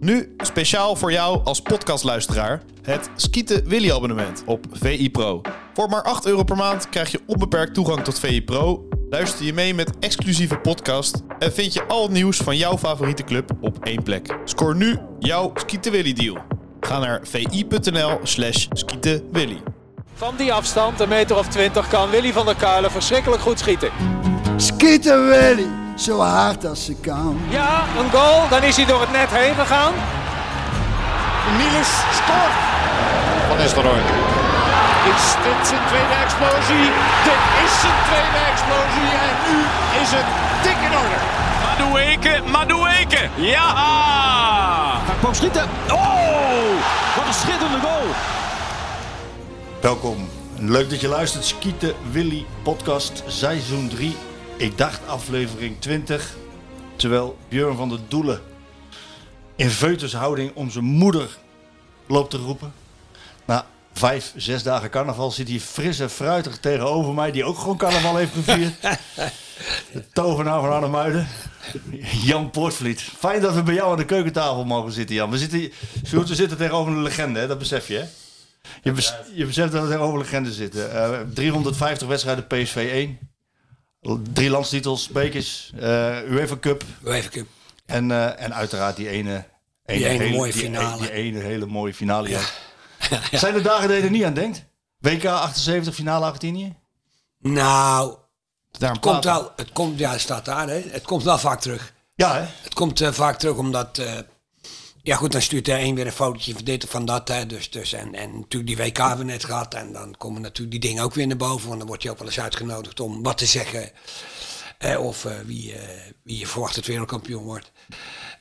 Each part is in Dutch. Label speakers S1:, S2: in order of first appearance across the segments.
S1: Nu speciaal voor jou als podcastluisteraar het Skieten Willy abonnement op VI Pro. Voor maar 8 euro per maand krijg je onbeperkt toegang tot VI Pro. Luister je mee met exclusieve podcast en vind je al het nieuws van jouw favoriete club op één plek. Scoor nu jouw Skieten Willy deal. Ga naar vi.nl slash skietenwilly.
S2: Van die afstand, een meter of twintig, kan Willy van der Kuilen verschrikkelijk goed schieten.
S3: Schieten Willy, er zo hard als ze kan.
S2: Ja, een goal, dan is hij door het net heen gegaan.
S4: Niels scoort.
S5: Van Nistelrooy.
S4: Is dit zijn tweede explosie? Dit is zijn tweede explosie en nu is het dik in orde.
S6: Madueke, Madueke, ja!
S7: Hij kwam schieten. Oh, wat een schitterende goal.
S8: Welkom. Leuk dat je luistert. Skieten Willy podcast seizoen 3. Ik dacht aflevering 20. Terwijl Björn van der Doelen in veutershouding om zijn moeder loopt te roepen. Na vijf, zes dagen carnaval zit hij fris en fruitig tegenover mij. Die ook gewoon carnaval heeft gevierd. De tovenaar van Arnhemuiden. Jan Poortvliet. Fijn dat we bij jou aan de keukentafel mogen zitten, Jan. We zitten, Sjoerd, we zitten tegenover een legende, hè? dat besef je, hè? Je, bes- je beseft dat we tegenover legenden zitten. Eh, 350 wedstrijden PSV 1. Drie landstitels, bekers, eh UEFA Cup.
S9: UEFA Cup.
S8: En, eh, en uiteraard die ene,
S9: Die ene mooie
S8: die- e-
S9: finale.
S8: Die, ene hele mooie finale. ja. Zijn er dagen dat je er niet aan denkt? WK 78, finale Argentinië?
S9: Nou,
S8: Daarom
S9: komt wel, het komt, ja, het staat daar, hè. Het komt wel vaak terug.
S8: Ja, hè?
S9: Het komt eh, vaak terug omdat, eh, ja goed, dan stuurt de een weer een fotootje van dit of van dat, hè. Dus, dus, en, en natuurlijk die WK hebben we net gehad. En dan komen natuurlijk die dingen ook weer naar boven. Want dan word je ook wel eens uitgenodigd om wat te zeggen. Eh, of eh, wie, eh, wie je verwacht het wereldkampioen wordt.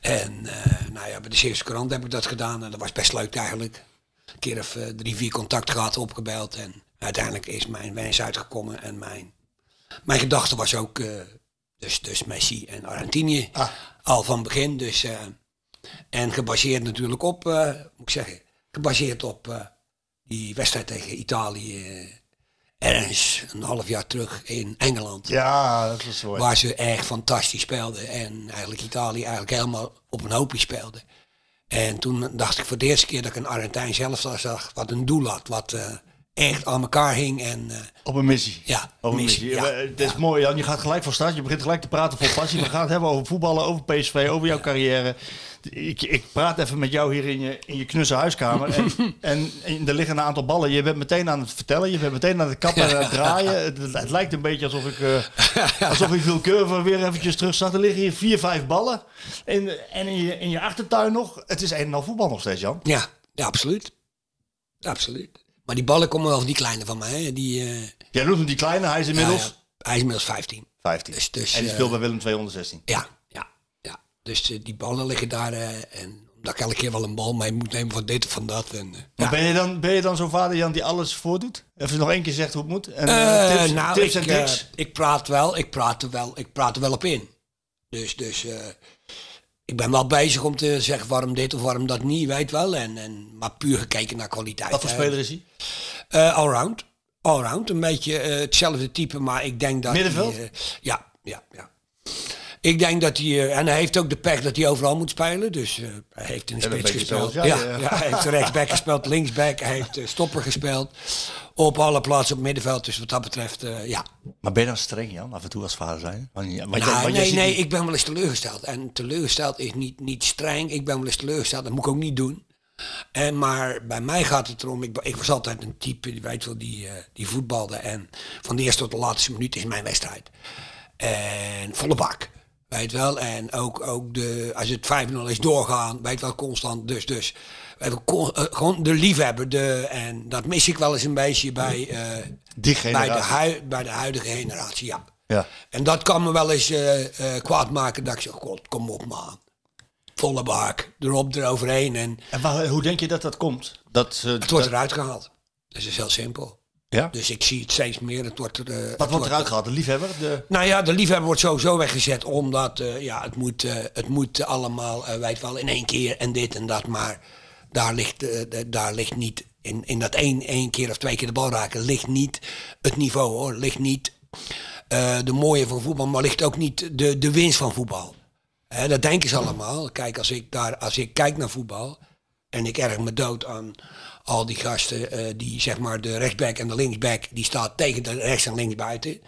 S9: En eh, nou ja, bij de Zeeuwse krant heb ik dat gedaan. En dat was best leuk eigenlijk. Een keer of eh, drie, vier contact gehad, opgebeld. En uiteindelijk is mijn wens uitgekomen. En mijn, mijn gedachte was ook eh, dus, dus Messi en Argentinië. Al van begin. Dus, eh, en gebaseerd natuurlijk op, eh, moet ik zeggen, gebaseerd op eh, die wedstrijd tegen Italië. eh, Ergens een half jaar terug in Engeland.
S8: Ja, dat was mooi.
S9: Waar ze echt fantastisch speelden. En eigenlijk Italië eigenlijk helemaal op een hoopje speelde. En toen dacht ik voor de eerste keer dat ik een Argentijn zelf zag. Wat een doel had. Wat eh, echt aan elkaar hing. En eh,
S8: Op een missie.
S9: Ja,
S8: op een missie.
S9: missie, ja.
S8: Eh, Het is mooi, Jan. Je gaat gelijk van start. Je begint gelijk te praten vol passie. We gaan het hebben over voetballen, over PSV, over jouw carrière. Ik, ik praat even met jou hier in je, in je knusse huiskamer. En, en, en er liggen een aantal ballen. Je bent meteen aan het vertellen. Je bent meteen aan het kappen en aan het draaien. Het, het- het lijkt een beetje alsof ik, eh alsof ik wil curve weer eventjes terug zag. Er liggen hier vier, vijf ballen. En, en in, je, in je achtertuin nog. Het is een en al voetbal nog steeds, Jan.
S9: ja, ja, absoluut. Absoluut. Maar die ballen komen wel van die kleine van mij. hè. Die, eh,
S8: Jij doet hem die kleine. Hij is inmiddels
S9: nou ja, hij is inmiddels 15.
S8: 15.
S9: Dus- dus,
S8: en die
S9: eh,
S8: speelt bij Willem 216.
S9: Ja, ja, ja. Dus eh, die ballen liggen daar. eh, en omdat ik elke keer wel een bal mee moet nemen van dit of van dat. En, eh,
S8: Maar
S9: ja.
S8: ben je dan, ben je dan zo'n vader, Jan, die alles voordoet? Even nog één keer zegt hoe het moet? En, eh,
S9: Eh,
S8: tips,
S9: nou,
S8: tips
S9: ik,
S8: en tricks?
S9: eh, ik praat wel, ik praat er wel, ik praat er wel op in. Dus, dus eh, ik ben wel bezig om te zeggen waarom dit of waarom dat niet, weet wel. En, en, maar puur gekeken naar kwaliteit. Eh,
S8: Wat voor
S9: hè.
S8: speler is hij?
S9: Eh, allround. Allround, een beetje eh, hetzelfde type, maar ik denk dat...
S8: Middenveld?
S9: hij, eh, ja, ja, ja. Ik denk dat hij, eh, en hij heeft ook de pech dat hij overal moet spelen. Dus eh, hij heeft in de
S8: Ja, dat
S9: spits
S8: weet je
S9: gespeeld.
S8: zelf, ja,
S9: ja,
S8: ja.
S9: ja. hij heeft rechtsback gespeeld, linksback, hij heeft eh, stopper gespeeld. Op alle plaatsen op middenveld, dus wat dat betreft, eh, ja.
S8: Maar ben je dan streng, Jan, af en toe als vader zijn? Want, je- want je-
S9: Nou,
S8: want je
S9: nee,
S8: ziet
S9: nee,
S8: die-
S9: ik ben wel eens teleurgesteld. En teleurgesteld is niet, niet streng. Ik ben wel eens teleurgesteld. Dat moet ik ook niet doen. En, maar bij mij gaat het erom. Ik, ik was altijd een type, je weet wel, die, eh, die voetbalde. En van de eerste tot de laatste minuut is mijn wedstrijd. En volle bak. Weet wel. En ook, ook de, als het 5-0 is doorgaan, weet wel, constant. Dus, dus. Weet wel, con- eh, gewoon de liefhebber. De, en dat mis ik wel eens een beetje bij, eh,
S8: Die
S9: bij, de,
S8: generatie.
S9: hui, bij de huidige generatie. Ja.
S8: Ja.
S9: En dat kan me wel eens eh, eh, kwaad maken dat ik zeg, god, kom op man. Volle baak, erop, eroverheen en
S8: En waar- hoe denk je dat dat komt? Dat, eh,
S9: het wordt
S8: dat-
S9: eruit gehaald. Dus dat is heel simpel.
S8: ja?
S9: Dus ik zie het steeds meer. Het wordt, er, eh, het
S8: Wat wordt eruit gehaald? De liefhebber? De...
S9: Nou ja, de liefhebber wordt sowieso weggezet omdat eh, ja, het moet, eh, het moet allemaal, eh weet wel, in één keer en dit en dat. Maar daar ligt, eh, d- daar ligt niet, in, in dat één, één keer of twee keer de bal raken, ligt niet het niveau hoor. Ligt niet eh, de mooie van voetbal, maar ligt ook niet de, de winst van voetbal. Hè, dat denken ze allemaal. Kijk, als ik, daar, als ik kijk naar voetbal en ik erg me dood aan al die gasten eh, die zeg maar de rechtsback en de linksback, die staat tegen de rechts en links buiten.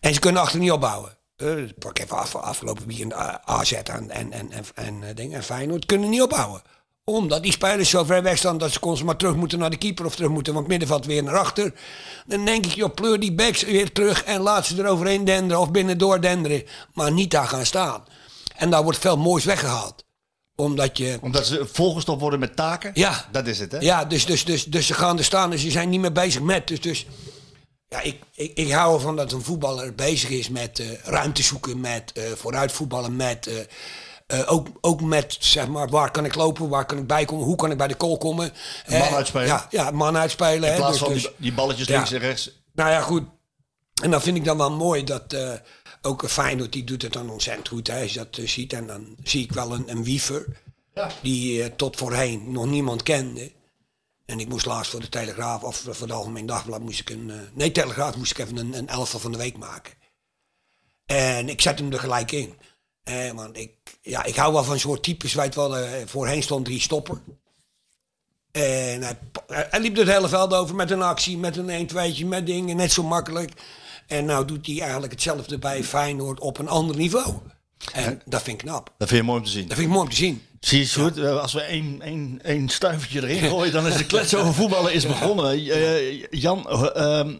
S9: En ze kunnen achter niet opbouwen. Eh, pak even af, afgelopen weekend eh, AZ en, en, en, en, en, eh, ding, en Feyenoord kunnen niet opbouwen. Omdat die spelers zo ver weg staan dat ze constant maar terug moeten naar de keeper of terug moeten van het middenveld weer naar achter. Dan denk ik, joh, pleur die backs weer terug en laat ze eroverheen denderen of binnendoor denderen. Maar niet daar gaan staan. En daar wordt veel moois weggehaald. Omdat je...
S8: Omdat ze volgestopt worden met taken?
S9: Ja.
S8: Dat is het, hè?
S9: Ja, dus, dus, dus, dus ze gaan er staan en ze zijn niet meer bezig met. Dus, dus ja, ik, ik, ik hou ervan dat een voetballer bezig is met eh, ruimte zoeken, met eh, vooruit voetballen, met... eh, eh, ook, ook met, zeg maar, waar kan ik lopen, waar kan ik bij komen, hoe kan ik bij de kool komen.
S8: Een man
S9: Eh,
S8: uitspelen.
S9: Ja, ja man
S8: In
S9: uitspelen. hè,
S8: plaats
S9: dus-
S8: van
S9: dus-
S8: die, die balletjes
S9: Ja.
S8: links en rechts.
S9: nou ja, goed. En dat vind ik dan wel mooi dat eh ook Feyenoord die doet het dan ontzettend goed. Hè, als je dat eh, ziet en dan zie ik wel een, een wiever die eh, tot voorheen nog niemand kende. En ik moest laatst voor de Telegraaf of voor de Algemeen Dagblad moest ik een... eh, nee, Telegraaf moest ik even een, een elftal van de week maken. En ik zet hem er gelijk in. Eh, want ik, ja, ik hou wel van soort types. Weet wel, eh, voorheen stond drie stopper. En hij, pa- hij- hij liep het hele veld over met een actie, met een 1 2 met dingen, net zo makkelijk. En nou doet hij eigenlijk hetzelfde bij Feyenoord op een ander niveau. En dat vind ik knap.
S8: Dat vind je mooj om te zien.
S9: Dat vind ik mooi om te zien.
S8: Zie je, Sjoerd, eh, als we één, één, één stuivertje erin gooien, dan is de klets over voetballen is begonnen. Eh, Jan, eh, ehm,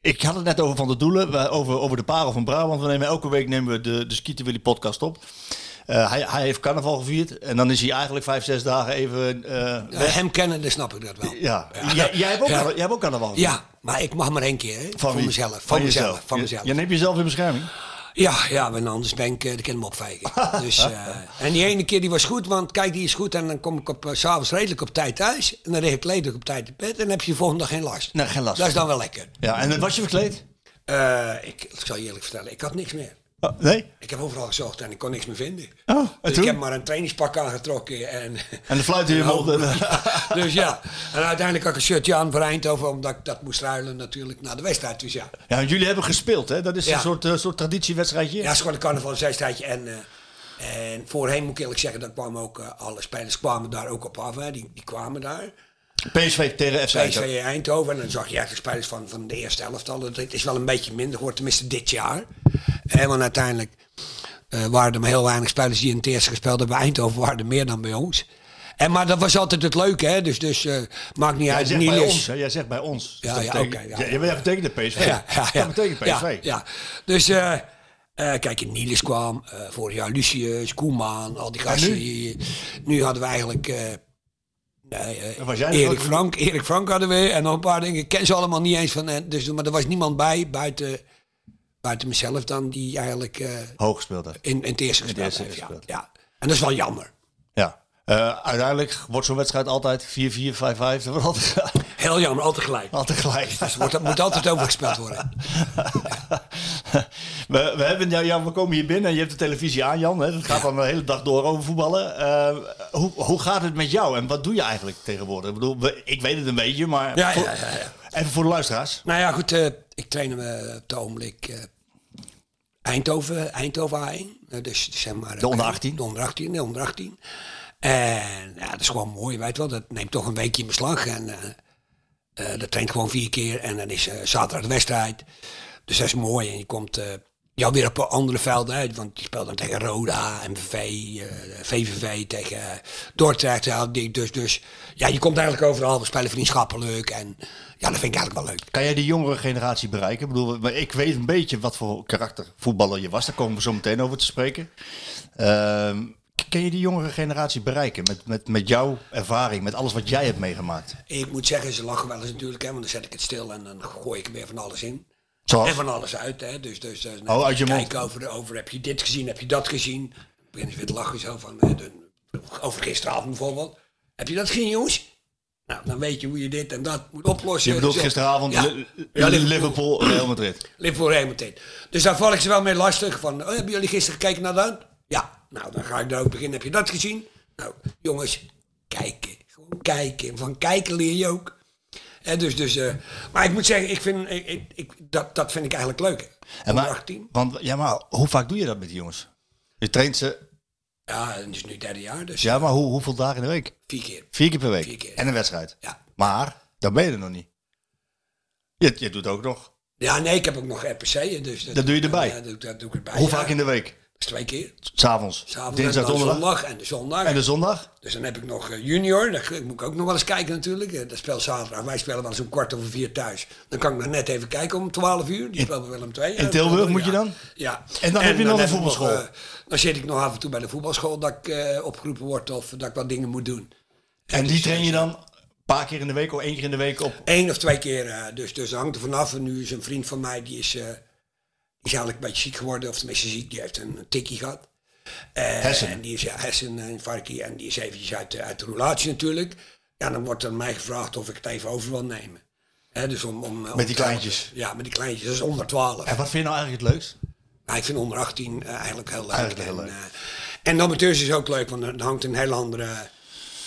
S8: ik had het net over Van de Doelen, we- over, over de parel van Brabant. We nemen, elke week nemen we de, de Skieten Willy podcast op. Eh, hij, hij heeft carnaval gevierd en dan is hij eigenlijk vijf, zes dagen even eh,
S9: Eh,
S8: weg.
S9: hem kennen, dan snap ik dat wel.
S8: Ja, Jij, jij, hebt ook, carna- jij hebt ook carnaval gevierd.
S9: Ja, maar ik mag maar één keer. Hè? voor
S8: wie?
S9: mezelf. Van, mezelf.
S8: jezelf.
S9: Van
S8: Je-
S9: mezelf.
S8: Je, neemt jezelf in bescherming.
S9: Ja, ja, want anders ben ik eh, de kind opvegen. Dus, eh, en die ene keer die was goed, want kijk, die is goed. En dan kom ik op eh, s s'avonds redelijk op tijd thuis. En dan lig ik redelijk op tijd in bed. En dan heb je de volgende dag geen last.
S8: Nee, Nou, geen last.
S9: Dat is dan wel lekker.
S8: Ja, en was je verkleed?
S9: Eh, ik, ik zal je eerlijk vertellen, ik had niks meer.
S8: Oh, nee?
S9: Ik heb overal gezocht en ik kon niks meer vinden.
S8: Oh, en
S9: dus
S8: toen?
S9: ik heb maar een trainingspak aangetrokken. En,
S8: En de fluit in je
S9: en
S8: mond.
S9: hoofdbloed. dus ja, en uiteindelijk had ik een shirtje aan voor Eindhoven, omdat ik dat moest ruilen natuurlijk naar de wedstrijd. Dus ja,
S8: Ja, want jullie hebben gespeeld, hè? Dat is
S9: Ja.
S8: een soort, eh, soort traditiewedstrijdje.
S9: ja het is gewoon een carnavalswedstrijdje. En, eh, en voorheen moet ik eerlijk zeggen, dat kwamen ook eh, alle spelers kwamen daar ook op af. Hè. Die, die kwamen daar.
S8: PSV tegen FC Eindhoven.
S9: PSV E Eindhoven. En dan zag je echt de spelers van, van de eerste helft al. Het is wel een beetje minder geworden, tenminste dit jaar. En want uiteindelijk eh, waren er maar heel weinig spelers die in het eerste gespeeld hebben. Bij Eindhoven waren er meer dan bij ons. En, maar dat was altijd het leuke, hè? dus, dus eh, maakt niet
S8: Jij
S9: uit.
S8: zegt bij
S9: Niels-
S8: ons. hè? Jij zegt bij ons.
S9: Ja,
S8: dat
S9: ja,
S8: betekent-
S9: oké, ja.
S8: ja, maar dat betekent de PSV.
S9: Ja, ja, ja.
S8: Dat betekent PSV.
S9: Ja, ja. Dus eh, eh, kijk, Niels kwam, eh, vorig jaar Lucius, Koeman, al die gasten.
S8: nu?
S9: die- nu hadden we eigenlijk... eh, nee, eh,
S8: En was jij de
S9: Erik
S8: grote-
S9: Frank, Erik Frank hadden we en nog een paar dingen. Ik ken ze allemaal niet eens van. eh, Dus, maar er was niemand bij, buiten, buiten mezelf dan, die eigenlijk eh,
S8: Hoog gespeeld heeft.
S9: in, in het eerste gespeeld
S8: eerste
S9: heeft. Ja,
S8: gespeeld.
S9: ja. En dat is wel jammer.
S8: Ja. Eh, uiteindelijk wordt zo'n wedstrijd altijd 4-4, 5-5. Dat wordt altijd,
S9: Heel jammer, altijd gelijk.
S8: altijd gelijk.
S9: Dus wordt, dat moet altijd overgespeeld worden.
S8: we, we, hebben, ja, ja, we komen hier binnen en je hebt de televisie aan, Jan. Hè? Dat gaat dan de hele dag door over voetballen. Eh, hoe, hoe gaat het met jou en wat doe je eigenlijk tegenwoordig? Ik bedoel, we- ik weet het een beetje, maar
S9: Ja,
S8: voor-
S9: ja, ja, ja.
S8: even voor de luisteraars.
S9: Nou ja, goed, eh, ik train hem eh, op het ogenblik eh, Eindhoven, Eindhoven A1. Eh, dus zeg maar,
S8: De onder 18.
S9: De onder 18, de onder 18. En ja, dat is gewoon mooi, weet wel. Dat neemt toch een weekje in beslag. En eh, eh, dat traint gewoon vier keer. En dan is eh, zaterdag de wedstrijd. Dus dat is mooi. En je komt eh, ja, weer op andere velden uit. Want je speelt dan tegen Roda, MVV, eh, VVV, tegen eh, Dordrecht. ja, die- dus, dus ja, je komt eigenlijk overal. We spelen vriendschappelijk. En ja, dat vind ik eigenlijk wel leuk.
S8: Kan jij de jongere generatie bereiken? Ik bedoel, maar ik weet een beetje wat voor karakter voetballer je was. Daar komen we zo meteen over te spreken. Ehm, k- kan je die jongere generatie bereiken met, met, met jouw ervaring, met alles wat jij hebt meegemaakt?
S9: Ik moet zeggen, ze lachen wel eens natuurlijk, hè, want dan zet ik het stil en dan gooi ik er weer van alles in.
S8: Zoals?
S9: En van alles uit, hè. Dus, dus, dus
S8: Oh, uit je mond.
S9: Kijk over, over, heb je dit gezien, heb je dat gezien? Dan beginnen ze weer te lachen zo van, hè, de- over gisteravond bijvoorbeeld. Heb je dat gezien, jongens? Nou, dan weet je hoe je dit en dat moet oplossen.
S8: Je bedoelt
S9: Dus, eh,
S8: gisteravond
S9: ja.
S8: Li-
S9: Ja,
S8: Liverpool, Real Madrid.
S9: Liverpool Real Madrid. Dus daar val ik ze wel mee lastig. Van, oh, hebben jullie gisteren gekeken naar dat? Ja, nou dan ga ik daar ook beginnen. Heb je dat gezien? Nou, jongens, kijken. Gewoon kijken. Van kijken leer je ook. En dus, dus, eh, maar ik moet zeggen, ik vind, ik, ik, ik- dat, dat vind ik eigenlijk leuk.
S8: En
S9: Onder
S8: maar-
S9: 18.
S8: Want, ja, maar hoe vaak doe je dat met die jongens? Je traint ze
S9: Ja, en het is nu het derde jaar, dus
S8: Ja, maar hoe, hoeveel dagen in de week?
S9: vier keer.
S8: Vier keer per week.
S9: Vier keer.
S8: En een wedstrijd.
S9: Ja.
S8: Maar, dan ben je er nog niet. Je, je doet ook nog.
S9: ja, nee, ik heb ook nog RPC'en. Dus
S8: Dat doe je erbij?
S9: Ja, dat, doe ik- dat doe ik erbij.
S8: Hoe
S9: ja.
S8: vaak in de week?
S9: Dat is twee keer.
S8: S'avonds.
S9: S'avonds
S8: Dinsdag,
S9: en dan
S8: donderdag.
S9: zondag en de zondag.
S8: En de zondag?
S9: Dus dan heb ik nog eh, junior, daar moet ik ook nog wel eens kijken natuurlijk. Eh, Dat speelt zaterdag, wij spelen wel eens om kwart over vier thuis. Dan kan ik nog net even kijken om twaalf uur, die spelen wel om twee.
S8: in
S9: eh,
S8: Tilburg
S9: twaalf uur,
S8: moet je
S9: ja.
S8: dan?
S9: Ja.
S8: En dan heb je nog een
S9: ik
S8: voetbalschool?
S9: eh, dan zit ik nog af en toe bij de voetbalschool dat ik eh, opgeroepen word of dat ik wat dingen moet doen. Dus, eh,
S8: En die train je dan een paar keer in de week of één keer in de week op?
S9: Eén of twee keer, eh, dus, dus dat hangt er vanaf. En nu is een vriend van mij, die is, eh, die is eigenlijk een beetje ziek geworden. Of tenminste ziek, die heeft een tikkie gehad. Eh,
S8: Hessen.
S9: En die is ja, Hessen, een varkie. En die is eventjes uit, de- uit de relatie natuurlijk. Ja, dan wordt aan mij gevraagd of ik het even over wil nemen. Hè, dus om, om, eh,
S8: Met die
S9: om te helpen.
S8: kleintjes.
S9: Ja, met die kleintjes. Dat is onder 12.
S8: En wat vind je nou eigenlijk het leukst?
S9: Maar ik vind onder 18 eh, eigenlijk heel leuk.
S8: Eigenlijk heel
S9: en,
S8: leuk.
S9: eh, en de amateurs is ook leuk, want er hangt een heel andere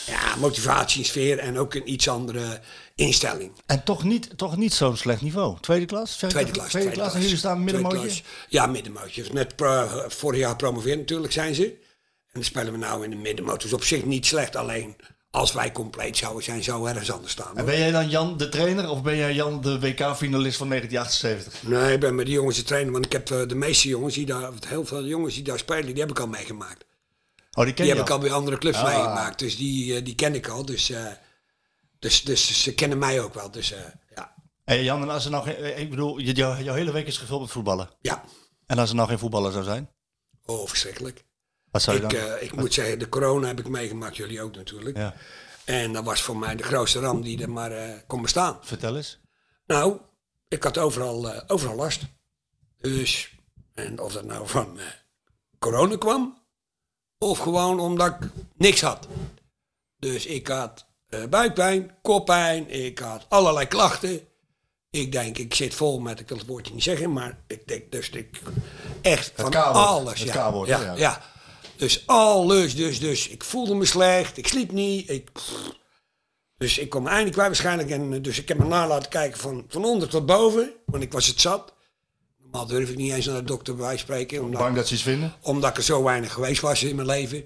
S9: ja, motivatie, sfeer en ook een iets andere instelling.
S8: En toch niet, toch niet zo'n slecht niveau. Tweede klas? Tweede,
S9: Tweede klas.
S8: Tweede, klas. En jullie staan
S9: Tweede
S8: middenmootje?
S9: klas. Ja, middenmootje. Net pro- vorig jaar promoveerd natuurlijk zijn ze. En dan spelen we nou in de middenmoot. Dus op zich niet slecht. Alleen als wij compleet zouden zijn, zou ergens anders staan.
S8: En
S9: hoor.
S8: ben jij dan Jan de trainer of ben jij Jan de WK-finalist van 1978?
S9: Nee, ik ben met die jongens te trainen. Want ik heb eh, de meeste jongens die daar, of heel veel jongens die daar spelen, die heb ik al meegemaakt.
S8: Oh, die ken
S9: Die
S8: je
S9: heb ik al bij andere clubs
S8: Ah.
S9: meegemaakt. Dus die, eh, die ken ik al. Dus, eh, dus, dus ze kennen mij ook wel. Dus eh, ja.
S8: Hey Jan, en als er nou geen, ik bedoel, je- jou- jouw hele week is gevuld met voetballen.
S9: ja.
S8: En als er nou geen voetballer zou zijn,
S9: Oh, verschrikkelijk.
S8: wat zou je
S9: Ik,
S8: dan?
S9: eh, ik moet zeggen, de corona heb ik meegemaakt. Jullie ook natuurlijk.
S8: ja,
S9: En dat was voor mij de grootste ramp die er maar eh, kon bestaan.
S8: vertel eens.
S9: Nou, ik had overal, eh, overal last. Dus, en of dat nou van eh, corona kwam, of gewoon omdat ik niks had. Dus ik had eh, buikpijn, koppijn, ik had allerlei klachten. Ik denk, ik zit vol met, ik wil het woordje niet zeggen, maar ik denk dus ik echt van
S8: K-woord,
S9: alles.
S8: het
S9: ja,
S8: K-woord,
S9: ja,
S8: ja.
S9: ja. Dus alles, dus, dus ik voelde me slecht, ik sliep niet, ik... Dus ik kom eindelijk kwijt waarschijnlijk. En, eh, dus ik heb me na laten kijken van, van onder tot boven. Want ik was het zat. Normaal durf ik niet eens naar de dokter bij wijze van spreken. Omdat,
S8: Bang dat ze iets vinden?
S9: omdat ik er zo weinig geweest was in mijn leven.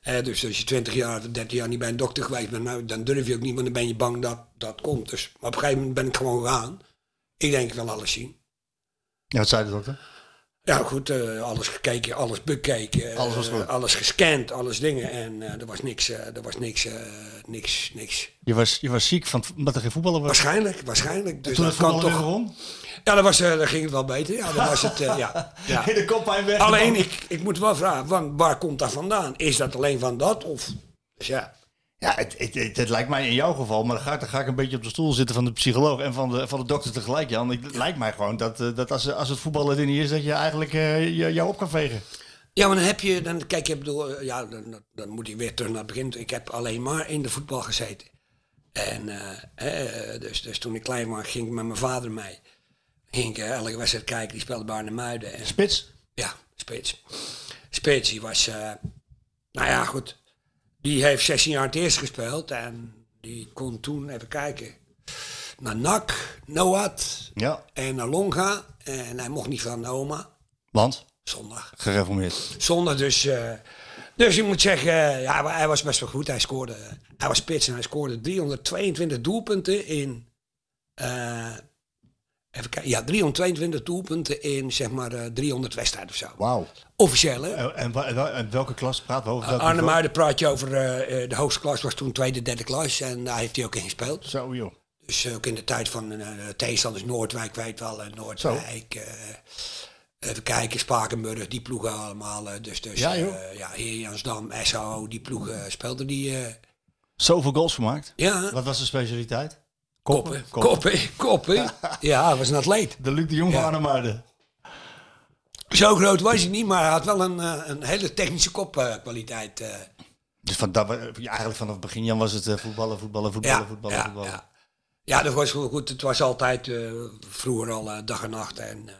S9: Eh, dus als je 20 jaar of 30 jaar niet bij een dokter geweest bent, nou, dan durf je ook niet, want dan ben je bang dat dat komt. Dus, maar op een gegeven moment ben ik gewoon gegaan. Ik denk, ik wil alles zien.
S8: Ja, wat zei de dokter?
S9: Ja, goed, eh, alles gekeken, alles bekeken, eh,
S8: Alles was goed.
S9: alles gescand, alles dingen. En eh, er was niks, eh, er was niks, eh, niks, niks.
S8: Je was, je was ziek van, omdat er geen voetballer was.
S9: Waarschijnlijk, waarschijnlijk. Dus
S8: Toen
S9: dat
S8: het
S9: kan
S8: voetballer
S9: toch
S8: weer rond?
S9: Ja, dat, was, eh, dat ging het wel beter. Ja, dat was het, eh, ja. ja.
S8: de koppijn weg.
S9: Alleen, ik, ik moet wel vragen, van, waar komt dat vandaan? Is dat alleen van dat? Of, dus ja.
S8: Ja, het, het, het, het lijkt mij in jouw geval, maar dan ga, ik, dan ga ik een beetje op de stoel zitten van de psycholoog en van de, van de dokter tegelijk, Jan. Ik- Het lijkt mij gewoon dat, eh, dat als, als het voetballen er niet is, dat je eigenlijk eh, je- jou op kan vegen.
S9: Ja, maar dan heb je, dan, kijk, ik bedoel, eh, ja, dan, dan- dan moet ik weer terug naar het begin. Ik heb alleen maar in de voetbal gezeten. En eh, eh, dus, dus toen ik klein was, ging ik met mijn vader mee. Ging ik eh, elke wedstrijd kijken, die speelde Barne Muiden. En
S8: Spits?
S9: Ja, Spits. Spits, die was... eh, nou ja, goed. Die heeft 16 jaar het eerst gespeeld. En die kon toen, even kijken... Naar NAC, Noat
S8: Ja,
S9: en naar Longa. En hij mocht niet van oma.
S8: want
S9: Zondag.
S8: gereformeerd.
S9: Zondag dus... eh, dus ik moet zeggen, eh, ja, hij was best wel goed. Hij scoorde... Hij was spits en hij scoorde 322 doelpunten in... eh, even kijken. Ja, 322 doelpunten in, zeg maar, eh, 300 wedstrijden of zo.
S8: Wauw.
S9: Officieel, hè?
S8: En, en, wa- en wa- en welke klas praten we over? Welke
S9: Arnhem
S8: niveau?
S9: Muiden praat je over eh, eh, de hoogste klas, was toen tweede, derde klas. En daar heeft hij ook in gespeeld.
S8: Zo joh.
S9: Dus ook in de tijd van eh, tegenstanders Noordwijk, weet wel, en Noordwijk. eh, even kijken, Spakenburg, die ploegen allemaal. eh, dus dus
S8: Ja,
S9: eh,
S8: joh.
S9: ja, Heerjansdam, SHO, die ploegen speelden die. eh,
S8: Zoveel goals gemaakt.
S9: ja,
S8: Wat was de specialiteit?
S9: koppen, koppen, koppen. ja, hij was een atleet.
S8: De Luc de Jong van
S9: Ja.
S8: Arnhemuiden.
S9: Zo groot was hij niet, maar hij had wel een, eh, een hele technische kopkwaliteit. eh
S8: Dus van, dat, we- eigenlijk vanaf het begin, Jan, was het eh, voetballen, voetballen, voetballen, voetballen, voetballen.
S9: Ja. ja, dat was wel goed. Het was altijd eh, vroeger al eh, dag en nacht. En, eh,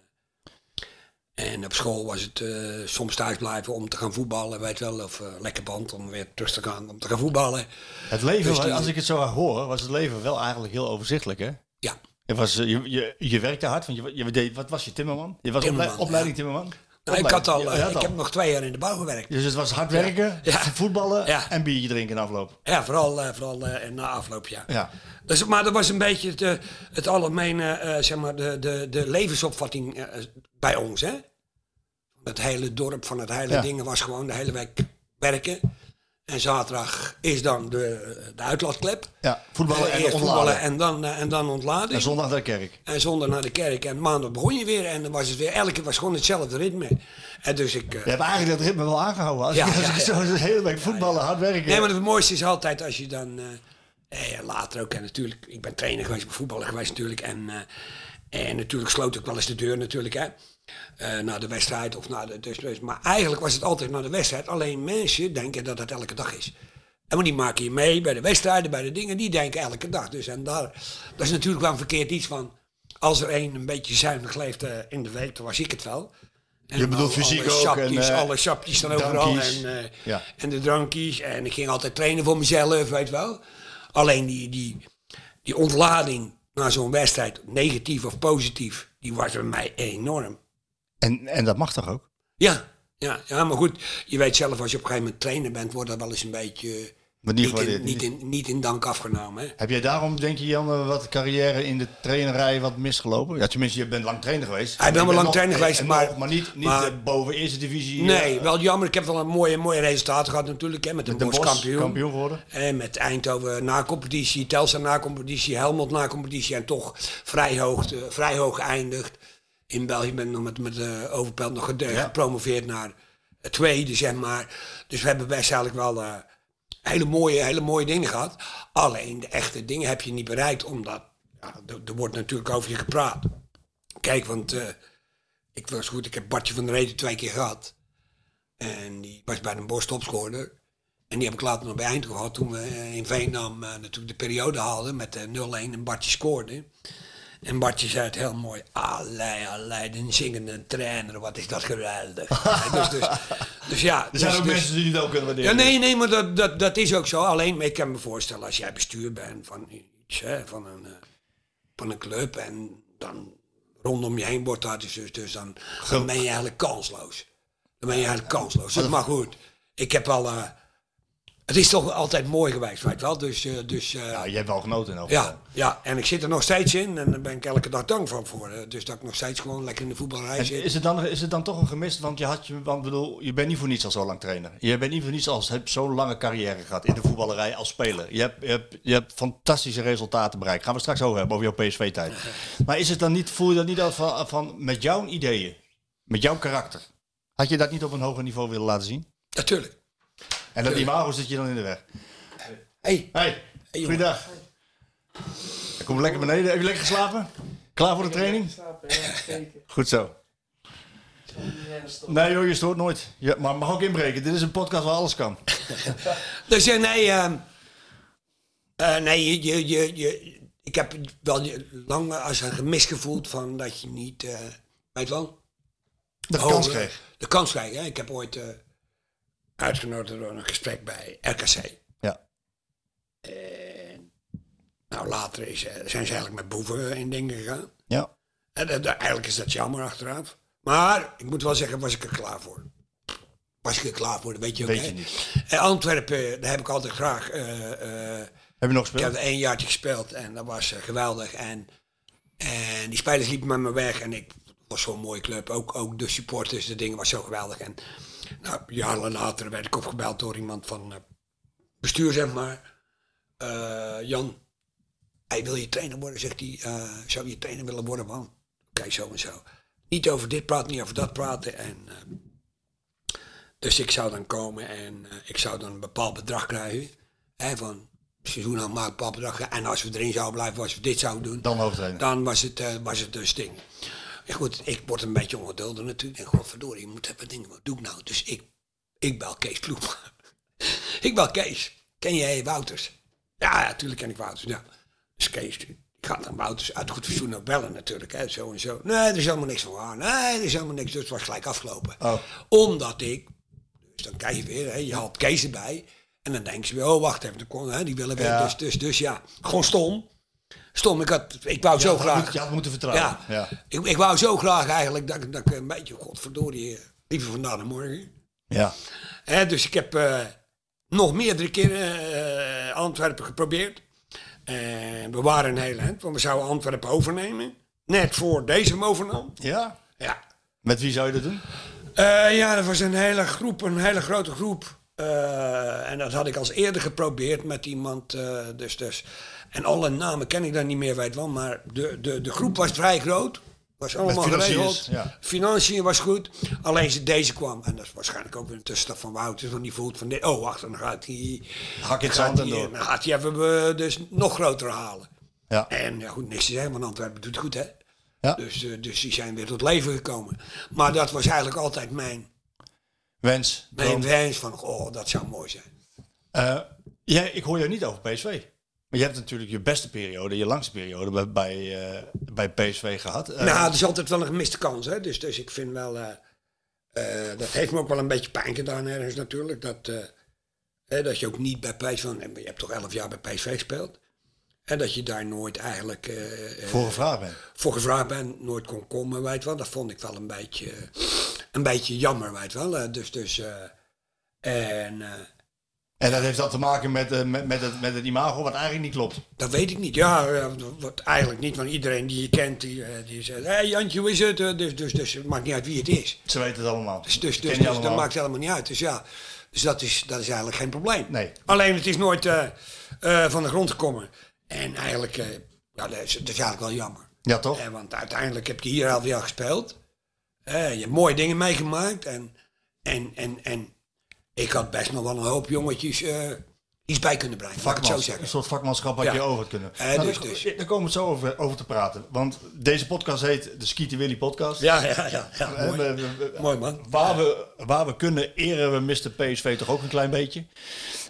S9: en op school was het eh, soms thuis blijven om te gaan voetballen, weet wel. Of eh, lekker band om weer terug te gaan om te gaan voetballen.
S8: Het leven,
S9: Dus
S8: was-
S9: die-
S8: als ik het zo hoor, was het leven wel eigenlijk heel overzichtelijk, hè?
S9: Ja,
S8: Je, was, eh, je, je, je werkte hard, want je, je deed, wat was je, timmerman? Je was
S9: Timmerman,
S8: ople- opleiding timmerman?
S9: Nou, ik, had al, eh,
S8: Je had
S9: ik
S8: al.
S9: heb nog twee jaar in de bouw gewerkt.
S8: Dus het was hard werken,
S9: Ja.
S8: voetballen
S9: Ja.
S8: en biertje drinken in afloop.
S9: Ja, vooral, eh, vooral eh, na afloop, ja.
S8: Ja.
S9: Dus, maar dat was een beetje het, eh, het algemene, eh, zeg maar, de, de, de levensopvatting eh, bij ons, hè. Het hele dorp van het hele
S8: Ja.
S9: dingen was gewoon de hele week werken. En zaterdag is dan de, de uitlaatklep.
S8: ja. Voetballen
S9: Eh,
S8: en
S9: eerst
S8: ontladen.
S9: en dan, eh, en dan ontladen.
S8: En zondag naar de kerk.
S9: En zondag naar de kerk. En maandag begon je weer. En dan was het weer, elke keer was gewoon hetzelfde ritme. En dus ik... eh,
S8: Je hebt eigenlijk dat ritme wel aangehouden. Als
S9: Ja,
S8: ik, als
S9: ja,
S8: ik
S9: ja.
S8: zo de hele week voetballen, hard werken.
S9: Nee, maar het mooiste is altijd als je dan... eh, eh, later ook, en natuurlijk... Ik ben trainer geweest, ik ben voetballer geweest natuurlijk. En, eh, en natuurlijk sloot ik wel eens de deur natuurlijk, hè. Eh naar de wedstrijd of naar de... Dus, dus- maar eigenlijk was het altijd naar de wedstrijd. Alleen mensen denken dat dat elke dag is. En maar die maken je mee bij de wedstrijden, bij de dingen. Die denken elke dag. Dus en daar... Dat is natuurlijk wel een verkeerd iets van... Als er een een beetje zuinig leeft eh, in de week, dan was ik het wel. En
S8: Je bedoelt
S9: al-
S8: fysiek
S9: alle
S8: ook en,
S9: sapjes,
S8: eh,
S9: alle sapjes staan overal. En,
S8: dankies.
S9: eh,
S8: Ja.
S9: en de drankjes. En ik ging altijd trainen voor mezelf, weet je wel. Alleen die, die, die ontlading na zo'n wedstrijd, negatief of positief, die was bij mij enorm.
S8: En, en dat mag toch ook?
S9: Ja, ja, ja, maar goed, je weet zelf, als je op een gegeven moment trainer bent, wordt dat wel eens een beetje eh,
S8: Maar niet
S9: niet, in,
S8: gewaardeerd.
S9: niet, in, niet in dank afgenomen. Hè?
S8: Heb jij daarom, denk je Jan, eh, wat carrière in de trainerij wat misgelopen? Ja, tenminste, je bent lang trainer geweest.
S9: ben
S8: Je
S9: wel
S8: bent
S9: lang
S8: nog-
S9: trainer geweest,
S8: en
S9: maar-
S8: nog- maar niet, niet
S9: maar-
S8: eh, boven eerste divisie.
S9: Nee,
S8: eh,
S9: wel jammer. Ik heb wel een mooie, mooie resultaat gehad natuurlijk. Hè, met de,
S8: de Bos
S9: bondskampioen.
S8: kampioen geworden.
S9: En met Eindhoven eh, na-competitie, Telsa na-competitie, Helmond na-competitie. En toch vrij hoog, eh, vrij hoog geëindigd. In België ben ik nog met, met eh, Overpelt nog gede-
S8: Ja.
S9: gepromoveerd naar het tweede, zeg maar. Dus we hebben best eigenlijk wel eh, hele, mooie, hele mooie dingen gehad. Alleen de echte dingen heb je niet bereikt, omdat ja, er- er wordt natuurlijk over je gepraat. Kijk, want eh, ik was goed, ik heb Bartje van der Reden twee keer gehad. En die was bij een bos topscorer. En die heb ik later nog bij Eindhoven gehad toen we eh, in Veenam eh, natuurlijk de periode haalden met eh, 0-1 en Bartje scoorde. En Bartje zei het heel mooi, allee, allee, de zingende trainer, wat is dat geweldig. dus, dus, dus ja.
S8: Er zijn
S9: dus-
S8: ook
S9: dus-
S8: mensen die het ook kunnen
S9: ja,
S8: waarderen.
S9: nee, nee, maar dat, dat, dat is ook zo. Alleen, maar ik kan me voorstellen, als jij bestuur bent van iets, hè, van, een, eh, van een club, en dan rondom je heen wordt dat dus, dus, dus dan, dan ben je eigenlijk kansloos. Dan ben je eigenlijk kansloos. Maar goed, ik heb al, eh, het is toch altijd mooi geweest, weet je wel. Dus, eh, dus eh,
S8: Nou, je hebt wel genoten in elk geval.
S9: ja, ja, en ik zit er nog steeds in en daar ben ik elke dag dankbaar voor. eh. Dus dat ik nog steeds gewoon lekker in de voetbalrij
S8: En
S9: zit.
S8: is, het dan, is het dan toch een gemist? Want je, had, je- want bedoel, je bent niet voor niets al zo lang trainer. Je bent niet voor niets al hebt zo'n lange carrière gehad in de voetballerij als speler. Je hebt, je, hebt, je hebt fantastische resultaten bereikt. Gaan we straks over hebben, over jouw PSV-tijd. Maar is het dan niet, voel je dat niet al van, van met jouw ideeën, met jouw karakter? Had je dat niet op een hoger niveau willen laten zien?
S9: Natuurlijk.
S8: En dat imago zit je dan in de weg.
S9: Hey,
S8: Hey,
S9: jongen.
S8: goeiedag. Kom lekker beneden. Heb je lekker geslapen? Klaar voor de training? Goed zo. Nee joh, je stoort nooit. Ja, maar mag ook inbreken. Dit is een podcast waar alles kan.
S9: Dus eh, nee, ehm, eh, nee je, je, je, je- ik heb wel je- lang als een gemis gevoeld van dat je niet, eh weet wel,
S8: De
S9: hoger-
S8: kans kreeg.
S9: De kans kreeg, hè. Ik heb ooit eh, uitgenodigd door een gesprek bij RKC.
S8: Ja.
S9: Nou, later is, eh, zijn ze eigenlijk met boeven in dingen gegaan.
S8: Ja.
S9: En, eh, da- eigenlijk is dat jammer achteraf. Maar ik moet wel zeggen, was ik er klaar voor. Was ik er klaar voor, dat weet je ook.
S8: Weet je
S9: hè.
S8: niet.
S9: Eh, Antwerpen, daar heb ik altijd graag eh, eh,
S8: Heb je nog
S9: Ik heb
S8: gespeeld?
S9: er één jaartje gespeeld en dat was eh, geweldig. En, en die spelers liepen met me weg en ik het was zo'n mooie club. Ook, ook de supporters, de dingen was zo geweldig. En nou, jaren later werd ik opgebeld door iemand van eh, bestuur, zeg maar. Eh, Jan, hij wil je trainer worden, zegt hij. Eh, zou je trainer willen worden, man? Kijk, zo en zo. Niet over dit praten, niet over dat praten. En, eh, dus ik zou dan komen en eh, ik zou dan een bepaald bedrag krijgen. Hè, van seizoen aan maakt bepaald bedrag. En als we erin zouden blijven, als we dit zouden doen,
S8: Dan hoofdtrainer.
S9: dan was het, eh, was het een sting. En goed, ik word een beetje ongeduldig natuurlijk. En godverdorie, je moet even dingen, wat doe ik nou? Dus ik, ik bel Kees Ploeg. ik bel Kees. Ken jij Wouters? Ja, natuurlijk ken ik Wouters. Ja. Dus Kees, die gaat dan Wouters uit goed verzoen nog bellen natuurlijk. Hè, zo en zo. Nee, er is helemaal niks van waar. Nee, er is helemaal niks. Dus het was gelijk afgelopen.
S8: Oh.
S9: Omdat ik dus dan krijg je weer, hè, je haalt Kees erbij. En dan denken ze weer, oh wacht even, dan kon, hè, die willen weer.
S8: Ja.
S9: Dus, dus, dus ja, gewoon stom. Stom, ik, had, ik wou zo
S8: had
S9: graag.
S8: moet- je had moeten vertrouwen.
S9: Ja,
S8: Ja.
S9: Ik, ik wou zo graag eigenlijk dat, ik- dat ik een beetje, godverdorie, eh, Liever vandaag dan morgen.
S8: Ja.
S9: Hè, dus ik heb eh, nog meerdere keren eh, Antwerpen geprobeerd. Eh, we waren een hele eind, want we zouden Antwerpen overnemen. Net voor deze hem overnam.
S8: Ja?
S9: Ja.
S8: Met wie zou je dat doen?
S9: Eh, ja, dat was een hele groep, een hele grote groep. Eh, en dat had ik als eerder geprobeerd met iemand. eh, dus, dus. En alle namen ken ik dan niet meer, weet wel. Maar de, de, de groep was vrij groot. Was allemaal
S8: financiers,
S9: geregeld.
S8: ja.
S9: Financiën was goed. Alleen ze- deze kwam. En dat is waarschijnlijk ook weer een tussenstap van Wouters. Want die voelt van, dit- oh wacht, dan gaat hij...
S8: Hak in het
S9: gaat
S8: zand en
S9: hij-
S8: door.
S9: Dan gaat hij even eh, dus nog groter halen.
S8: Ja.
S9: En ja, goed, niks te zeggen, want Antwerpen doet het goed, hè?
S8: Ja.
S9: Dus, eh, dus die zijn weer tot leven gekomen. Maar dat was eigenlijk altijd mijn,
S8: Wens.
S9: mijn
S8: droom.
S9: wens van, oh, dat zou mooi zijn.
S8: Eh, jij, ik hoor jou niet over PSV. Maar je hebt natuurlijk je beste periode, je langste periode bij, bij, eh, bij PSV gehad. Eh,
S9: nou, het is altijd wel een gemiste kans, hè? Dus, dus ik vind wel, eh, eh, dat heeft me ook wel een beetje pijn gedaan ergens natuurlijk. Dat, eh, hè, dat je ook niet bij PSV, want je hebt toch elf jaar bij PSV gespeeld. En dat je daar nooit eigenlijk eh, eh,
S8: Vorige vraag ben.
S9: voor gevraagd ben, nooit kon komen, weet wel. Dat vond ik wel een beetje, een beetje jammer, weet wel. Eh, Dus, dus, eh, en eh,
S8: En dat heeft dan te maken met, eh, met, met, het, met het imago, wat eigenlijk niet klopt.
S9: dat weet ik niet. Ja, eh, wat eigenlijk niet, want iedereen die je kent, die, eh, die zegt, hé hey Jantje, hoe is het? Eh, Dus, dus, dus het maakt niet uit wie het is.
S8: Ze weten het allemaal.
S9: Dus, dus,
S8: Ken
S9: dus,
S8: je
S9: dus dat
S8: allemaal.
S9: maakt helemaal niet uit. Dus ja, dus dat is, dat is eigenlijk geen probleem.
S8: Nee.
S9: Alleen het is nooit eh, eh, van de grond gekomen. En eigenlijk, eh, ja, dat is, dat is eigenlijk wel jammer.
S8: Ja, toch?
S9: Eh, want uiteindelijk heb je hier elf jaar gespeeld. Eh, je hebt mooie dingen meegemaakt. En, en, en, en ik had best nog wel een hoop jongetjes eh, iets bij kunnen brengen. Laat ik het zo
S8: Vakmans, een
S9: zeggen.
S8: soort vakmanschap had
S9: Ja.
S8: je over had kunnen.
S9: Eh,
S8: Nou,
S9: dus,
S8: daar-
S9: dus.
S8: Daar komen we het zo over, over te praten. Want deze podcast heet de Skeeter Willy podcast.
S9: Ja, ja, ja. ja,
S8: Eh,
S9: mooi.
S8: we- we- we-
S9: Mooi, man.
S8: Waar we, waar we kunnen eren we Mr. PSV toch ook een klein beetje.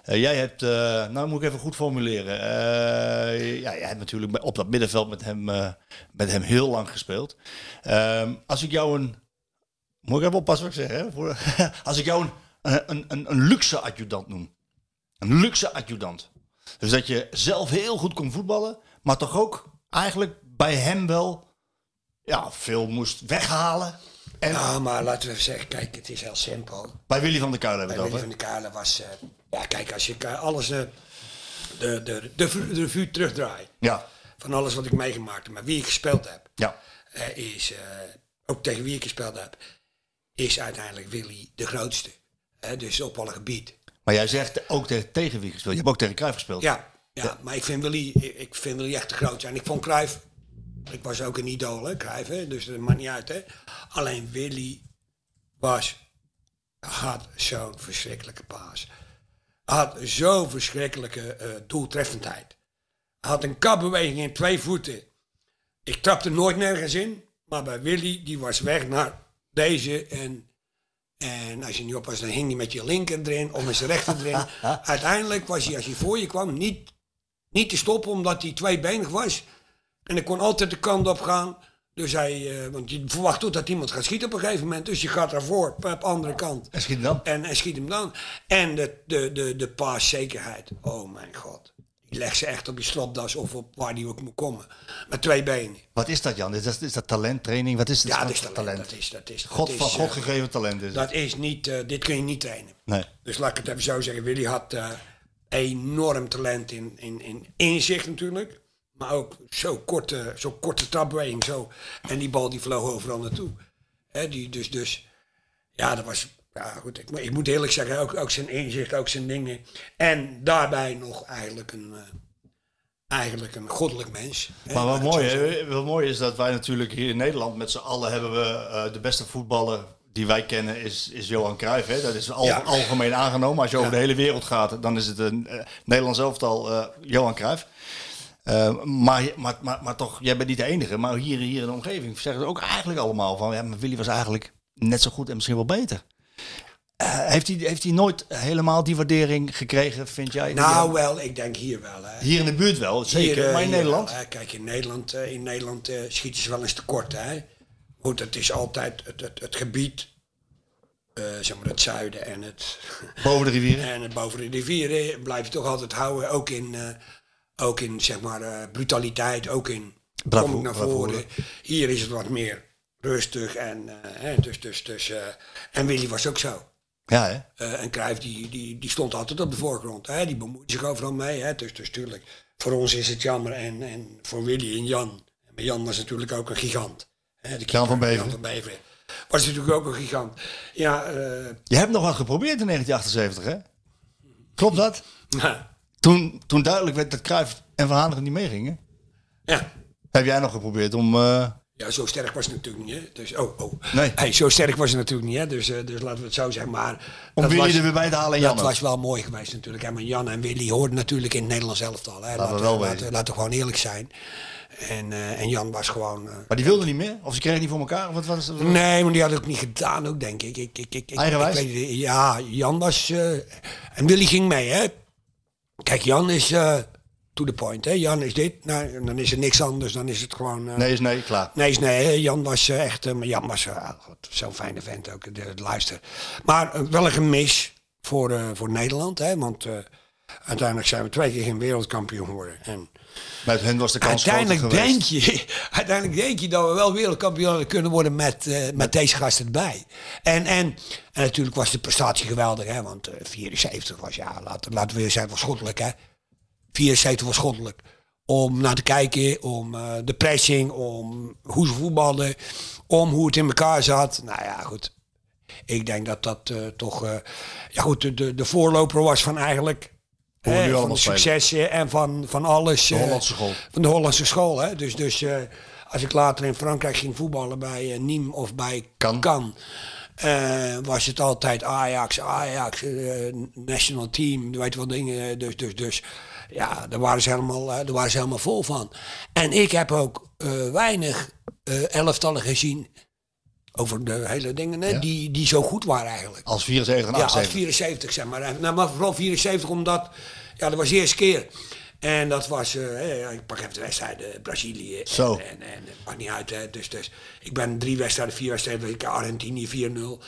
S8: Eh, jij hebt, eh, nou moet ik even goed formuleren. Eh, ja, jij hebt natuurlijk bij- op dat middenveld met hem, eh, met hem heel lang gespeeld. Ehm, als ik jou een, moet ik even oppassen wat ik zeg. Hè? Voor- als ik jou een, eh, een, een, een luxe adjudant noem. Een luxe adjudant. Dus dat je zelf heel goed kon voetballen, maar toch ook eigenlijk bij hem wel ja, veel moest weghalen. En
S9: Ja, maar laten we even zeggen, kijk, het is heel simpel.
S8: bij Willy van der Kuil hebben we
S9: Bij
S8: het
S9: Willy
S8: over.
S9: van der Kuilen was... eh, ja, kijk, als je ka- alles... eh, de, de, de, de revue terugdraait.
S8: Ja,
S9: Van alles wat ik meegemaakt heb. Maar wie ik gespeeld heb.
S8: ja,
S9: eh, is, eh, ook tegen wie ik gespeeld heb, is uiteindelijk Willy de grootste. Hè, dus op alle gebied.
S8: maar jij zegt ook tegen, tegen wie gespeeld. Je hebt ook tegen Cruijff gespeeld.
S9: Ja, ja, maar ik vind, Willy, ik ik vind Willy echt de grootste. En ik vond Cruijff, ik was ook een idool, hè, Cruijff, hè, dus dat maakt niet uit. Hè. Alleen Willy was, had zo'n verschrikkelijke paas. Had zo'n verschrikkelijke eh, doeltreffendheid. Had een kapbeweging in twee voeten. Ik trapte nooit nergens in, maar bij Willy, die was weg naar deze en... En als je niet oppast, dan hing hij met je linker erin of met zijn rechter erin. Uiteindelijk was hij, als hij voor je kwam, niet, niet te stoppen omdat hij tweebenig was. En hij kon altijd de kant op gaan. Dus hij, eh, want je verwacht toch dat iemand gaat schieten op een gegeven moment. Dus je gaat daarvoor, op andere kant.
S8: En schiet hem dan.
S9: En, en schiet hem dan. En de, de, de, de paaszekerheid. Oh mijn god. Die legt ze echt op je stropdas of op waar die ook moet komen. Met twee benen.
S8: Wat is dat, Jan? Is dat, is dat talent, training? Wat is dat?
S9: Ja,
S8: voor
S9: dat is talent. Dat is, dat is,
S8: God,
S9: dat
S8: van
S9: is,
S8: God
S9: eh,
S8: gegeven talent is het.
S9: dat is niet, eh, dit kun je niet trainen.
S8: Nee.
S9: Dus laat ik het even zo zeggen. Willy had eh, enorm talent in, in, in inzicht natuurlijk. Maar ook zo'n korte, zo korte trapbeweging. Zo. En die bal die vloog overal naartoe. Hè, die, dus, dus ja, dat was... Ja, goed, ik, ik moet eerlijk zeggen, ook, ook zijn inzicht, ook zijn dingen. En daarbij nog eigenlijk een, eh, eigenlijk een goddelijk mens. hè,
S8: Maar wat
S9: laat ik het
S8: mooi,
S9: zo zeggen.
S8: hè? wat mooi is dat wij natuurlijk hier in Nederland met z'n allen hebben we eh, de beste voetballer die wij kennen is, is Johan Cruijff. Hè? Dat is al,
S9: Ja.
S8: algemeen aangenomen. Als je over
S9: Ja.
S8: de hele wereld gaat, dan is het een eh, Nederlands elftal eh, Johan Cruijff. Eh, maar, maar, maar, maar toch, jij bent niet de enige. Maar hier, hier in de omgeving zeggen ze ook eigenlijk allemaal van... Ja, maar Willy was eigenlijk net zo goed en misschien wel beter. Eh, heeft, hij, heeft hij nooit helemaal die waardering gekregen, vind jij?
S9: Nou wel, ik denk hier wel. Hè.
S8: hier in de buurt wel, zeker.
S9: Hier, eh,
S8: maar in
S9: hier
S8: Nederland?
S9: wel, hè. kijk, in Nederland, eh, in Nederland eh, schieten ze wel eens tekort. Hè? Goed, het is altijd het, het, het gebied, eh, zeg maar het zuiden en het,
S8: Boven de rivieren?
S9: en het boven de rivieren, eh, blijf je toch altijd houden. Ook in, eh, ook in zeg maar, eh, brutaliteit, ook in
S8: Bravo-
S9: kom ik naar
S8: bravoure.
S9: voren. Hier is het wat meer rustig. En, eh, hè, dus, dus, dus, eh, en Willy was ook zo.
S8: Ja, hè?
S9: Eh, en Cruijff die, die, die stond altijd op de voorgrond. Hè? Die bemoeit zich overal mee. Hè? Dus, dus tuurlijk, voor ons is het jammer. En, en voor Willy en Jan. Maar Jan was natuurlijk ook een gigant. Hè? De keeper,
S8: van Beveren.
S9: Jan van Beveren. Was natuurlijk ook een gigant. Ja, eh,
S8: Je hebt nog wat geprobeerd in 1978, hè? Klopt dat?
S9: ja,
S8: Toen, toen duidelijk werd dat Cruijff en Van Hanegem niet meegingen.
S9: ja.
S8: Heb jij nog geprobeerd om... eh,
S9: Ja, zo sterk was het natuurlijk niet. Hè? Dus, oh, oh.
S8: Nee.
S9: Hey, zo sterk was het natuurlijk niet. Hè? Dus, eh, dus laten we het zo zeggen. Maar
S8: Om
S9: dat
S8: Willy
S9: was-
S8: er weer bij te halen en Jan
S9: Dat
S8: ook.
S9: was wel mooi geweest natuurlijk. Hè? Maar Jan en Willy hoorden natuurlijk in het Nederlands elftal. Hè?
S8: we wel
S9: laten,
S8: wezen.
S9: laten we gewoon eerlijk zijn. En, eh, en Jan was gewoon... eh,
S8: maar die wilden niet meer? Of ze kregen het niet voor elkaar? Of wat was het?
S9: Nee, maar die had het ook niet gedaan, ook, denk ik. ik, ik, ik, ik
S8: Eigenwijs?
S9: ik weet het- ja, Jan was. eh, en Willy ging mee, hè? Kijk, Jan is eh, to the point, hè? Jan is dit. Nou, en dan is er niks anders, dan is het gewoon. eh,
S8: Nee is nee, klaar.
S9: Nee, is nee, hè. Jan was eh, echt, eh, maar Jan was eh, ah, god, zo'n fijne vent ook, de, de luister. Maar eh, wel een gemis voor, eh, voor Nederland, hè, want eh, uiteindelijk zijn we twee keer geen wereldkampioen geworden. En
S8: Met hen was de kans
S9: uiteindelijk,
S8: groter geweest.
S9: denk je, uiteindelijk denk je dat we wel wereldkampioen hadden kunnen worden met, eh, met deze gast erbij. En, en, en natuurlijk was de prestatie geweldig, hè, want eh, 74 was, ja, laten, laten we zijn, was goddelijk, hè. 74 was goddelijk. Om naar te kijken, om eh, de pressing, om hoe ze voetbalden, om hoe het in elkaar zat. Nou ja, goed. Ik denk dat dat eh, toch, eh, ja goed, de- de, de voorloper was van eigenlijk...
S8: we
S9: hè,
S8: nu
S9: van
S8: allemaal
S9: de
S8: spelen.
S9: successen en van, van alles. eh,
S8: Hollandse school.
S9: Van de Hollandse school, hè. Dus, dus eh, als ik later in Frankrijk ging voetballen bij eh, Nîmes of bij
S8: Kan.
S9: kan. eh, was het altijd Ajax, Ajax, eh, national team, je weet wel dingen. Dus, dus, dus ja, daar waren, ze helemaal, eh, daar waren ze helemaal vol van. En ik heb ook eh, weinig eh, elftallen gezien over de hele dingen, hè,
S8: Ja.
S9: die, die zo goed waren eigenlijk.
S8: Als 74 en
S9: Ja, als
S8: 78.
S9: 74 zeg maar. Nou, maar vooral 74 omdat, ja, dat was de eerste keer. En dat was, eh, hè, ik pak even de wedstrijden, eh, Brazilië. En,
S8: Zo.
S9: En, en, het maakt niet uit, hè. Dus, dus ik ben drie wedstrijden, vier wedstrijden, weet ik, Argentinië 4-0.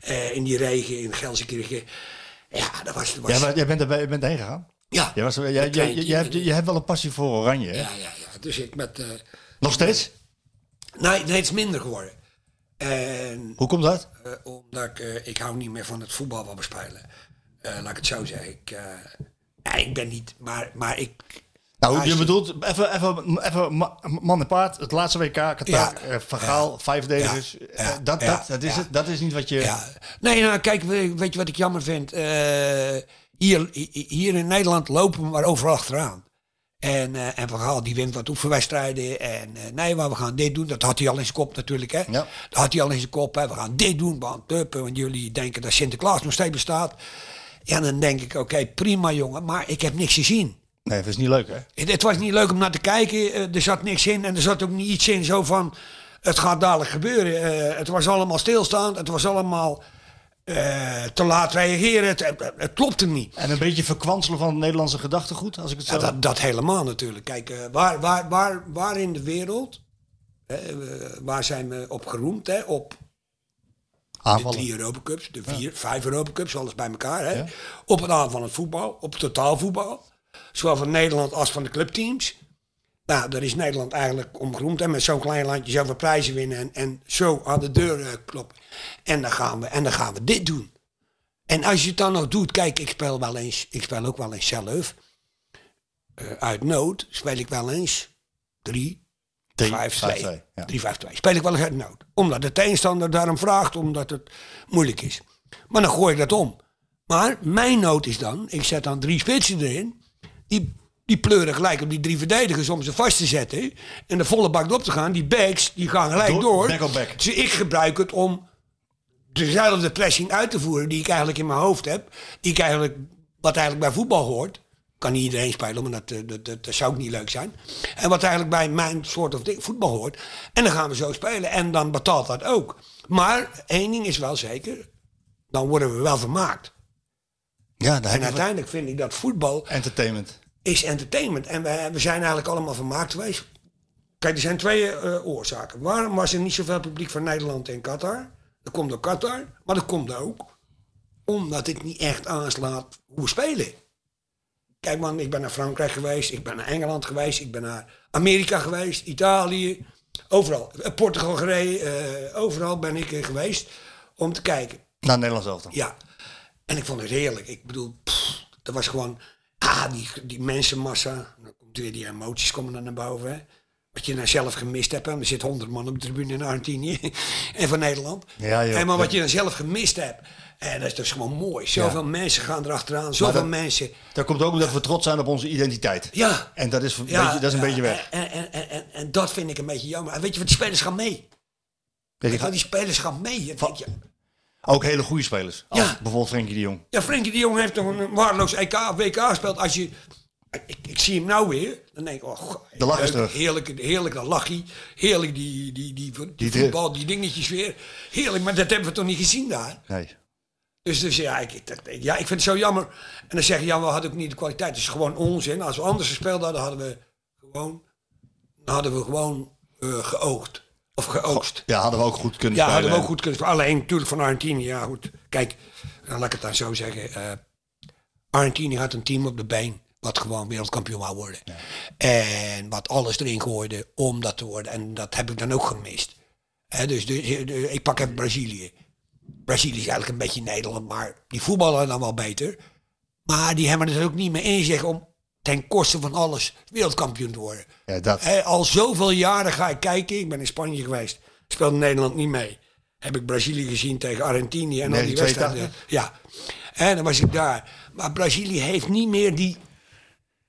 S9: eh, in die regen, in Gelsenkirchen. Ja, dat was... Dat was
S8: Jij, bent- jij bent erbij, je bent heen gegaan?
S9: ja,
S8: Jij was, er- jij,
S9: Met
S8: jij,
S9: twee-
S8: jij hebt, je hebt wel een passie voor oranje, hè?
S9: ja, ja, ja. Dus ik met... eh
S8: Nog steeds?
S9: nee, nee, het is minder geworden. En
S8: Hoe komt dat?
S9: Eh, omdat ik, eh, ik hou niet meer van het voetbal wat we spelen. Eh, laat ik het zo zeggen. Ik, eh, nee, ik ben niet, maar, maar ik...
S8: Nou,
S9: als
S8: je
S9: je-
S8: bedoelt, even, even, even ma- man en paard, het laatste WK, Qatar,
S9: Ja.
S8: eh, Van Gaal, vijf dedigers.
S9: Ja.
S8: Eh,
S9: Ja.
S8: dat,
S9: Ja.
S8: dat, dat, is
S9: Ja.
S8: het, dat is niet wat je...
S9: Ja. Nee, nou, kijk, we- weet je wat ik jammer vind? Eh, hier, hi- hier in Nederland lopen we maar overal achteraan. En, eh, en Van Gaal, die wint wat oefenwedstrijden. En eh, nee, maar we gaan dit doen. Dat had hij al in zijn kop natuurlijk, hè?
S8: Ja.
S9: Dat had hij al in zijn kop, hè? We gaan dit doen, want, tuppen, want jullie denken dat Sinterklaas nog steeds bestaat. En dan denk ik, oké, prima jongen, maar ik heb niks gezien.
S8: Nee, dat is niet leuk, hè?
S9: Het, het was niet leuk om naar te kijken. Eh, er zat niks in. En er zat ook niet iets in zo van... Het gaat dadelijk gebeuren. Eh, het was allemaal stilstaand. Het was allemaal eh, te laat reageren. Het, het, het klopte niet.
S8: En een beetje verkwanselen van het Nederlandse gedachtegoed, als ik het zo...
S9: Ja, dat, dat helemaal natuurlijk. Kijk, eh, waar, waar, waar, waar in de wereld... eh, we- waar zijn we op geroemd? Hè? Op de
S8: Aanvallen.
S9: drie Europa Cups, de vier, vijf Europa Cups, alles bij elkaar. Hè? Op het aan van het voetbal, op het totaalvoetbal. Zowel van Nederland als van de clubteams. Nou, daar is Nederland eigenlijk omgeroemd. En met zo'n klein landje zoveel prijzen winnen en, en zo aan de deur eh, kloppen. En dan, gaan we, en dan gaan we dit doen. En als je het dan nog doet, kijk, ik speel, wel eens, ik speel ook wel eens zelf. Eh, uit nood speel ik wel eens drie,
S8: Drie,
S9: 5-2.
S8: vijf, twee, ja.
S9: 3-5-2. Speel ik wel eens uit nood. Omdat de tegenstander daarom vraagt, omdat het moeilijk is. Maar dan gooi ik dat om. Maar mijn nood is dan, ik zet dan drie spitsen erin. Die, die pleuren gelijk op die drie verdedigers om ze vast te zetten. En de volle bak op te gaan. Die backs, die gaan gelijk
S8: Door-
S9: door.
S8: back op back.
S9: Dus ik gebruik het om dezelfde pressing uit te voeren die ik eigenlijk in mijn hoofd heb. Die ik eigenlijk, wat eigenlijk bij voetbal hoort. Kan niet iedereen spelen, maar dat, eh, dat, dat, dat zou ook niet leuk zijn. En wat eigenlijk bij mijn soort of ding- voetbal hoort. En dan gaan we zo spelen. En dan betaalt dat ook. Maar één ding is wel zeker. Dan worden we wel vermaakt.
S8: Ja, daar heb
S9: En
S8: je wat-
S9: uiteindelijk vind ik dat voetbal
S8: Entertainment.
S9: is entertainment. En we, we zijn eigenlijk allemaal vermaakt geweest. Kijk, er zijn twee eh, oorzaken. Waarom was er niet zoveel publiek van Nederland in Qatar? Dat komt door Qatar, maar dat komt ook omdat het niet echt aanslaat hoe we spelen. Kijk man, ik ben naar Frankrijk geweest, ik ben naar Engeland geweest, ik ben naar Amerika geweest, Italië. Overal. Eh, Portugal gereden, eh, overal ben ik er geweest om te kijken.
S8: Naar Nederland zelf dan.
S9: Ja. En ik vond het heerlijk. Ik bedoel, pff, dat was gewoon, ah, die, die mensenmassa. Dan komt weer die emoties komen dan naar boven. Hè. Wat je nou zelf gemist hebt. hè, want Er zit honderd man op de tribune in Argentinië en van Nederland.
S8: Ja, joh.
S9: en maar wat
S8: Ja.
S9: je dan zelf gemist hebt. En dat is dus gewoon mooi. Zoveel mensen gaan erachteraan. Zoveel
S8: dat-
S9: mensen.
S8: Dat komt ook omdat we trots zijn op onze identiteit.
S9: Ja.
S8: En dat is, een beetje, dat is een beetje weg.
S9: En, en, en, en, en dat vind ik een beetje jammer. En weet je wat, die spelers gaan mee.
S8: Weet je,
S9: Gaan die spelers gaan mee. En denk je,
S8: ook hele goede spelers. Als
S9: Ja.
S8: Bijvoorbeeld Frenkie de Jong.
S9: Ja, Frenkie de Jong heeft nog een waardeloos E EK of WK gespeeld. Als je, ik, ik zie hem nou weer, dan denk ik, oh, goh,
S8: De lach is
S9: leuk,
S8: terug.
S9: Heerlijk, heerlijk dat lachie. Heerlijk die, die, die, die,
S8: Die
S9: voetbal, die dingetjes weer. Heerlijk, maar dat hebben we toch niet gezien daar.
S8: Nee.
S9: Dus, dus ja, ik, ik, dat- ik- ja, ik vind het zo jammer. En dan zeggen ja, we hadden ook niet de kwaliteit. Dat is gewoon onzin. Als we anders gespeeld hadden, hadden we gewoon, dan hadden we gewoon eh, geoogd. Of geoogst.
S8: Ja, hadden we ook goed kunnen
S9: Ja,
S8: spelen.
S9: hadden we ook goed kunnen spelen. Alleen natuurlijk van Argentinië. Ja, goed. Kijk, nou, laat ik het dan zo zeggen. eh Argentinië had een team op de been. Wat gewoon wereldkampioen wou worden. En wat alles erin gooide om dat te worden. En dat heb ik dan ook gemist. Hè, dus dus, eh, de- ik pak even Brazilië. Brazilië is eigenlijk een beetje Nederland. Maar die voetballen dan wel beter. Maar die hebben het ook niet meer in zich om ten koste van alles wereldkampioen te worden.
S8: Ja, dat.
S9: Hè, al zoveel jaren ga ik kijken. Ik ben in Spanje geweest. Speelde Nederland niet mee. Heb ik Brazilië gezien tegen Argentinië en al die
S8: 1982.
S9: wedstrijden. Ja. En dan was ik daar. Maar Brazilië heeft niet meer die,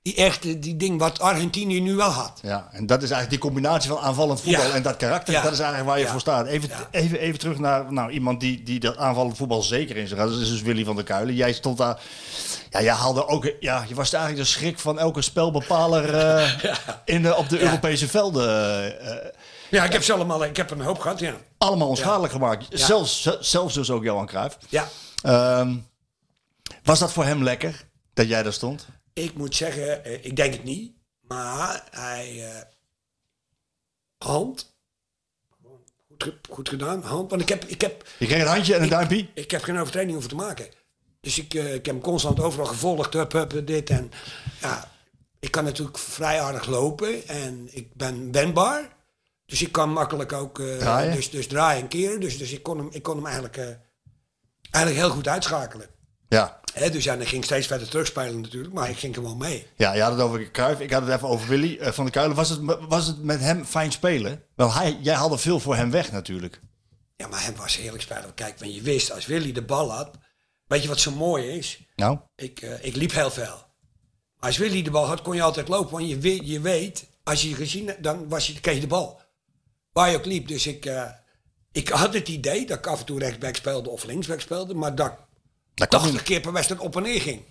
S9: die echte die ding wat Argentinië nu wel had.
S8: Ja, en dat is eigenlijk die combinatie van aanvallend voetbal
S9: Ja.
S8: en dat karakter.
S9: Ja.
S8: Dat is eigenlijk waar je
S9: Ja.
S8: voor staat. Even,
S9: Ja.
S8: even, even terug naar nou, iemand die, die dat aanvallend voetbal zeker in zich had. Dat is dus Willy van der Kuilen. Jij stond daar. Ja, jij haalde ook, ja, je was eigenlijk de schrik van elke spelbepaler eh, in, de- op de Europese velden. eh, eh,
S9: Ja, ik heb ze allemaal, ik heb er een hoop gehad, ja.
S8: allemaal onschadelijk gemaakt. Zelfs, z- zelfs dus ook Johan Cruijff.
S9: Ja,
S8: Ehm, was dat voor hem lekker dat jij daar stond?
S9: ik moet zeggen, eh, ik denk het niet. Maar hij... eh hand. Goed, ge- goed gedaan, hand. Want ik heb, ik heb
S8: Je kreeg een handje en een duimpje.
S9: Ik heb geen overtreding hoeven te maken. Dus ik, eh, ik heb hem constant overal gevolgd. Hup, hup, dit en... Ja, ik kan natuurlijk vrij aardig lopen. En ik ben wendbaar. Dus ik kan makkelijk ook eh,
S8: Draaien?
S9: Dus, dus draaien en keren. Dus, dus ik kon hem, ik kon hem eigenlijk, eh, eigenlijk heel goed uitschakelen.
S8: Ja.
S9: Hè, dus ja, dan ging ik steeds verder terugspelen natuurlijk. Maar ik ging gewoon mee.
S8: Ja, je had het over Cruijff. Ik had het even over Willy eh, van der Kuilen. Was het, was het met hem fijn spelen? Wel, hij, jij haalde veel voor hem weg natuurlijk.
S9: Ja, maar hem was heerlijk spelen. Kijk, want je wist, als Willy de bal had... Weet je wat zo mooi is?
S8: Nou?
S9: Ik, eh, ik liep heel veel. Als Willy de bal had, kon je altijd lopen. Want je weet, je weet als je je gezien hebt, dan was je, kreeg je de bal. Waar je ook liep. Dus ik, eh, ik had het idee dat ik af en toe rechtsback speelde of linksback speelde. Maar dat ik
S8: Dat kon
S9: 80
S8: niet.
S9: keer per wedstrijd op en neer ging.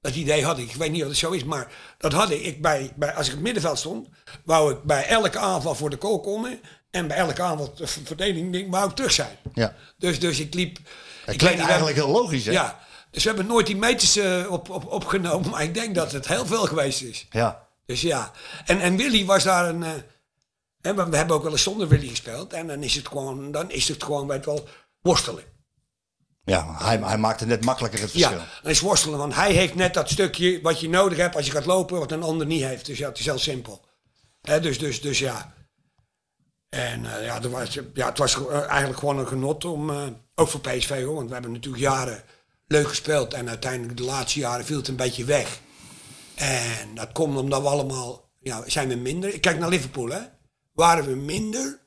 S9: Dat idee had ik. Ik weet niet of het zo is, maar dat had ik. ik bij, bij, als ik op het middenveld stond, wou ik bij elke aanval voor de goal komen. En bij elke aanval eh, verdediging ding, wou ik terug zijn.
S8: Ja.
S9: Dus, dus ik liep...
S8: Het
S9: ik weet
S8: klinkt
S9: niet,
S8: eigenlijk heel logisch, hè?
S9: ja, dus we hebben nooit die meters eh, op, op, opgenomen, maar ik denk dat het heel veel geweest is.
S8: Ja.
S9: Dus ja, en, en Willy was daar een... eh, hè, we we hebben ook wel eens zonder Willy gespeeld en dan is het gewoon, dan is het gewoon weet je wel, worstelen.
S8: Ja, hij, hij maakte net makkelijker het
S9: Ja,
S8: verschil.
S9: dan is worstelen, want hij heeft net dat stukje wat je nodig hebt als je gaat lopen, wat een ander niet heeft. Dus ja, het is heel simpel. Hè, dus, dus, dus ja. En eh, ja, er was, ja, het was eh, eigenlijk gewoon een genot om, eh, ook voor PSV hoor, want we hebben natuurlijk jaren leuk gespeeld en uiteindelijk de laatste jaren viel het een beetje weg. En dat komt omdat we allemaal, ja, zijn we minder. Kijk naar Liverpool hè, waren we minder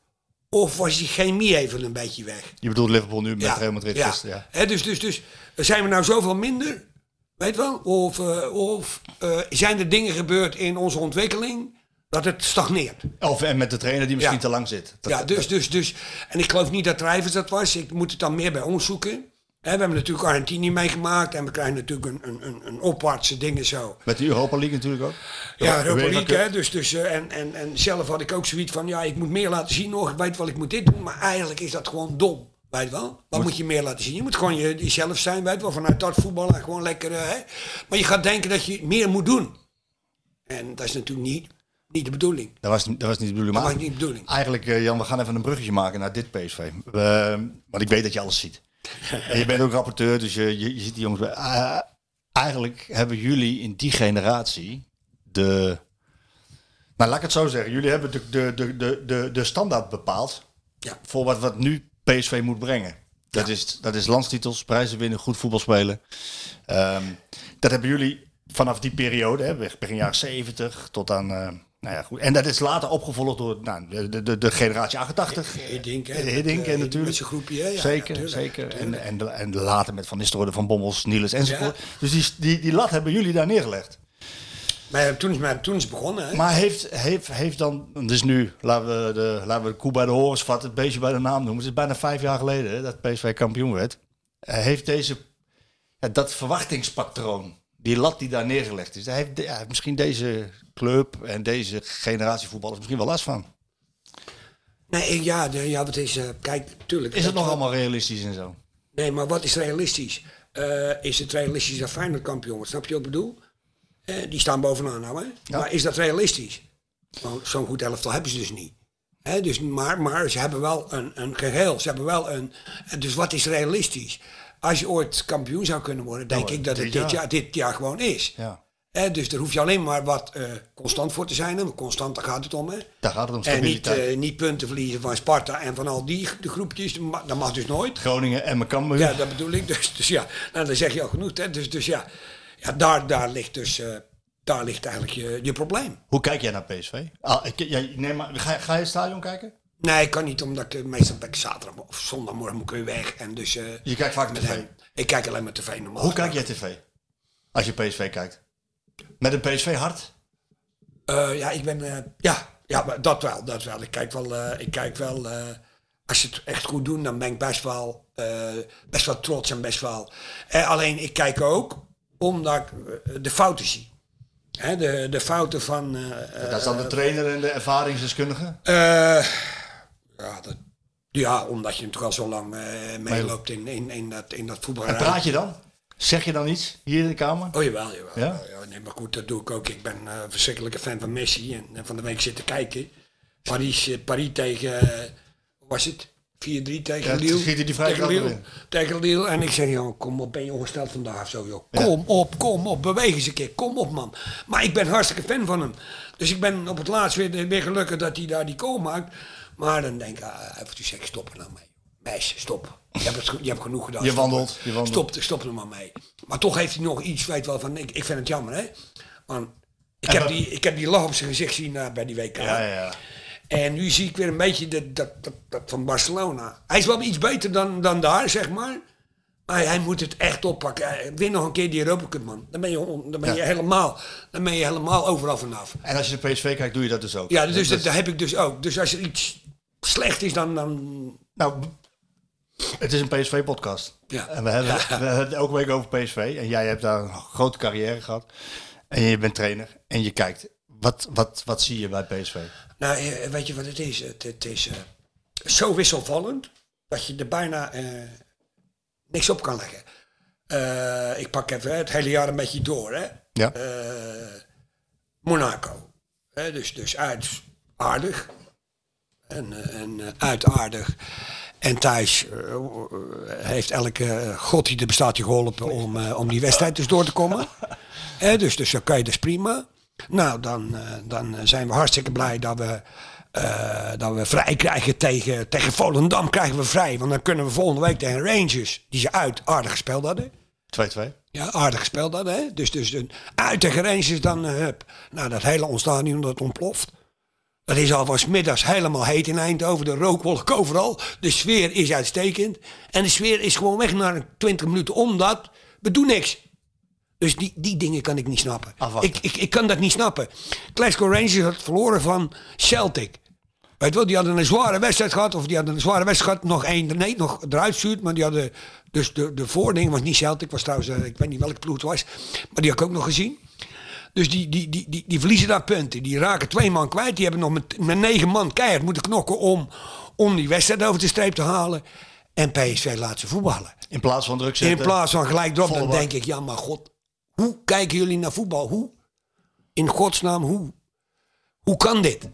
S9: of was die chemie even een beetje weg?
S8: Je bedoelt Liverpool nu met Real Madrid
S9: ja.
S8: gisteren, ja.
S9: Hè, dus, dus, dus zijn we nou zoveel minder? Weet wel? Of, eh, of eh, zijn er dingen gebeurd in onze ontwikkeling dat het stagneert?
S8: Of en met de trainer die misschien
S9: Ja.
S8: te lang zit. Dat-
S9: ja, dus, dus, dus. En ik geloof niet dat Drijvers dat was. Ik moet het dan meer bij ons zoeken. Hè, we hebben natuurlijk Argentinië meegemaakt en we krijgen natuurlijk een, een, een, een opwaartse dingen zo.
S8: Met de Europa League natuurlijk ook.
S9: Ja,
S8: De
S9: Europa League,
S8: Cup.
S9: hè. Dus, dus, eh, en, en, en zelf had ik ook zoiets van, ja, ik moet meer laten zien nog. Ik weet wel, ik moet dit doen. Maar eigenlijk is dat gewoon dom. Weet wel? Wat moet, je meer laten zien? Je moet gewoon je, jezelf zijn, weet wel. Vanuit dat voetbal en gewoon lekker, eh, hè. Maar je gaat denken dat je meer moet doen. En dat is natuurlijk niet, niet de bedoeling.
S8: Dat was, dat was niet de bedoeling.
S9: Dat
S8: maar
S9: was niet de bedoeling.
S8: Eigenlijk, eh, Jan, we gaan even een bruggetje maken naar dit PSV. Eh, want ik weet dat je alles ziet. en je bent ook rapporteur, dus je, je, je ziet die jongens bij. Ah, eigenlijk hebben jullie in die generatie de, Maar Nou, laat ik het zo zeggen. Jullie hebben de, de, de, de, de, de standaard bepaald
S9: Ja.
S8: voor wat, wat nu PSV moet brengen. Dat,
S9: Ja.
S8: is, dat is landstitels, prijzen winnen, goed voetbal spelen. Ehm, dat hebben jullie vanaf die periode, hè, begin jaren 70 tot aan... eh, nou ja, goed. En dat is later opgevolgd door nou, de, de- de, de generatie 88.
S9: Hiddink, hè,
S8: Eh,
S9: met,
S8: Hiddink,
S9: eh,
S8: en natuurlijk.
S9: met zijn groepje, hè, ja,
S8: zeker,
S9: natuurlijk,
S8: zeker. En,
S9: natuurlijk.
S8: en, de- en later met Van Nistelrooy, Van Bommels, Niels enzovoort. Dus die, die, die lat hebben jullie daar neergelegd.
S9: Maar toen is, maar toen is begonnen, hè?
S8: Maar heeft, heeft, heeft dan, dus nu, laten we, de, laten we de koe bij de horens vatten, het beestje bij de naam noemen. Het is bijna vijf jaar geleden hè, dat PSV kampioen werd. Eh, heeft deze, ja, dat verwachtingspatroon, die lat die daar neergelegd is, daar heeft, de- ja, heeft misschien deze club en deze generatie voetballers misschien wel last van.
S9: Nee, ik- ja, de, ja, wat is, eh, kijk, tuurlijk.
S8: Is het nog
S9: allemaal?
S8: allemaal realistisch en zo?
S9: Nee, maar wat is realistisch? Eh, is het realistisch dat Feyenoord kampioen wordt? Snap je wat ik bedoel? Eh, die staan bovenaan nou, hè? Maar is dat realistisch? Nou, Zo'n goed elftal hebben ze dus niet. Hè, dus, maar, maar ze hebben wel een, een geheel. Ze hebben wel een... eh, Dus wat is realistisch? Als je ooit kampioen zou kunnen worden, denk
S8: Nou,
S9: ik dat
S8: dit
S9: het dit
S8: jaar.
S9: jaar. dit jaar gewoon is.
S8: Ja,
S9: Hè, dus daar hoef je alleen maar wat eh, constant voor te zijn. hè, want Constant, daar gaat het om. Hè?
S8: daar gaat het om
S9: En niet,
S8: stabiliteit.
S9: eh, niet punten verliezen van Sparta en van al die de groepjes. maar Dat mag dus nooit.
S8: Groningen en Kambuur.
S9: Ja, dat bedoel ik. Dus, dus ja, nou, dan zeg je al genoeg. Hè? Dus, dus ja, ja daar, daar ligt dus eh, daar ligt eigenlijk je, je probleem.
S8: Hoe kijk jij naar PSV? Ah, ik, jij- nee, maar, ga, ga je het stadion kijken?
S9: Nee, ik kan niet, omdat ik eh, meestal ben ik zaterdag of zondagmorgen moet ik weer weg. En dus, eh,
S8: Je kijkt vaak tv.
S9: nee, ik kijk alleen maar tv normaal.
S8: Hoe kijk jij tv? Als je PSV kijkt. Met een PSV hart?
S9: Eh, ja, ik ben. eh, ja, ja maar dat wel, dat wel. Ik kijk wel. eh, ik kijk wel eh, als ze het echt goed doen, dan ben ik best wel, eh, best wel trots en best wel. Eh, alleen ik kijk ook omdat ik eh, de fouten zie. Hè, de, de fouten van. eh,
S8: Daar staan de trainer en de ervaringsdeskundige.
S9: eh, ja, dat, ja, omdat je natuurlijk al zo lang eh, meeloopt in, in, in dat, in dat voetbal.
S8: En praat je dan? Zeg je dan iets hier in de kamer?
S9: Oh jawel, jawel.
S8: Ja?
S9: Ja? ja, nee, maar goed, dat doe ik ook. Ik ben eh, een verschrikkelijke fan van Messi. En, en van de week zitten kijken. Paris, eh, Paris tegen, eh, hoe was het? 4-3 tegen
S8: Ja,
S9: Lille.
S8: schiet hij die vrije
S9: tegen,
S8: trap
S9: Lille
S8: erin.
S9: tegen Lille. En ik zeg, joh, kom op, ben je ongesteld vandaag of zo, joh. Kom op, kom op, beweeg eens een keer. Kom op, man. Maar ik ben hartstikke fan van hem. Dus ik ben op het laatst weer, weer gelukkig dat hij daar die goal maakt. Maar dan denk ik, ah, even toe zeggen, stop er nou mee. Meisje, stop. Je hebt, het, ge- je hebt genoeg gedaan.
S8: Je
S9: Stop.
S8: wandelt, je wandelt.
S9: Stop, stop er maar mee. Maar toch heeft hij nog iets, weet wel, van ik, ik vind het jammer, hè. Want ik
S8: En
S9: heb,
S8: dat-
S9: die, ik heb die lach op zijn gezicht zien eh, bij die WK.
S8: Ja, ja, ja.
S9: En nu zie ik weer een beetje dat, dat, dat, dat van Barcelona. Hij is wel iets beter dan, dan daar, zeg maar. Maar hij moet het echt oppakken. Hij- Win nog een keer die Europa Cup, man. Dan ben je, on- dan ben
S8: Ja.
S9: je, helemaal, dan ben je helemaal overal vanaf.
S8: En als je naar PSV kijkt, doe je dat dus ook.
S9: Ja, dus
S8: Dat-
S9: dat, dat heb ik dus ook. Dus als er iets slecht is, dan... dan
S8: Nou, b- het is een PSV-podcast.
S9: Ja.
S8: En we hebben, we hebben het elke week over PSV. En jij hebt daar een grote carrière gehad. En je bent trainer. En je kijkt. Wat, wat, wat zie je bij PSV?
S9: nou, eh, weet je wat het is? Het, het is eh, zo wisselvallend dat je er bijna eh, niks op kan leggen. Eh, ik pak even hè, het hele jaar een beetje door, hè.
S8: Ja.
S9: eh, Monaco. Hè, dus, dus uit aardig. En, eh, en eh, uit aardig. En thuis eh, eh, heeft elke eh, god die er bestaat je geholpen om, eh, om die wedstrijd dus door te komen. Hè, dus, dus dan kan je dus prima. Nou, dan, eh, dan eh, zijn we hartstikke blij dat we, eh, dat we vrij krijgen tegen, tegen Volendam. Krijgen we vrij, want dan kunnen we volgende week tegen Rangers, die ze uit aardig gespeeld hadden.
S8: 2-2.
S9: Ja, aardig gespeeld dat, hè? Dus, dus een, uit de grens is dan, eh, hup. Nou, dat hele ons stadion, dat ontploft. Het is al van 's middags helemaal heet in Eindhoven, de rookwolk overal. De sfeer is uitstekend. En de sfeer is gewoon weg na 20 minuten, omdat we doen niks. Dus die, die dingen kan ik niet snappen.
S8: Afwachten.
S9: Ik, ik, ik kan dat niet snappen. Glasgow Rangers had verloren van Celtic. Weet je wel, die hadden een zware wedstrijd gehad. Of die hadden een zware wedstrijd gehad. Nog één, nee, nog eruit stuurt. Maar die hadden, dus de, de voording was niet Celtic. Was trouwens, eh, ik weet niet welke ploeg het was. Maar die had ik ook nog gezien. Dus die, die, die, die, die verliezen daar punten. Die raken twee man kwijt. Die hebben nog met, met negen man keihard moeten knokken om, om die wedstrijd over de streep te halen. En PSV laat ze voetballen.
S8: In plaats van druk
S9: In
S8: zetten.
S9: plaats van gelijk erop, dan
S8: Volle bak.
S9: denk ik, ja maar god, hoe kijken jullie naar voetbal? Hoe, in godsnaam, hoe, hoe kan dit?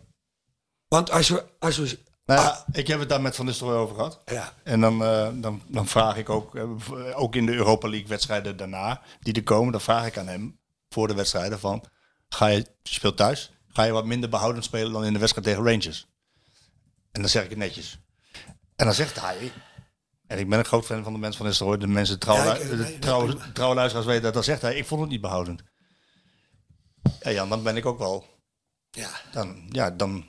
S9: Want als we, als we,
S8: Nou ja, ik heb het daar met Van Nistelrooy over gehad.
S9: ja,
S8: En dan, eh, dan, dan vraag ik ook, eh, v- eh, ook in de Europa League wedstrijden daarna, die er komen, dan vraag ik aan hem voor de wedstrijden van, ga je, je speelt thuis, ga je wat minder behoudend spelen dan in de wedstrijd tegen Rangers. En dan zeg ik het netjes. En dan zegt hij, en ik ben een groot fan van de mensen van Nistelrooy, de mensen trouw,
S9: Ja, ik-
S8: de trouw, trouwe luisteraars weten dat, dan zegt hij, ik vond het niet behoudend. Ja Jan, dan ben ik ook wel,
S9: Ja.
S8: dan, ja, dan,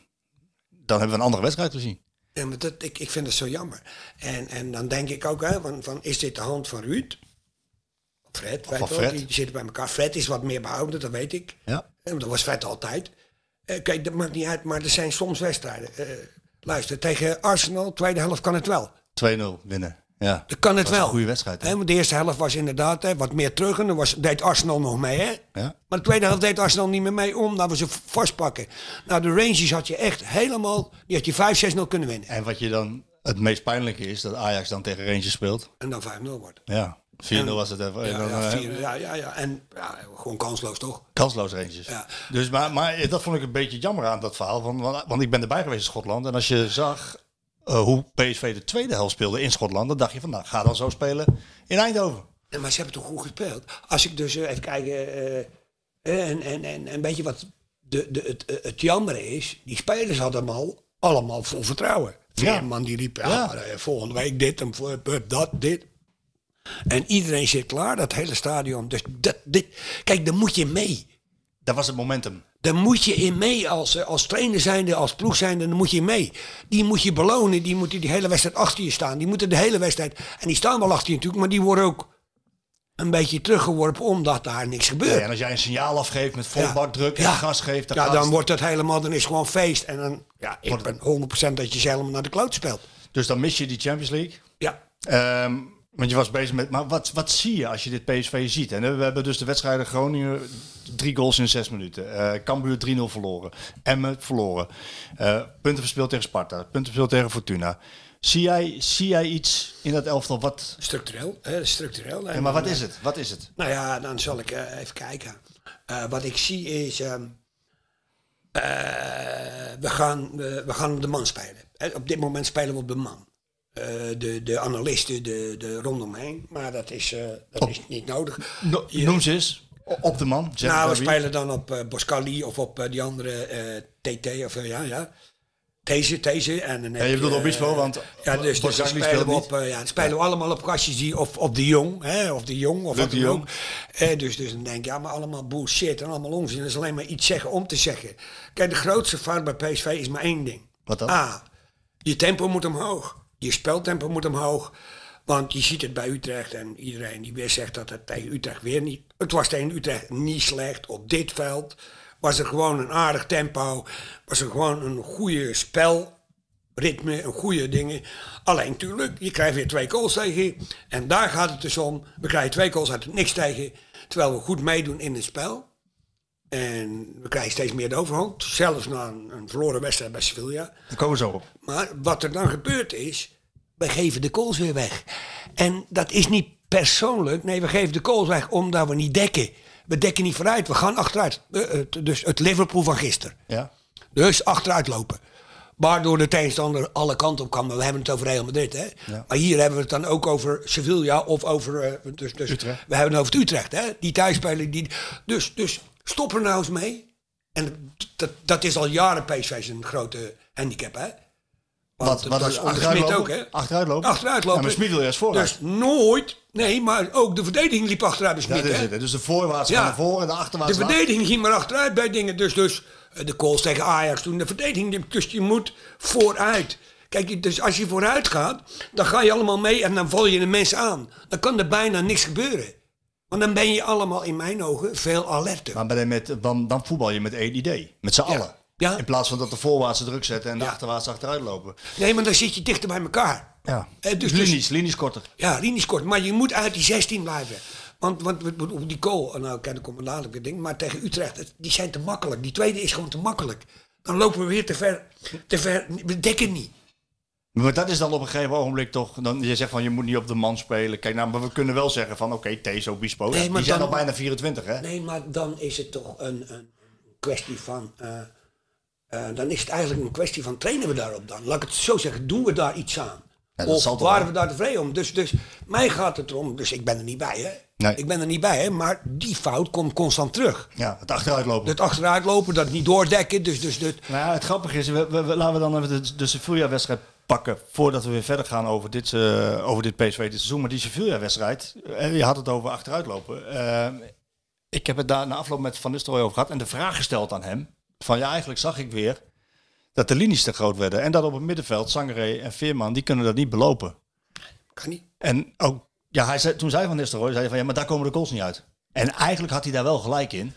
S8: dan hebben we een andere wedstrijd gezien.
S9: Ja, maar dat, ik, ik vind het zo jammer. En, en dan denk ik ook, hè, van, van, is dit de hand van Ruud? Fred, weet
S8: van
S9: je wel,
S8: Fred.
S9: die zitten bij elkaar. Fred is wat meer behouden, dat weet ik.
S8: Ja.
S9: Eh, want Dat was Fred altijd. Eh, kijk, dat maakt niet uit, maar er zijn soms wedstrijden. Eh, luister, tegen Arsenal, tweede helft kan het wel.
S8: 2-0 winnen. Ja.
S9: Dat kan het
S8: was
S9: wel.
S8: een goede wedstrijd, hè?
S9: Hè, want de eerste helft was inderdaad hè, wat meer terug. En dan was, deed Arsenal nog mee. Hè?
S8: Ja.
S9: Maar de tweede helft deed Arsenal niet meer mee omdat we ze v- vastpakken. Nou, de Rangers had je echt helemaal... Die had je 5-6-0 kunnen winnen.
S8: En wat je dan het meest pijnlijke is, dat Ajax dan tegen Rangers speelt.
S9: En dan 5-0 wordt.
S8: Ja, 4-0 was het even. En
S9: Ja,
S8: dan,
S9: ja,
S8: eh,
S9: vier- ja, ja, ja. En ja, gewoon kansloos, toch?
S8: Kansloos Rangers.
S9: Ja.
S8: Dus, maar, maar dat vond ik een beetje jammer aan dat verhaal. Want, want, want ik ben erbij geweest in Schotland. En als je zag eh, hoe PSV de tweede helft speelde in Schotland, dan dacht je van nou, ga dan zo spelen in Eindhoven.
S9: Ja, maar ze hebben toch goed gespeeld? Als ik dus eh, even kijk, eh, eh, en, en, en een beetje wat de, de, het, eh, het jammer is, die spelers hadden hem al allemaal vol vertrouwen.
S8: Ja.
S9: Veerman die riep, ja,
S8: Ja.
S9: maar, eh, volgende week dit en voor- eh, dat, dit. En iedereen zit klaar, dat hele stadion. Dus dat, dit, kijk, daar moet je mee.
S8: Dat was het momentum.
S9: Daar moet je in mee als, eh, als trainer zijnde, als ploeg zijnde, dan moet je mee. Die moet je belonen, die moeten die hele wedstrijd achter je staan. Die moeten de hele wedstrijd, en die staan wel achter je natuurlijk, maar die worden ook een beetje teruggeworpen omdat daar niks gebeurt.
S8: en als jij een signaal afgeeft met vol
S9: Ja.
S8: bakdruk en
S9: Ja.
S8: gas geeft, dan,
S9: ja,
S8: gaat
S9: dan
S8: het.
S9: wordt het helemaal, dan is het gewoon feest. En dan, ja, ik
S8: Wordt-
S9: ben 100% dat je ze helemaal naar de kloot speelt.
S8: dus dan mis je die Champions League.
S9: Ja,
S8: Ehm, want je was bezig met, maar wat, wat zie je als je dit PSV ziet? En eh, we hebben dus de wedstrijden Groningen drie goals in zes minuten. Eh Cambuur 3-0 verloren. Emmen verloren. Eh, punten verspeeld tegen Sparta. Punten verspeeld tegen Fortuna. Zie jij, zie jij iets in dat elftal? Wat,
S9: structureel. Hè, structureel
S8: eh, maar wat is het? Wat is het?
S9: Nou ja, dan zal ik eh, even kijken. Eh, wat ik zie is, ehm, eh, we, gaan, eh, we gaan op de man spelen. Eh, op dit moment spelen we op de man. Eh, de, de analisten, de, de rondomheen. Maar dat is, eh, dat
S8: Oh.
S9: is niet nodig.
S8: No-
S9: Je-
S8: noem ze eens. O- Op de man. Zeg
S9: nou, we
S8: maar wie.
S9: spelen dan op eh, Boscali of op eh, die andere eh, TT of eh, ja, ja. Deze, deze. En dan heb
S8: Ja, je bedoelt
S9: eh,
S8: Obispo, want
S9: ja, dus, dus dan
S8: Boscagli
S9: spelen we
S8: speelt
S9: op, eh, ja, dan spelen we allemaal op kastjes die of, of de jong, hè, of de jong, of wat
S8: de
S9: dan
S8: Jong.
S9: ook. Eh, dus, dus dan denk ik, ja, maar allemaal bullshit en allemaal onzin. Dat is alleen maar iets zeggen om te zeggen. Kijk, de grootste fout bij PSV is maar één ding.
S8: Wat dan?
S9: A, je tempo moet omhoog. Je speltempo moet omhoog. Want je ziet het bij Utrecht en iedereen die weer zegt dat het tegen Utrecht weer niet... Het was tegen Utrecht niet slecht. Op dit veld was er gewoon een aardig tempo. Was er gewoon een goede spelritme, een goede dingen. Alleen tuurlijk, je krijgt weer twee goals tegen. je. En daar gaat het dus om. We krijgen twee goals uit het niks tegen. je, Terwijl we goed meedoen in het spel. En we krijgen steeds meer de overhand. Zelfs na een, een verloren wedstrijd bij Sevilla.
S8: Daar komen we zo op.
S9: Maar wat er dan gebeurd is, we geven de calls weer weg. En dat is niet persoonlijk. Nee, we geven de calls weg omdat we niet dekken. We dekken niet vooruit, we gaan achteruit. Eh, eh, Dus het Liverpool van gisteren.
S8: Ja.
S9: Dus achteruit lopen. Waardoor de tegenstander alle kanten op kan. Maar we hebben het over Real Madrid. Hè?
S8: Ja.
S9: Maar hier hebben we het dan ook over Sevilla of over... eh, dus, dus
S8: Utrecht.
S9: We hebben het over het Utrecht. Hè? Die thuisspeler. Die, dus, dus stop er nou eens mee. En dat, dat is al jaren PSV zijn grote handicap. Hè? Want
S8: Wat,
S9: dat
S8: wat
S9: was
S8: is
S9: onder Smit
S8: achteruit
S9: ook. Hè?
S8: lopen? Achteruit lopen?
S9: Achteruit lopen.
S8: Ja, maar Smit wil juist vooruit.
S9: Dus nooit. Nee, maar ook de verdediging liep achteruit bij Smit.
S8: Dat is
S9: hè?
S8: het. Dus de voorwaarts gaan naar voren en de achterwaarts
S9: De
S8: naar
S9: verdediging ging maar achteruit bij dingen. Dus, dus eh, de calls tegen Ajax toen. De verdediging, dus je moet vooruit. Kijk, dus als je vooruit gaat, dan ga je allemaal mee en dan val je de mensen aan. Dan kan er bijna niks gebeuren. Want dan ben je allemaal, in mijn ogen, veel alerter.
S8: Maar bij met, dan, dan voetbal je met één idee. Met z'n allen.
S9: Ja.
S8: In plaats van dat de voorwaartse druk zetten en de
S9: Ja.
S8: achterwaarts achteruit lopen.
S9: Nee, maar dan zit je dichter bij elkaar.
S8: Ja.
S9: Eh, dus-
S8: linies,
S9: dus-
S8: linies korter.
S9: Ja, linies kort. Maar je moet uit die 16 blijven. Want, want we- we- die goal, nou kijk, er komt een dadelijk weer ding. Maar tegen Utrecht, het- die zijn te makkelijk. Die tweede is gewoon te makkelijk. Dan lopen we weer te ver. Te ver we dekken niet.
S8: Maar dat is dan op een gegeven ogenblik toch... Dan, je zegt van je moet niet op de man spelen. Kijk nou, maar we kunnen wel zeggen van oké, Tezo, Bispo.
S9: Nee, maar
S8: die zijn
S9: dan-
S8: al bijna 24 hè?
S9: Nee, maar dan is het toch een, een kwestie van. eh, eh, dan is het eigenlijk een kwestie van trainen we daarop dan? Laat ik het zo zeggen, doen we daar iets aan?
S8: dat
S9: of
S8: zal toch
S9: waren
S8: wel.
S9: we daar tevreden om? Dus, dus mij gaat het erom, dus ik ben er niet bij, hè?
S8: Nee.
S9: Ik ben er niet bij, hè? Maar die fout komt constant terug.
S8: Ja, het achteruitlopen.
S9: Dat achteruitlopen, dat niet doordekken, dus, dus, dus
S8: Nou ja, het grappige is, we, we- we- laten we dan even de, de Sevilla-wedstrijd pakken voordat we weer verder gaan over dit, eh, over dit PSV dit seizoen. Maar die Sevilla-wedstrijd, eh, je had het over achteruitlopen. Eh, ik heb het daar na afloop met Van Nistelrooy over gehad en de vraag gesteld aan hem. Van ja, eigenlijk zag ik weer dat de linies te groot werden. En dat op het middenveld, Sangaré en Veerman, die kunnen dat niet belopen.
S9: kan niet.
S8: En ook, ja, hij zei, toen zei Van Nistelrooy, zei hij van ja, maar daar komen de goals niet uit. En eigenlijk had hij daar wel gelijk in.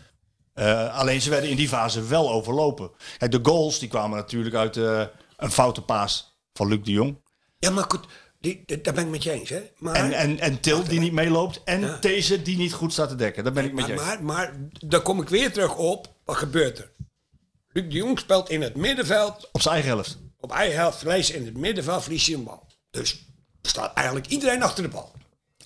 S8: Eh, alleen ze werden in die fase wel overlopen. Kijk, de goals die kwamen natuurlijk uit eh, een foute paas van Luc de Jong.
S9: Ja, maar goed, die, die- daar ben ik met je eens, hè? Maar,
S8: En, en, en Til die niet meeloopt. En deze die niet goed staat te dekken. Daar ben ik met je
S9: maar,
S8: eens.
S9: maar, maar daar kom ik weer terug op, wat gebeurt er? Luc de Jong speelt in het middenveld
S8: Op zijn eigen helft.
S9: op eigen helft verlies in het middenveld verlies je een bal. Dus er staat eigenlijk iedereen achter de bal.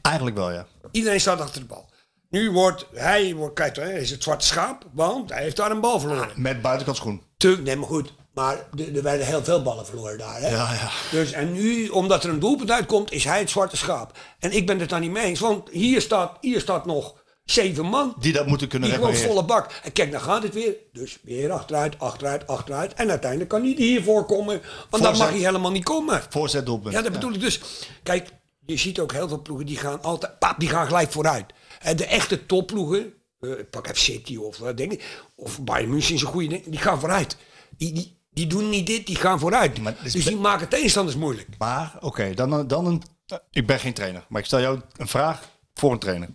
S8: Eigenlijk wel, ja.
S9: Iedereen staat achter de bal. Nu wordt hij, wordt, kijk, hij is het zwarte schaap, want hij heeft daar een bal verloren.
S8: Met buitenkant schoen.
S9: Tuurlijk, nee, maar goed. Maar er er werden heel veel ballen verloren daar. Hè?
S8: Ja, ja.
S9: Dus, en nu, omdat er een doelpunt uitkomt, is hij het zwarte schaap. En ik ben het daar niet mee eens, want hier staat, hier staat nog zeven man.
S8: Die dat moeten kunnen
S9: Die gewoon
S8: repareren.
S9: volle bak. En kijk, dan gaat het weer. Dus weer achteruit, achteruit, achteruit. En uiteindelijk kan hij hiervoor komen. Want dan mag
S8: Voorzet.
S9: hij helemaal niet komen.
S8: Voorzet doelpunt.
S9: Ja, dat bedoel ik dus. Kijk, je ziet ook heel veel ploegen die gaan altijd, pap, die gaan gelijk vooruit. En de echte topploegen, eh, ik pak even City of wat denk ik, of Bayern München is een goede ding, die gaan vooruit. Die, die, die doen niet dit, die gaan vooruit.
S8: Maar het is
S9: dus die
S8: be-
S9: maken tegenstanders moeilijk.
S8: Maar, oké, dan, dan een... Ik ben geen trainer, maar ik stel jou een vraag voor een trainer.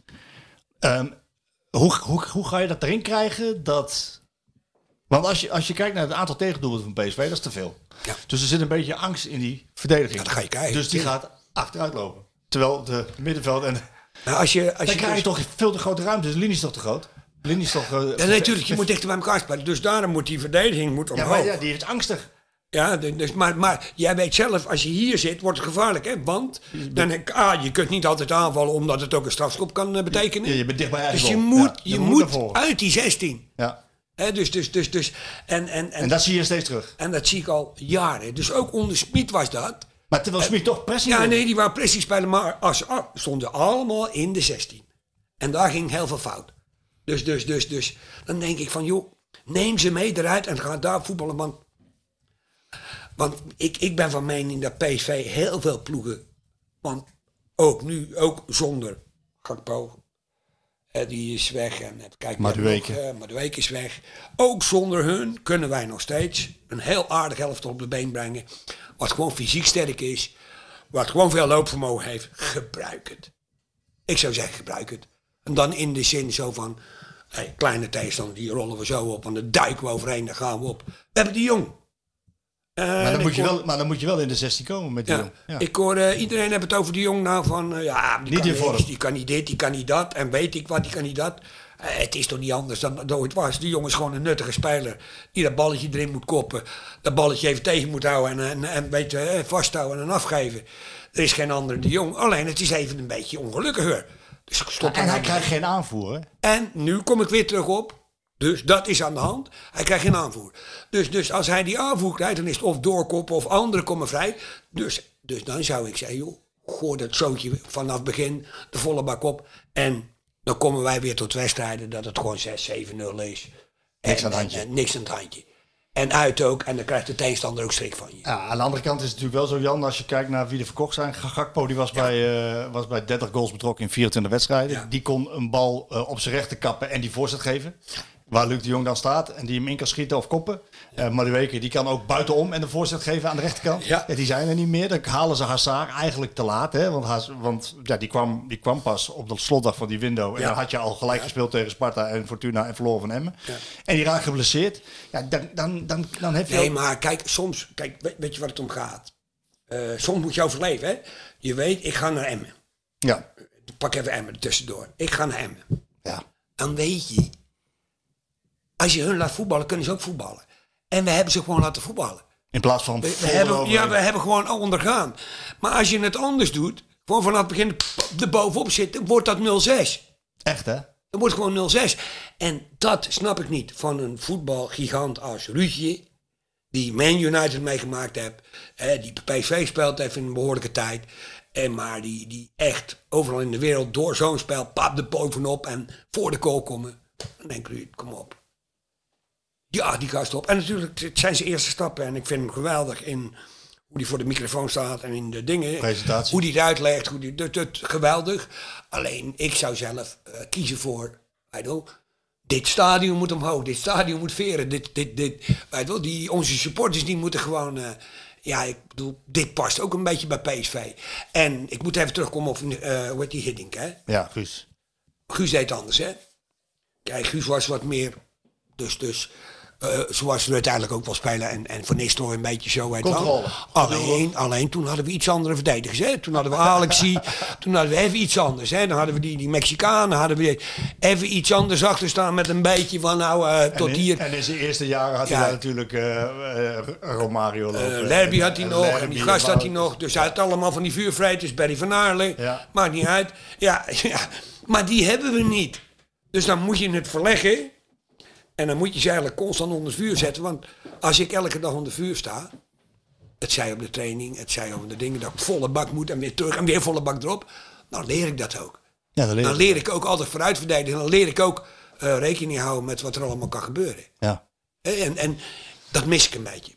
S8: Ehm, hoe, hoe, hoe ga je dat erin krijgen dat... Want als je, als je kijkt naar het aantal tegendoelpunten van PSV, dat is te veel.
S9: Ja.
S8: Dus er zit een beetje angst in die verdediging.
S9: Ja, dan ga je kijken.
S8: Dus die gaat achteruit lopen. Terwijl de middenveld en...
S9: Nou, als je, als
S8: Dan
S9: je
S8: krijg je
S9: dus-
S8: toch veel te grote ruimte. Dus de linie is toch te groot? De linie is toch... eh,
S9: Ja, nee, natuurlijk, je moet dichter bij elkaar spelen. Dus daarom moet die verdediging moet
S8: Ja,
S9: omhoog.
S8: maar ja, die is angstig.
S9: Ja, de- dus, maar, maar jij weet zelf, als je hier zit, wordt het gevaarlijk, hè? Want
S8: Dus
S9: dan, ah, je kunt niet altijd aanvallen, omdat het ook een strafschop kan eh, betekenen.
S8: Ja, je bent dicht bij eigen
S9: Dus je
S8: goal.
S9: moet,
S8: Ja,
S9: je
S8: je moet naar
S9: moet,
S8: voren.
S9: uit die 16.
S8: Ja.
S9: hè dus, dus, dus, dus, en, en, en,
S8: En dat zie je steeds terug.
S9: en dat zie ik al jaren. Dus ook onder Smit was dat.
S8: Maar terwijl Smit toch pressie
S9: Ja,
S8: wil.
S9: nee, die waren precies bij de maar als, ah, stonden allemaal in de 16. En daar ging heel veel fout. Dus, dus, dus, dus. Dan denk ik van, joh, neem ze mee eruit en ga daar voetballen. Want, want ik, ik ben van mening dat PSV heel veel ploegen... Want ook nu, ook zonder Gakpo. eh, die is weg. En, eh, kijk, maar
S8: Madueke.
S9: Madueke is weg. Ook zonder hun kunnen wij nog steeds een heel aardig helft op de been brengen. Wat gewoon fysiek sterk is. Wat gewoon veel loopvermogen heeft. Gebruik het. Ik zou zeggen, gebruik het. En dan in de zin zo van... hey, kleine tegenstander, die rollen we zo op. En dan duiken we overheen, dan gaan we op. We hebben die jong. Eh,
S8: Maar
S9: en
S8: dan,
S9: ik
S8: moet je
S9: hoor-
S8: wel, maar dan moet je wel in de 16 komen met die
S9: ja.
S8: jong. Ja.
S9: Ik hoor eh, iedereen hebben het over die jong nou van eh, ja, die
S8: Niet
S9: kan
S8: in vorm.
S9: niks, die kan niet dit, die kan niet dat en weet ik wat, die kan niet dat. Eh, het is toch niet anders dan het ooit was. Die jongen is gewoon een nuttige speler die dat balletje erin moet koppen, dat balletje even tegen moet houden en, en, en weet je, eh, vasthouden en afgeven. Er is geen ander de jong. Alleen het is even een beetje ongelukkiger. Dus ik stop
S8: En
S9: er
S8: hij
S9: nou
S8: krijgt geen aanvoer, hè?
S9: en nu kom ik weer terug op. Dus dat is aan de hand. Hij krijgt geen aanvoer. Dus, dus als hij die aanvoer krijgt, dan is het of doorkoppen of anderen komen vrij. Dus, dus dan zou ik zeggen, joh, gooi dat zootje vanaf het begin de volle bak op. En dan komen wij weer tot wedstrijden dat het gewoon 6-7-0
S8: Niks
S9: is.
S8: aan het
S9: En-
S8: handje.
S9: en- en niks aan het handje. En uit ook. En dan krijgt de tegenstander ook schrik van je.
S8: Ja, aan de andere kant is het natuurlijk wel zo, Jan, als je kijkt naar wie er verkocht zijn. Gakpo die was, bij, eh, was bij 30 goals betrokken in 24 wedstrijden.
S9: Ja.
S8: Die kon een bal eh, op zijn rechter kappen en die voorzet geven. Waar Luc de Jong dan staat en die hem in kan schieten of koppen. Eh Madueke, die kan ook buitenom en de voorzet geven aan de rechterkant.
S9: Ja.
S8: die zijn er niet meer. Dan halen ze Hazard eigenlijk te laat. Hè? Want, Haz- want ja, die, kwam, die kwam pas op de slotdag van die window. En
S9: Ja.
S8: dan had je al gelijk gespeeld tegen Sparta en Fortuna en verloren van Emmen. En die raakt geblesseerd. Ja, dan, dan, dan, dan heb je...
S9: Nee,
S8: ook-
S9: maar kijk, soms, kijk, weet, weet je waar het om gaat? Eh, soms moet je overleven, hè? Je weet, ik ga naar Emmen.
S8: Ja.
S9: pak even Emmen er tussendoor. Ik ga naar Emmen.
S8: ja.
S9: Dan weet je, als je hun laat voetballen, kunnen ze ook voetballen. En we hebben ze gewoon laten voetballen.
S8: In plaats van
S9: We, we
S8: vol
S9: hebben,
S8: eroverheen.
S9: ja, we hebben gewoon ondergaan. Maar als je het anders doet, gewoon vanaf het begin er bovenop zitten, wordt dat 0-6.
S8: Echt hè?
S9: Dan wordt het gewoon 0-6. En dat snap ik niet van een voetbalgigant als Ruudje. die Man United meegemaakt heb, hè, die PSV speelt heeft in een behoorlijke tijd. En maar die, die echt overal in de wereld door zo'n spel pap de bovenop en voor de goal komen. Dan denk ik, kom op. Ja, die gast op. En natuurlijk, het zijn zijn eerste stappen. En ik vind hem geweldig in hoe die voor de microfoon staat en in de dingen.
S8: Presentatie.
S9: Hoe die het uitlegt. Hoe die, dat, dat- geweldig. Alleen, ik zou zelf eh, kiezen voor, I don't, dit stadion moet omhoog. Dit stadion moet veren. Dit, dit, dit. Weet wel, die, onze supporters die moeten gewoon... eh, ja, ik bedoel, dit past ook een beetje bij PSV. En ik moet even terugkomen op, eh hoe heet die Hiddink, hè?
S8: Ja, Guus.
S9: Guus deed het anders, hè? Kijk, Guus was wat meer. Dus, dus eh, zoals we uiteindelijk ook wel spelen. En, en Van Nistelrooy een beetje zo. weet je wel.
S8: Controle.
S9: Alleen, alleen toen hadden we iets andere verdedigers. Hè? Toen hadden we Alexi. toen hadden we even iets anders. Hè? Dan hadden we die, die Mexicanen. Hadden we even iets anders achter staan. Met een beetje van nou eh, tot
S8: en in,
S9: hier.
S8: En in zijn eerste jaren had
S9: Ja.
S8: hij daar natuurlijk eh, eh, Romario lopen.
S9: Eh, Lerby had hij
S8: En
S9: nog, en
S8: Lerby
S9: die gast had hij
S8: Wout.
S9: nog. Dus hij had allemaal van die vuurvrijters, Barry van Aarle.
S8: Ja.
S9: Maakt niet uit. Ja, ja, maar die hebben we niet. Dus dan moet je het verleggen. En dan moet je ze eigenlijk constant onder vuur zetten. Want als ik elke dag onder vuur sta... Het zij op de training, het zij over de dingen... dat ik volle bak moet en weer terug en weer volle bak erop. Dan leer ik dat ook.
S8: Ja, dat leer
S9: Dan
S8: ik.
S9: leer ik ook altijd vooruit verdedigen. Dan leer ik ook eh, rekening houden met wat er allemaal kan gebeuren.
S8: Ja.
S9: Hè, En, en dat mis ik een beetje.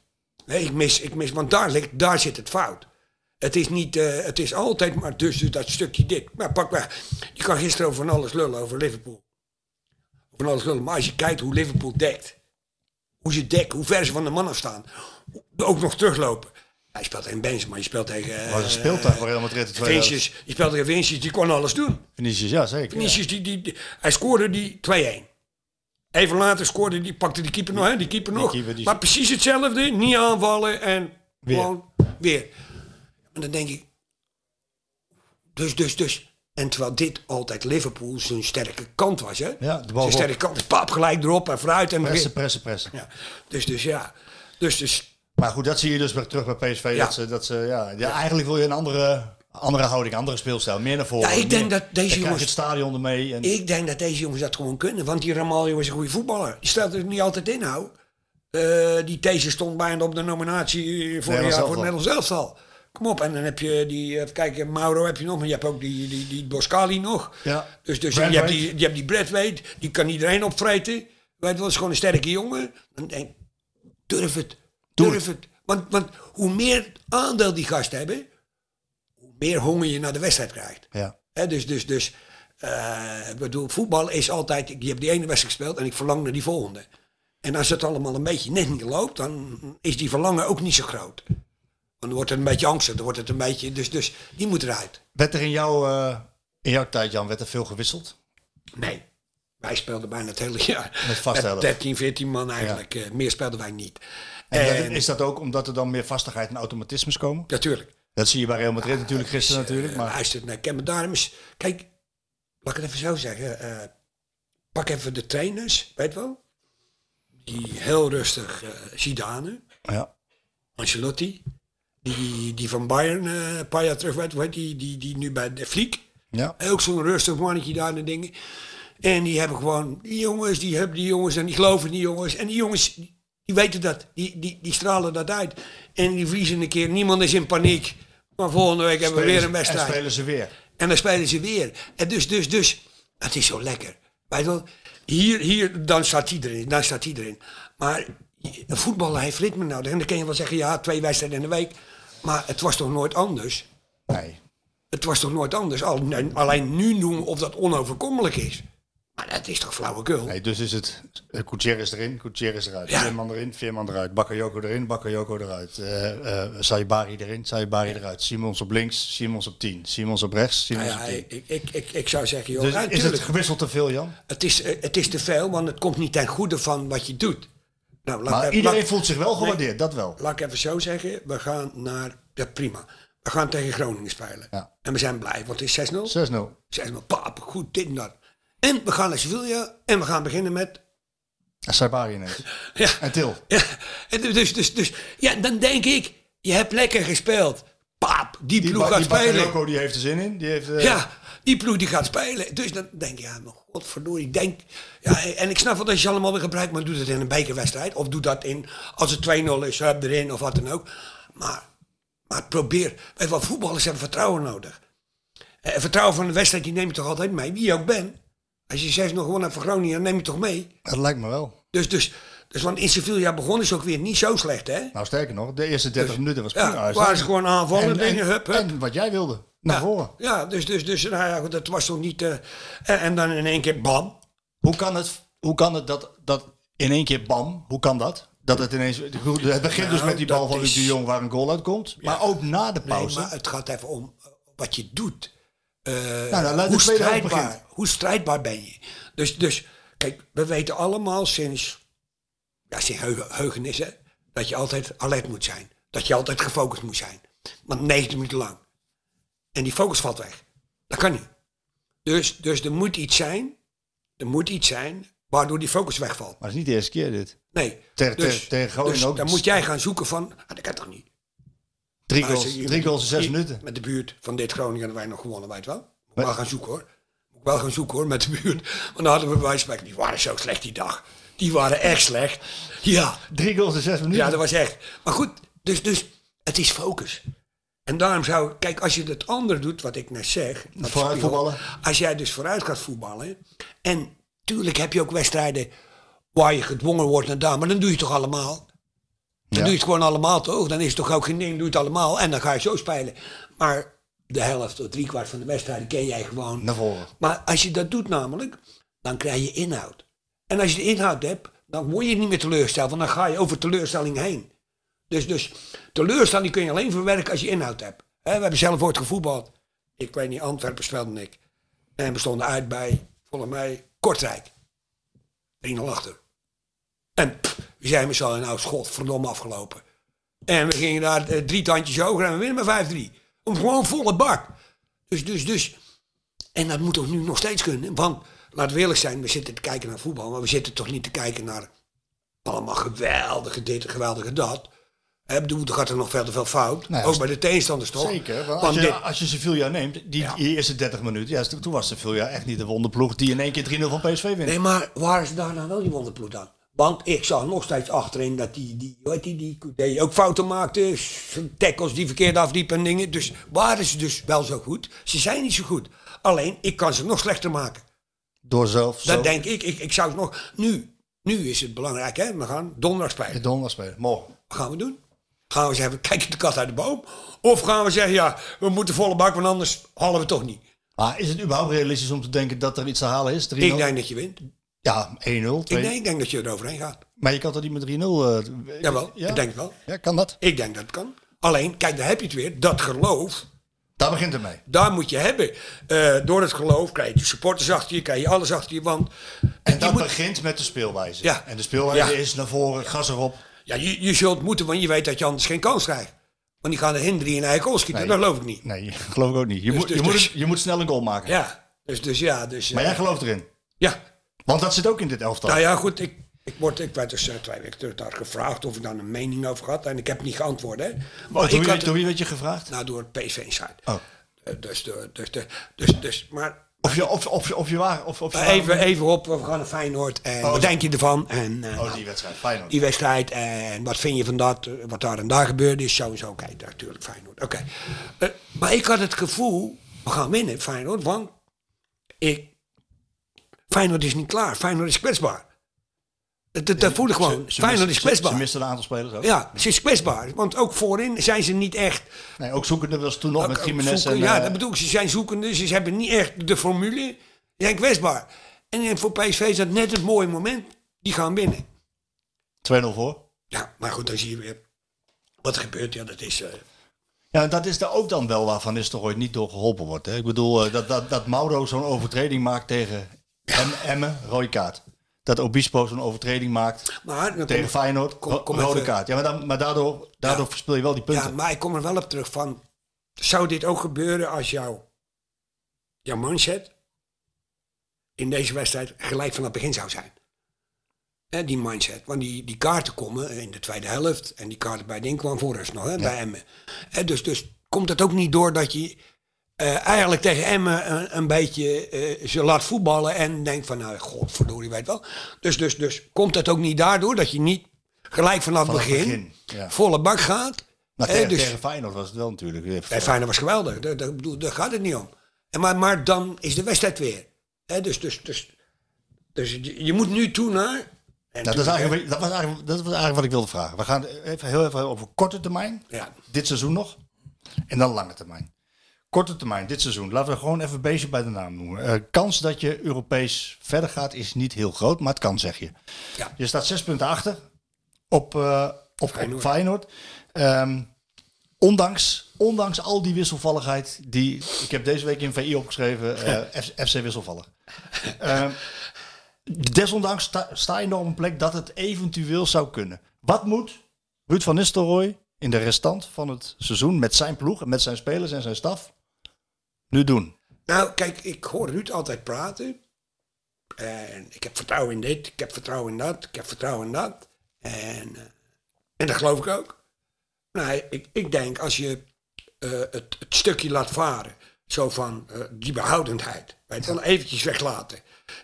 S9: Hè, Ik mis, ik mis, want daar, ligt, daar zit het fout. Het is, niet, eh, het is altijd maar dus dat stukje dit. Maar pak weg. Je kan gisteren over van alles lullen over Liverpool. Van alles lullen. Maar als je kijkt hoe Liverpool dekt. Hoe ze dekken, hoe ver ze van de man afstaan. Ook nog teruglopen. Hij speelt tegen Benzema, maar je speelt tegen... eh,
S8: Maar ze speelt daar voor Real Madrid de tweede helft.
S9: Vinicius. Je speelt tegen Vinicius, die kon alles doen.
S8: Vinicius, ja zeker. Ja.
S9: Vinicius, die, die, die- hij scoorde die 2-1. Even later scoorde die, pakte die keeper nog, hè, die keeper nog.
S8: keeper, die-
S9: Maar precies hetzelfde, niet aanvallen en
S8: Weer.
S9: gewoon weer. En dan denk ik, dus, dus, dus. En terwijl dit altijd Liverpool zijn sterke kant was, hè?
S8: Ja, de bal
S9: zijn
S8: op.
S9: sterke kant, pap, gelijk erop en vooruit en
S8: Pressen,
S9: weer.
S8: pressen, pressen.
S9: Ja. Dus, dus ja. Dus, dus,
S8: Maar goed, dat zie je dus weer terug bij PSV.
S9: Ja.
S8: Dat ze, dat ze, ja, ja, Eigenlijk wil je een andere, andere houding, andere speelstijl. Meer naar voren.
S9: Ja, ik denk
S8: meer-
S9: dat deze
S8: dan krijg je
S9: jongens-
S8: het stadion ermee. En,
S9: ik denk dat deze jongens dat gewoon kunnen. Want die Ramaljo is een goede voetballer. Die staat er niet altijd in, hou. Eh, die These stond bijna op de nominatie voor
S8: Nederlands
S9: jaar voor het
S8: elftal.
S9: Nederlands elftal. Kom op, en dan heb je die, eh, even kijken, Mauro heb je nog, maar je hebt ook die, die, die Boscali nog.
S8: Ja.
S9: Dus, dus je,
S8: Braithwaite.
S9: hebt die, je hebt die Bradweight, die kan iedereen opvreten. Weet wel, is gewoon een sterke jongen. Dan denk ik, durf het, durf het. Want, want hoe meer aandeel die gasten hebben, hoe meer honger je naar de wedstrijd krijgt.
S8: ja.
S9: Hè, dus, dus, dus eh, ik bedoel, voetbal is altijd, ik- je hebt die ene wedstrijd gespeeld en ik verlang naar die volgende. En als het allemaal een beetje net niet loopt, dan is die verlangen ook niet zo groot. Want dan wordt het een beetje angstig, dan wordt het een beetje, dus, dus die moet eruit.
S8: Werd er in jouw, eh, in jouw tijd, Jan, werd er veel gewisseld?
S9: Nee. Wij speelden bijna het hele jaar.
S8: Met vast elf.
S9: 13, 14 man eigenlijk. eh, meer speelden wij niet.
S8: En,
S9: En,
S8: dat- is dat ook omdat er dan meer vastigheid en automatismes komen?
S9: natuurlijk.
S8: Dat zie je bij Real Madrid natuurlijk gisteren natuurlijk. Maar
S9: Luister, nou, ik ken mijn daarom eens- Kijk, laat ik het even zo zeggen. eh, pak even de trainers, weet wel. Die heel rustig eh Zidane,
S8: ja,
S9: Ancelotti. Die, die van Bayern eh, een paar jaar terug werd, hoe heet die, die, die nu bij de Fliek.
S8: ja.
S9: Ook zo'n rustig mannetje daar en dingen. En die hebben gewoon, die jongens, die hebben die jongens en die geloven in die jongens. En die jongens, die die weten dat, die, die, die stralen dat uit. En die verliezen een keer, niemand is in paniek. Maar volgende week hebben we
S8: Spelen
S9: weer
S8: ze-
S9: een
S8: En
S9: wedstrijd.
S8: spelen ze weer.
S9: En dan spelen ze weer. En dus, dus, dus. Het is zo lekker. Weet je wel? Hier, hier, dan staat iedereen. Dan staat iedereen. Maar een voetballer heeft ritme nodig. En dan kun je wel zeggen, ja, twee wedstrijden in de week. Maar het was toch nooit anders?
S8: Nee.
S9: Het was toch nooit anders? Al- Alleen nu doen we of dat onoverkomelijk is. Maar dat is toch flauwekul?
S8: nee. Dus is het eh, Gutierrez erin, Gutierrez eruit.
S9: Ja.
S8: Veerman erin, Veerman eruit. Bakayoko erin, Bakayoko eruit. eh eh Saibari erin, Saibari eruit. Simons op links, Simons op 10. Simons op rechts,
S9: Nou
S8: Simons
S9: ja,
S8: op 10.
S9: ik, ik, ik, ik zou zeggen, joh,
S8: Dus
S9: ja,
S8: is het
S9: tuurlijk.
S8: gewisseld te veel, Jan?
S9: het, is, eh, het is te veel, want het komt niet ten goede van wat je doet. Nou, laat,
S8: Maar
S9: laat-
S8: iedereen voelt zich wel gewaardeerd, dat wel.
S9: laat ik even zo zeggen, we gaan naar, ja prima, we gaan tegen Groningen spelen.
S8: Ja.
S9: En we zijn blij, want het is 6-0.
S8: 6-0.
S9: 6-0, pap, goed, dit en dat. En we gaan naar Sevilla en we gaan beginnen met...
S8: En Saibari ineens.
S9: Ja,
S8: En Til.
S9: ja, en dus, dus, dus, ja, dan denk ik, je hebt lekker gespeeld. Pap, die,
S8: Die,
S9: ploeg gaat
S8: die
S9: spelen.
S8: Bakayoko die heeft er zin in. Die heeft, eh,
S9: Ja, Die ploeg die gaat spelen. Dus dan denk je, ja, maar godverdorie, ik denk... Ja, en ik snap wel dat je ze allemaal weer gebruikt, maar doe dat in een bekerwedstrijd. Of doe dat in, als het 2-0 is, hup, erin of wat dan ook. Maar, maar probeer. Weet je wat, voetballers hebben vertrouwen nodig. En vertrouwen van de wedstrijd, die neem je toch altijd mee, wie je ook bent. Als je zes nog gewonnen hebt van Groningen, dan neem je toch mee.
S8: Dat lijkt me wel.
S9: Dus, dus, dus want in Sevilla begon is ook weer niet zo slecht, hè?
S8: Nou, sterker nog, de eerste 30
S9: Dus-
S8: minuten was
S9: Ja,
S8: prima.
S9: waren ze gewoon aanvallen,
S8: En- en-
S9: dingen, hup, hup.
S8: En wat jij wilde, naar
S9: ja.
S8: voren.
S9: Ja, dus, dus, dus nou ja, goed, dat was toch niet... eh, en, en dan in één keer, bam.
S8: Hoe kan het, hoe kan het dat, dat in één keer bam, hoe kan dat? Dat het ineens, goed, het begint dus
S9: Nou,
S8: met die bal
S9: dat
S8: van Luc
S9: is-
S8: de Jong waar een goal uit komt. Maar ook na de
S9: Nee,
S8: pauze.
S9: maar het gaat even om eh, wat je doet. Eh,
S8: nou, laat de
S9: hoe,
S8: tweede helft
S9: strijdbaar,
S8: beginnen.
S9: hoe strijdbaar ben je? Dus, dus kijk, we weten allemaal sinds, ja, sinds heugen- heugenis, hè, dat je altijd alert moet zijn. Dat je altijd gefocust moet zijn. Want 90 minuten lang. En die focus valt weg. Dat kan niet. Dus, dus er moet iets zijn, er moet iets zijn, waardoor die focus wegvalt.
S8: maar het is niet de eerste keer dit.
S9: Nee.
S8: Tegen- tegen- tegen Groningen
S9: dus
S8: ook.
S9: dan moet jij gaan zoeken van, ah, dat kan toch niet.
S8: Drie
S9: Maar
S8: goals,
S9: ze-
S8: drie goals in zes
S9: hier,
S8: minuten.
S9: Met de buurt van dit Groningen hadden wij nog gewonnen, weet je wel. Moet ik
S8: Maar-
S9: wel gaan zoeken hoor. Moet ik wel gaan zoeken hoor, met de buurt. Want dan hadden we bij wijze van spreken, die waren zo slecht die dag. Die waren echt slecht. Ja,
S8: Drie goals in zes minuten.
S9: ja dat was echt. Maar goed, dus, dus het is focus. En daarom zou ik, kijk, als je het ander doet, wat ik net zeg. dat
S8: Vooruit
S9: speel,
S8: voetballen.
S9: Als jij dus vooruit gaat voetballen. En tuurlijk heb je ook wedstrijden waar je gedwongen wordt naar daar. Maar dan doe je het toch allemaal. Dan
S8: Ja.
S9: doe je het gewoon allemaal toch? Dan is het toch ook geen ding, doe je het allemaal. En dan ga je zo spelen. Maar de helft tot driekwart van de wedstrijden ken jij gewoon.
S8: Naar voren.
S9: Maar als je dat doet namelijk, dan krijg je inhoud. En als je de inhoud hebt, dan word je niet meer teleurgesteld. Want dan ga je over teleurstelling heen. Dus, dus teleurstelling kun je alleen verwerken als je inhoud hebt. Hè, we hebben zelf ooit gevoetbald. Ik weet niet, Antwerpen speelde ik. En we stonden uit bij, volgens mij, Kortrijk. 3-0 achter. En pff, we zijn met z'n allen, nou, schot, verdomme afgelopen. En we gingen daar eh, drie tandjes hoger en we winnen met 5-3. Om gewoon volle bak. Dus, dus, dus. En dat moet toch nu nog steeds kunnen? Want, laten we eerlijk zijn, we zitten te kijken naar voetbal, maar we zitten toch niet te kijken naar allemaal geweldige dit en geweldige dat. Hè, Ik bedoel, er gaat er nog verder veel fout.
S8: Nou ja,
S9: Ook
S8: als-
S9: bij de tegenstanders toch?
S8: Zeker, want
S9: Want,
S8: als je,
S9: dit-
S8: als je Sevilla neemt, die,
S9: Ja.
S8: die eerste 30 minuten, ja, toen toen was Sevilla echt niet de wonderploeg die in één keer 3-0 van PSV wint.
S9: Nee, maar waar is daarna wel die wonderploeg dan? Want ik zag nog steeds achterin dat die, die, hoe heet die, die Coudé ook fouten maakte. s- Tackles die verkeerd afliepen en dingen. Dus waren ze dus wel zo goed? Ze zijn niet zo goed. Alleen, ik kan ze nog slechter maken.
S8: Door zelf zo
S9: Dat denk ik. ik. Ik zou het nog... Nu, nu is het belangrijk, hè. We gaan donderdag spelen.
S8: de donder spelen. Mooi.
S9: Wat gaan we doen? Gaan we zeggen, kijk de kat uit de boom? Of gaan we zeggen, ja, we moeten volle bak, want anders halen we toch niet.
S8: Maar is het überhaupt realistisch om te denken dat er iets te halen is? 3-0?
S9: Ik denk dat je wint. Ik,
S8: Ja, 1-0.
S9: denk-
S8: 2
S9: ik denk dat je er overheen gaat.
S8: Maar je kan toch niet met 3-0? eh,
S9: Jawel,
S8: ja?
S9: ik denk het wel.
S8: Ja, kan dat?
S9: Ik denk dat het kan. Alleen, kijk, daar heb je het weer. Dat geloof,
S8: Daar begint het mee.
S9: daar moet je hebben. Eh, door het geloof krijg je de supporters achter je, krijg je alles achter je. Want
S8: En dat
S9: moet-
S8: begint met de speelwijze.
S9: Ja.
S8: En de speelwijze
S9: Ja.
S8: is naar voren, gas erop.
S9: ja, je, je zult moeten, want je weet dat je anders geen kans krijgt. Want die gaan er in drie in eigen goal schieten.
S8: Nee.
S9: Dat geloof ik niet.
S8: Nee, geloof ik ook niet. Je, moet,
S9: dus-
S8: je, moet,
S9: dus-
S8: het- je moet snel een goal maken.
S9: Ja, dus, dus ja. Dus, eh,
S8: Maar jij gelooft erin.
S9: ja,
S8: Want dat zit ook in dit elftal.
S9: Nou ja, goed, ik, ik, word, ik werd dus eh, twee weken terug daar gevraagd of ik daar een mening over had. En ik heb niet geantwoord, hè.
S8: door,
S9: Want ik
S8: Oh, wie,
S9: had
S8: door wie werd je gevraagd?
S9: nou, door het PSV Insight.
S8: Oh.
S9: Eh, Dus, de- dus, de- dus, dus, maar
S8: Of je, of, of, of je waar? Of, of je
S9: eh,
S8: waar-
S9: even, even op, we gaan naar Feyenoord. En
S8: Oh,
S9: wat
S8: zo.
S9: denk je ervan? En, eh,
S8: Oh, die wedstrijd. Feyenoord.
S9: die wedstrijd en wat vind je van dat, eh, wat daar en daar gebeurde is, zo en zo. Oké, natuurlijk Feyenoord. Oké. Eh, maar ik had het gevoel, we gaan winnen Feyenoord, want ik, Feyenoord is niet klaar. Feyenoord is kwetsbaar. Dat, dat, dat voel ik gewoon.
S8: Ze- ze
S9: Feyenoord
S8: missen-
S9: is
S8: ze- Ze
S9: kwetsbaar.
S8: misten een aantal spelers ook.
S9: Ja, ze is kwetsbaar. Want ook voorin zijn ze niet echt...
S8: Nee, ook zoekende was toen nog
S9: ook-
S8: met
S9: ook
S8: Jiménez.
S9: zoeken.
S8: En,
S9: ja,
S8: eh,
S9: dat bedoel ik. Ze zijn zoekende, ze hebben niet echt de formule. Ze zijn kwetsbaar. En eh, voor PSV is dat net het mooie moment. Die gaan winnen.
S8: 2-0 voor.
S9: Ja, maar goed, dan zie je weer wat er gebeurt. Ja, dat is... eh,
S8: Ja, en dat is daar ook dan wel waarvan is toch ooit niet door geholpen wordt. Hè? Ik bedoel, eh, dat, dat, dat Mauro zo'n overtreding maakt tegen Em, Emmen, rode kaart. Dat Obispo zo'n overtreding maakt
S9: maar dan
S8: tegen
S9: kom-
S8: Feyenoord,
S9: kom-
S8: ro-
S9: kom
S8: rode
S9: even-
S8: kaart. Ja, maar, dan, maar daardoor, daardoor
S9: Ja.
S8: verspil je wel die punten.
S9: ja, maar ik kom er wel op terug van... Zou dit ook gebeuren als jouw, jouw mindset in deze wedstrijd gelijk vanaf het begin zou zijn? Hè, die mindset. Want die, die kaarten komen in de tweede helft. En die kaarten bij Ding kwam voor ons nog, hè, bij Emmen. Hè, dus, dus komt het ook niet door dat je eh, eigenlijk tegen Emmen een, een beetje eh, ze laat voetballen en denkt van, nou, godverdorie, weet wel. Dus, dus, dus komt dat ook niet daardoor dat je niet gelijk vanaf,
S8: Vanaf
S9: begin,
S8: begin, ja.
S9: volle bak gaat.
S8: Maar
S9: Eh,
S8: tegen,
S9: dus,
S8: tegen Feyenoord was het wel natuurlijk. eh,
S9: en Feyenoord was geweldig, daar, daar, bedoel, daar gaat het niet om. En maar, maar dan is de wedstrijd weer. Hè, dus dus, dus, dus je, je moet nu toe naar... en
S8: Nou, dat, is
S9: natuurlijk, hè,
S8: eigenlijk, dat, was eigenlijk, dat was eigenlijk wat ik wilde vragen. We gaan even heel even over korte termijn.
S9: Ja.
S8: Dit seizoen nog. En dan lange termijn. Korte termijn, dit seizoen. Laten we gewoon even een beestje bij de naam noemen. Eh, kans dat je Europees verder gaat is niet heel groot, maar het kan, zeg je.
S9: Ja.
S8: Je staat zes punten achter op, eh, op Feyenoord. Op Feyenoord. Ehm, ondanks, ondanks al die wisselvalligheid die... Ik heb deze week in VI opgeschreven, eh, F- FC wisselvallig. Ehm, Desondanks sta, sta je nog op een plek dat het eventueel zou kunnen. Wat moet Ruud van Nistelrooy in de restant van het seizoen met zijn ploeg en met zijn spelers en zijn staf nu doen?
S9: Nou, kijk, ik hoor Ruud altijd praten. En ik heb vertrouwen in dit, ik heb vertrouwen in dat, ik heb vertrouwen in dat. En, eh, en dat geloof ik ook. Nou, ik, ik denk als je eh, het, het stukje laat varen, zo van eh, die behoudendheid, weet je wel, eventjes weglaten.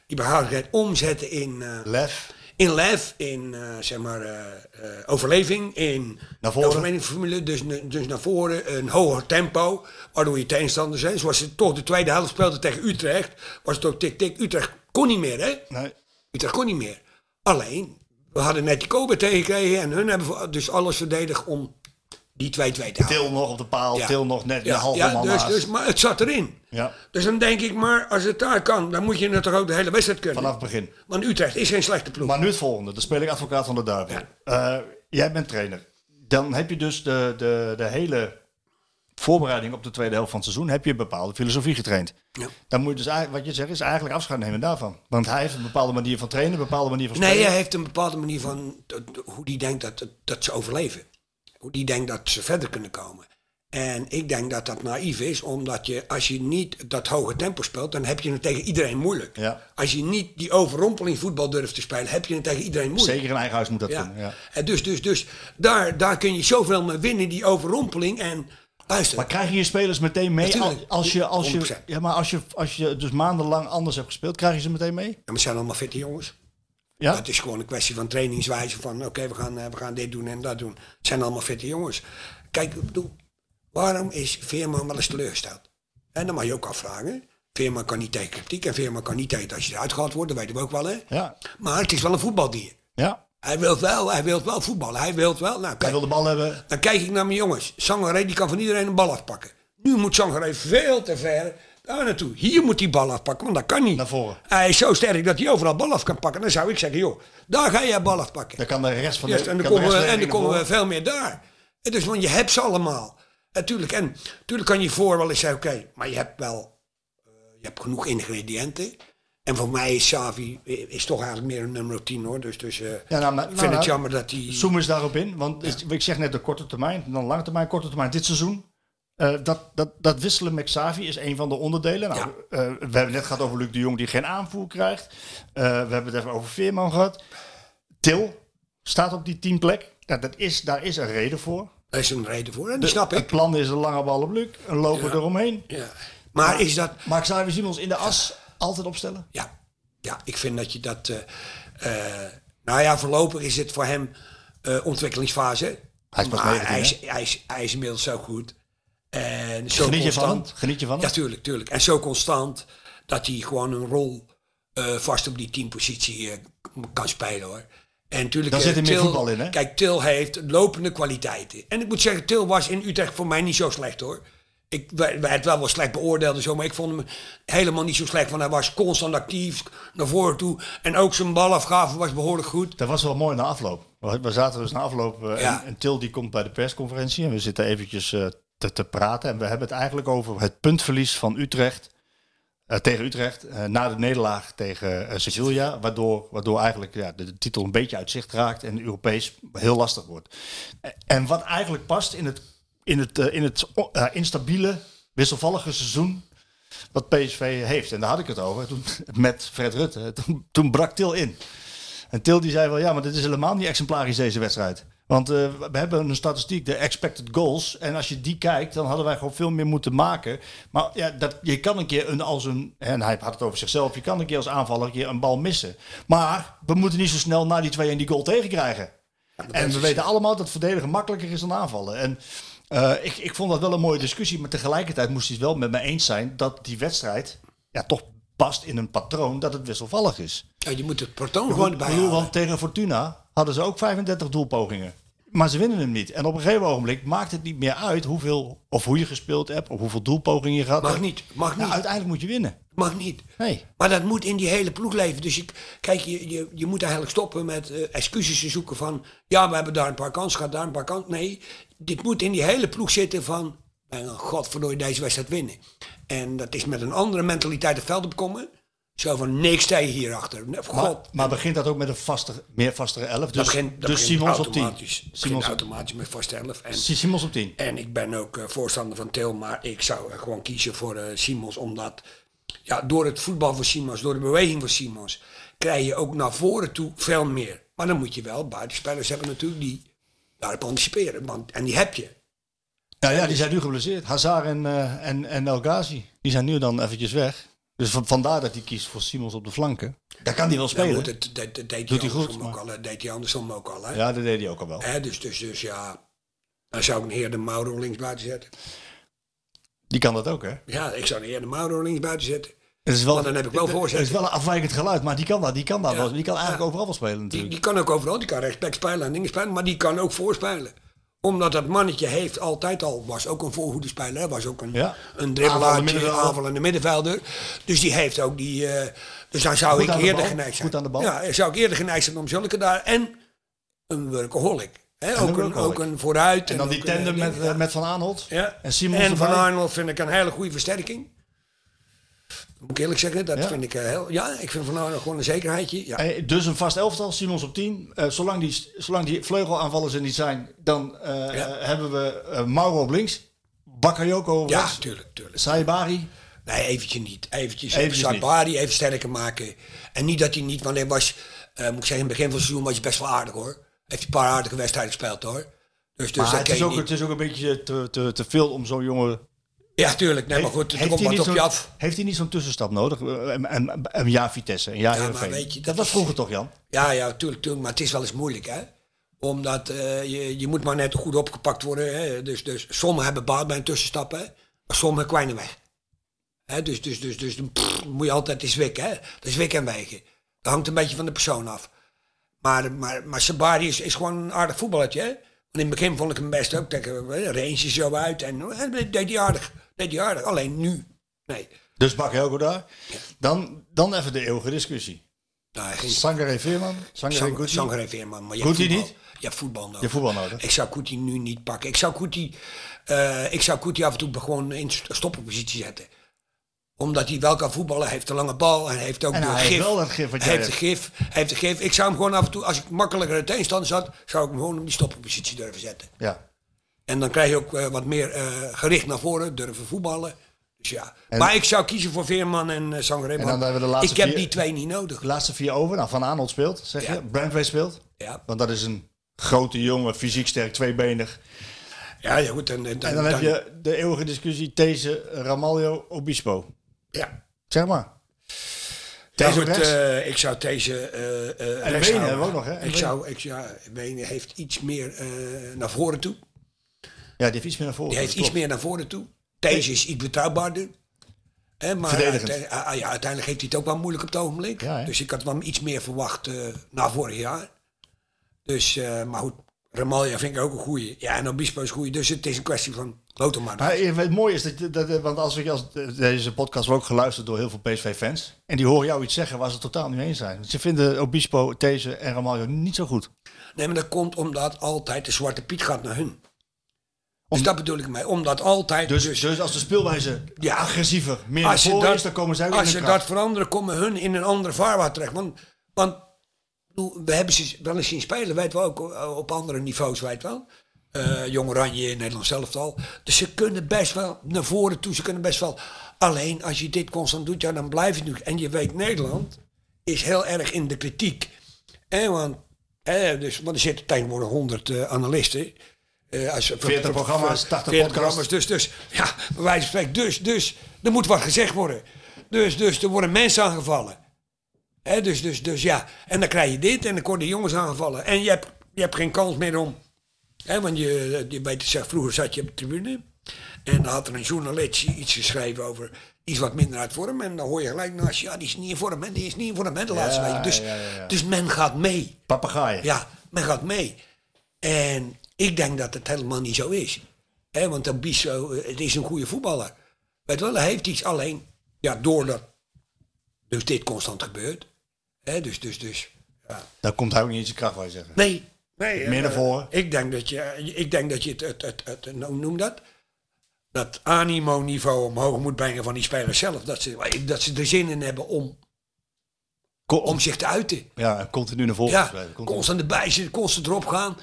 S9: Die behoudendheid omzetten in, eh,
S8: Lef.
S9: in lef, in eh, zeg maar eh, eh, overleving, in
S8: Naar voren.
S9: de overlevingsformule, dus, na- dus naar voren, een hoger tempo, waardoor je tegenstanders zijn. Zoals ze toch de tweede helft speelden tegen Utrecht, was het ook tik-tik. Utrecht kon niet meer, hè?
S8: Nee.
S9: Utrecht kon niet meer. Alleen, we hadden net die Kobe tegengekregen en hun hebben voor- dus alles verdedigd om die 2-2 te houden.
S8: Til nog op de paal,
S9: Ja.
S8: til nog net
S9: Ja,
S8: een halve
S9: ja,
S8: man
S9: dus,
S8: naast.
S9: dus, Maar het zat erin.
S8: Ja.
S9: Dus dan denk ik, maar als het daar kan, dan moet je het toch ook de hele wedstrijd kunnen.
S8: Vanaf het begin.
S9: Want Utrecht is geen slechte ploeg.
S8: Maar nu het volgende. Dan speel ik advocaat van de duivel. Eh, jij bent trainer. Dan heb je dus de, de, de hele voorbereiding op de tweede helft van het seizoen... heb je een bepaalde filosofie getraind.
S9: Ja.
S8: Dan moet je dus eigenlijk, wat je zegt, is eigenlijk afscheid nemen daarvan. Want hij heeft een bepaalde manier van trainen, een bepaalde manier van spelen.
S9: Nee, hij heeft een bepaalde manier van dat- hoe die denkt dat, dat ze overleven. Hoe die denkt dat ze verder kunnen komen. En ik denk dat dat naïef is, omdat je als je niet dat hoge tempo speelt, dan heb je het tegen iedereen moeilijk.
S8: Ja.
S9: Als je niet die overrompeling voetbal durft te spelen, heb je het tegen iedereen moeilijk.
S8: Zeker in eigen huis moet dat
S9: Ja.
S8: kunnen. Ja.
S9: En dus, dus, dus daar, daar kun je zoveel mee winnen, die overrompeling. En luister,
S8: Maar krijgen je spelers meteen mee
S9: Natuurlijk.
S8: al- als je, als je,
S9: 100%.
S8: ja, maar als je, als je dus maandenlang anders hebt gespeeld, krijg je ze meteen mee?
S9: ja, maar het zijn allemaal fitte jongens.
S8: Ja?
S9: Het is gewoon een kwestie van trainingswijze. Van oké, we, gaan, eh, we gaan dit doen en dat doen. Het zijn allemaal fitte jongens. Kijk, ik bedoel, waarom is Veerman wel eens teleurgesteld? En dan mag je ook afvragen. Veerman kan niet tegen kritiek en Veerman kan niet tegen dat je eruit gehaald wordt. Dat weten we ook wel, hè?
S8: Ja.
S9: Maar het is wel een voetbaldier.
S8: Ja.
S9: Hij wil wel, hij wil wel voetballen. Hij wil wel. Nou,
S8: Hij
S9: kijk,
S8: wil de bal hebben.
S9: dan kijk ik naar mijn jongens. Sangaré die kan van iedereen een bal afpakken. Nu moet Sangaré veel te ver daar naartoe. Hier moet hij bal afpakken, want dat kan niet.
S8: Naar voren.
S9: Hij is zo sterk dat hij overal bal af kan pakken. Dan zou ik zeggen, joh, daar ga jij bal afpakken.
S8: Dan kan de rest van de
S9: Juist, en dan
S8: kan de
S9: komen, we,
S8: rest
S9: en dan
S8: naar
S9: komen we
S8: voren.
S9: veel meer daar. En dus, want je hebt ze allemaal. Natuurlijk, en natuurlijk kan je voor wel eens zeggen, oké, maar je hebt wel eh, je hebt genoeg ingrediënten. En voor mij is Savi eh, is toch eigenlijk meer een nummer 10 hoor. Dus, dus eh,
S8: Ja, nou, maar-
S9: ik
S8: nou,
S9: vind
S8: nou,
S9: het jammer dat hij...
S8: Zoom eens daarop in, want is- ik zeg net de korte termijn, dan lange termijn, korte termijn. Dit seizoen, eh, dat, dat, dat wisselen met Xavi is een van de onderdelen. Nou,
S9: Ja.
S8: eh, we hebben het net gehad over Luc de Jong die geen aanvoer krijgt. Eh, we hebben het even over Veerman gehad. Til staat op die teamplek. Nou, dat is, daar is een reden voor.
S9: Daar is een reden voor en die snap
S8: Het
S9: ik.
S8: plan is een lange bal op Luc, een loper eromheen.
S9: Ja. Maar is dat...
S8: Maar Xavi Simons in de as altijd opstellen?
S9: Ja, ja ik vind dat je dat. eh, eh, nou ja, voorlopig is het voor hem eh, ontwikkelingsfase.
S8: Hij is pas
S9: Maar
S8: 19,
S9: hij, is,
S8: hè?
S9: hij, is, hij is inmiddels zo goed. En zo
S8: Geniet je van
S9: constant.
S8: hem? Geniet je van hem?
S9: Ja, tuurlijk, tuurlijk. En zo constant dat hij gewoon een rol eh, vast op die teampositie eh, kan spelen hoor. En natuurlijk,
S8: Daar
S9: eh,
S8: zit er meer
S9: Til-
S8: voetbal in, hè?
S9: Kijk, Til heeft lopende kwaliteiten. En ik moet zeggen, Til was in Utrecht voor mij niet zo slecht hoor. Ik werd werd wel wel slecht beoordeeld en zo, maar ik vond hem helemaal niet zo slecht. Want hij was constant actief naar voren toe. En ook zijn balafgave was behoorlijk goed.
S8: Dat was wel mooi na afloop. We we zaten dus na afloop eh,
S9: Ja.
S8: en, en Til die komt bij de persconferentie en we zitten eventjes eh, te, te praten. En we hebben het eigenlijk over het puntverlies van Utrecht eh, tegen Utrecht eh, na de nederlaag tegen eh, Sevilla. Waardoor, waardoor eigenlijk ja, de, de titel een beetje uit zicht raakt en Europees heel lastig wordt. Eh, en wat eigenlijk past in het, in het, eh, in het o- eh, instabiele, wisselvallige seizoen wat PSV heeft. En daar had ik het over toen, met Fred Rutte. Toen, toen brak Til in. En Til die zei wel, ja, maar dit is helemaal niet exemplarisch deze wedstrijd. Want eh, we hebben een statistiek, de expected goals. En als je die kijkt, dan hadden wij gewoon veel meer moeten maken. Maar ja, dat, je kan een keer een, als een. En hij had het over zichzelf. Je kan een keer als aanvaller een keer een bal missen. Maar we moeten niet zo snel na die 2 en die goal tegenkrijgen. En we weten allemaal dat verdedigen makkelijker is dan aanvallen. En eh, ik, ik vond dat wel een mooie discussie. Maar tegelijkertijd moest hij het wel met me eens zijn dat die wedstrijd ja, toch past in een patroon dat het wisselvallig is.
S9: Ja, je moet het protoon
S8: Ik
S9: gewoon
S8: bedoel,
S9: erbij
S8: want
S9: halen.
S8: tegen Fortuna hadden ze ook 35 doelpogingen. Maar ze winnen hem niet. En op een gegeven ogenblik maakt het niet meer uit hoeveel of hoe je gespeeld hebt, of hoeveel doelpogingen je gehad
S9: Mag
S8: hebt.
S9: niet, mag
S8: Ja,
S9: niet.
S8: uiteindelijk moet je winnen.
S9: Mag niet.
S8: Nee.
S9: Maar dat moet in die hele ploeg leven. Dus je, kijk, je, je, je moet eigenlijk stoppen met eh, excuses te zoeken van... ja, we hebben daar een paar kansen gehad, daar een paar kansen. Nee, dit moet in die hele ploeg zitten van... eh, godverdorie, deze wedstrijd winnen. En dat is met een andere mentaliteit het veld opkomen. Zo van, niks tegen hierachter. Nee, voor
S8: Maar,
S9: God.
S8: maar begint dat ook met een vaste, meer vastere elf? Dus,
S9: dat begint, dat
S8: dus
S9: begint
S8: Simons op 10.
S9: automatisch. Dat begint
S8: Simons, op-
S9: automatisch met vaste elf. En
S8: Si- Simons op 10.
S9: En ik ben ook eh, voorstander van Til, maar ik zou eh, gewoon kiezen voor eh, Simons. Omdat ja, door het voetbal van Simons, door de beweging van Simons, krijg je ook naar voren toe veel meer. Maar dan moet je wel buitenspelers hebben natuurlijk die daarop anticiperen. Want, en die heb je.
S8: Ja, ja, die zijn nu geblesseerd. Hazard en, eh, en, en El Ghazi. Die zijn nu dan eventjes weg. Dus van, vandaar dat hij kiest voor Simons op de flanken. Daar kan hij wel
S9: Ja,
S8: spelen.
S9: goed, dat, dat, dat deed hij
S8: Doet hij goed,
S9: andersom ook
S8: maar-
S9: al. Dat deed hij andersom ook al. Hè?
S8: Ja, dat deed hij ook al wel.
S9: Hè, dus, dus, dus ja, dan zou ik een heer de Mauro links buiten zetten.
S8: Die kan dat ook, hè?
S9: Ja, ik zou een heer de Mauro links buiten zetten.
S8: Het is wel,
S9: Want dan heb ik wel
S8: het-
S9: voorzetten.
S8: Het is wel een afwijkend geluid, maar die kan dat. Die kan, dat
S9: Ja.
S8: wel, die kan eigenlijk
S9: Ja.
S8: overal wel spelen
S9: Die,
S8: natuurlijk.
S9: die kan ook overal, die kan rechtsback spelen en dingen spelen, maar die kan ook voorspelen. Omdat dat mannetje heeft altijd al, was ook een voorhoedenspeler, hè, was ook een,
S8: Ja.
S9: een
S8: Aanvallende
S9: dribbelaartje,
S8: middenvelder.
S9: aanvallende middenvelder. Dus die heeft ook die, eh, dus dan zou
S8: Goed aan
S9: ik
S8: de
S9: eerder
S8: bal,
S9: geneigd zijn.
S8: goed aan de bal.
S9: Ja, zou ik eerder geneigd zijn om zulke daar en een workaholic. Hè, ook, een,
S8: workaholic.
S9: ook een vooruit.
S8: En dan die
S9: ook een,
S8: tandem
S9: eh,
S8: met,
S9: ding, ja.
S8: eh, met Van Aanholt
S9: Ja.
S8: en Simons
S9: En Van
S8: erbij.
S9: Arnold vind ik een hele goede versterking. Moet ik eerlijk zeggen, dat
S8: Ja.
S9: vind ik eh, heel... Ja, ik vind Van Arnold gewoon een zekerheidje. Ja.
S8: Eh, Dus een vast elftal, Simons op 10. Eh, zolang, die, zolang die vleugelaanvallers er niet zijn, dan eh, eh, hebben we eh, Mauro op links, Bakayoko op
S9: Ja,
S8: rechts,
S9: tuurlijk, Dus tuurlijk.
S8: Saibari.
S9: Nee, eventjes niet. Eventjes,
S8: Eventjes
S9: even Sabari even sterker maken. En niet dat hij niet, want hij was, eh, moet ik zeggen, in het begin van het seizoen was hij best wel aardig hoor. Heeft hij een paar aardige wedstrijden gespeeld hoor. Dus, dus
S8: Maar
S9: dat
S8: het
S9: kan
S8: is,
S9: je
S8: ook,
S9: niet.
S8: het is ook een beetje te, te, te veel om zo'n jongen...
S9: Ja, tuurlijk. Nee, maar goed, er komt
S8: niet
S9: wat op
S8: zo'n-
S9: je af.
S8: heeft hij niet zo'n tussenstap nodig? Eh, Een, een, een jaar Vitesse, een jaar
S9: Ja, maar
S8: Heerenveen.
S9: weet je, dat
S8: dat was
S9: is-
S8: vroeger toch, Jan?
S9: Ja, ja, tuurlijk, tuurlijk. Maar het is wel eens moeilijk hè. Omdat eh, je, je moet maar net goed opgepakt worden. Hè? Dus, dus sommigen hebben baat bij een tussenstap hè. Maar sommigen kwijnen weg. Hè? Dus, dus, dus, dus, pff, moet je altijd eens wikken hè. Dat is wikken en wegen. Dat hangt een beetje van de persoon af. Maar, maar, maar Sabari is, is gewoon een aardig voetballertje. Hè? Want in het begin vond ik hem best ook tegen Reensje zo uit. En, en deed hij aardig. Deed hij aardig. Alleen nu. Nee.
S8: Dus Bakayoko daar. Dan, dan even de eeuwige discussie.
S9: Nou, geen
S8: Sangare Veerman, Sangare
S9: Sang-
S8: Guti.
S9: Sangare Veerman. Maar je
S8: Guti
S9: hebt voetbal-
S8: niet?
S9: Je hebt voetbal nodig.
S8: Je hebt voetbal nodig.
S9: Ik zou Koetie nu niet pakken. Ik zou Koetie, eh, ik zou Koetie af en toe gewoon in st- stoppenpositie zetten. Omdat hij wel kan voetballen. Hij heeft een lange bal. En hij heeft ook
S8: En
S9: door
S8: hij
S9: gif.
S8: heeft wel dat gif wat
S9: Hij
S8: jij
S9: heeft een gif. Hij heeft een gif. Ik zou hem gewoon af en toe, als ik makkelijker in tegenstander zat, zou ik hem gewoon in die stoppenpositie durven zetten.
S8: Ja.
S9: En dan krijg je ook eh, wat meer eh, gericht naar voren, durven voetballen. Dus ja. maar ik zou kiezen voor Veerman en eh Sangare.
S8: dan
S9: want
S8: hebben we de laatste
S9: ik heb
S8: vier-
S9: die twee niet nodig.
S8: De laatste vier over. Nou, Van Aanholt speelt, zeg
S9: Ja.
S8: je. Brandway speelt.
S9: Ja.
S8: Want dat is een grote jongen, fysiek sterk, tweebenig.
S9: Ja, ja goed. En, eh,
S8: En dan heb je de eeuwige discussie These, Ramalho, Obispo.
S9: Ja.
S8: Zeg maar.
S9: Ja,
S8: These
S9: goed,
S8: op rechts.
S9: eh, ik zou deze. eh eh rechts
S8: Wenen
S9: houden.
S8: hebben we ook nog, hè? En
S9: Ik
S8: Wenen.
S9: zou, ik, ja, Wenen heeft iets meer eh, naar voren toe.
S8: ja, die heeft iets meer naar voren.
S9: Die heeft
S8: dat
S9: iets
S8: klopt.
S9: meer naar voren toe. Deze is iets betrouwbaarder. Hè, maar
S8: Verdedigend.
S9: uite- ah, ja, uiteindelijk heeft hij het ook wel moeilijk op het ogenblik.
S8: Ja, hè?
S9: dus ik had wel iets meer verwacht eh, na vorig jaar. Dus, eh, maar goed, Ramalja vind ik ook een goeie. Ja, en Obispo is een goeie. Dus het is een kwestie van lood hem maar.
S8: Maar eh, het mooie is, dat, je- dat, eh, want als ik als, deze podcast wordt ook geluisterd door heel veel PSV-fans. En die horen jou iets zeggen waar ze het totaal niet mee eens zijn. Want ze vinden Obispo, These en Ramalho niet zo goed.
S9: Nee, maar dat komt omdat altijd de zwarte piet gaat naar hun. dus dat bedoel ik mee. Omdat altijd...
S8: Dus, dus, als de speelwijze
S9: Ja.
S8: agressiever, meer
S9: als
S8: als
S9: je, dat,
S8: is, dan komen zij ook in
S9: als
S8: hun
S9: je
S8: kracht.
S9: dat veranderen, komen hun in een andere vaarwater terecht. Want, want ik bedoel, we hebben ze wel eens zien spelen, weet wel, ook eh, op andere niveaus, weet wel. Eh Jong Oranje in Nederland zelf al. Dus ze kunnen best wel naar voren toe, ze kunnen best wel. Alleen als je dit constant doet, ja, dan blijf je nu. En je weet, Nederland is heel erg in de kritiek. Eh, want Eh, dus, want er zitten tegenwoordig 100 eh, analisten. Eh, als,
S8: 40 programma's, 80 podcasts.
S9: programma's. Dus, dus, ja, bij wijze van spreken. Dus, dus, er moet wat gezegd worden. Dus, dus er worden mensen aangevallen. Hè, dus, dus, dus ja, en dan krijg je dit en dan worden jongens aangevallen. En je hebt, je hebt geen kans meer om. Hè, want je, je weet, het zelf, vroeger zat je op de tribune. En dan had er een journalist iets geschreven over iets wat minder uit vorm. En dan hoor je gelijk naast je, ja, die is niet in vorm. En die is niet in vorm. Hè, de laatste week. Dus, dus men gaat mee.
S8: Papagaaien.
S9: Ja, men gaat mee. En ik denk dat het helemaal niet zo is. hè want dat Bisso, eh, het is een goede voetballer. Weet wel, hij heeft iets alleen. Ja, doordat dus dit constant gebeurt. hè dus, dus, dus. Ja.
S8: Daar komt hij ook niet in zijn kracht, wij zeggen.
S9: Nee. nee
S8: Meer
S9: eh,
S8: naar voren.
S9: Ik denk dat je, ik denk dat je het, het, het, het- hoe noem dat? Dat animo-niveau omhoog moet brengen van die spelers zelf. Dat ze, dat ze er zin in hebben om,
S8: Co-
S9: om zich te uiten.
S8: Ja, continu naar voren
S9: Ja,
S8: schrijven. Continu.
S9: constant erbij zitten, constant erop gaan.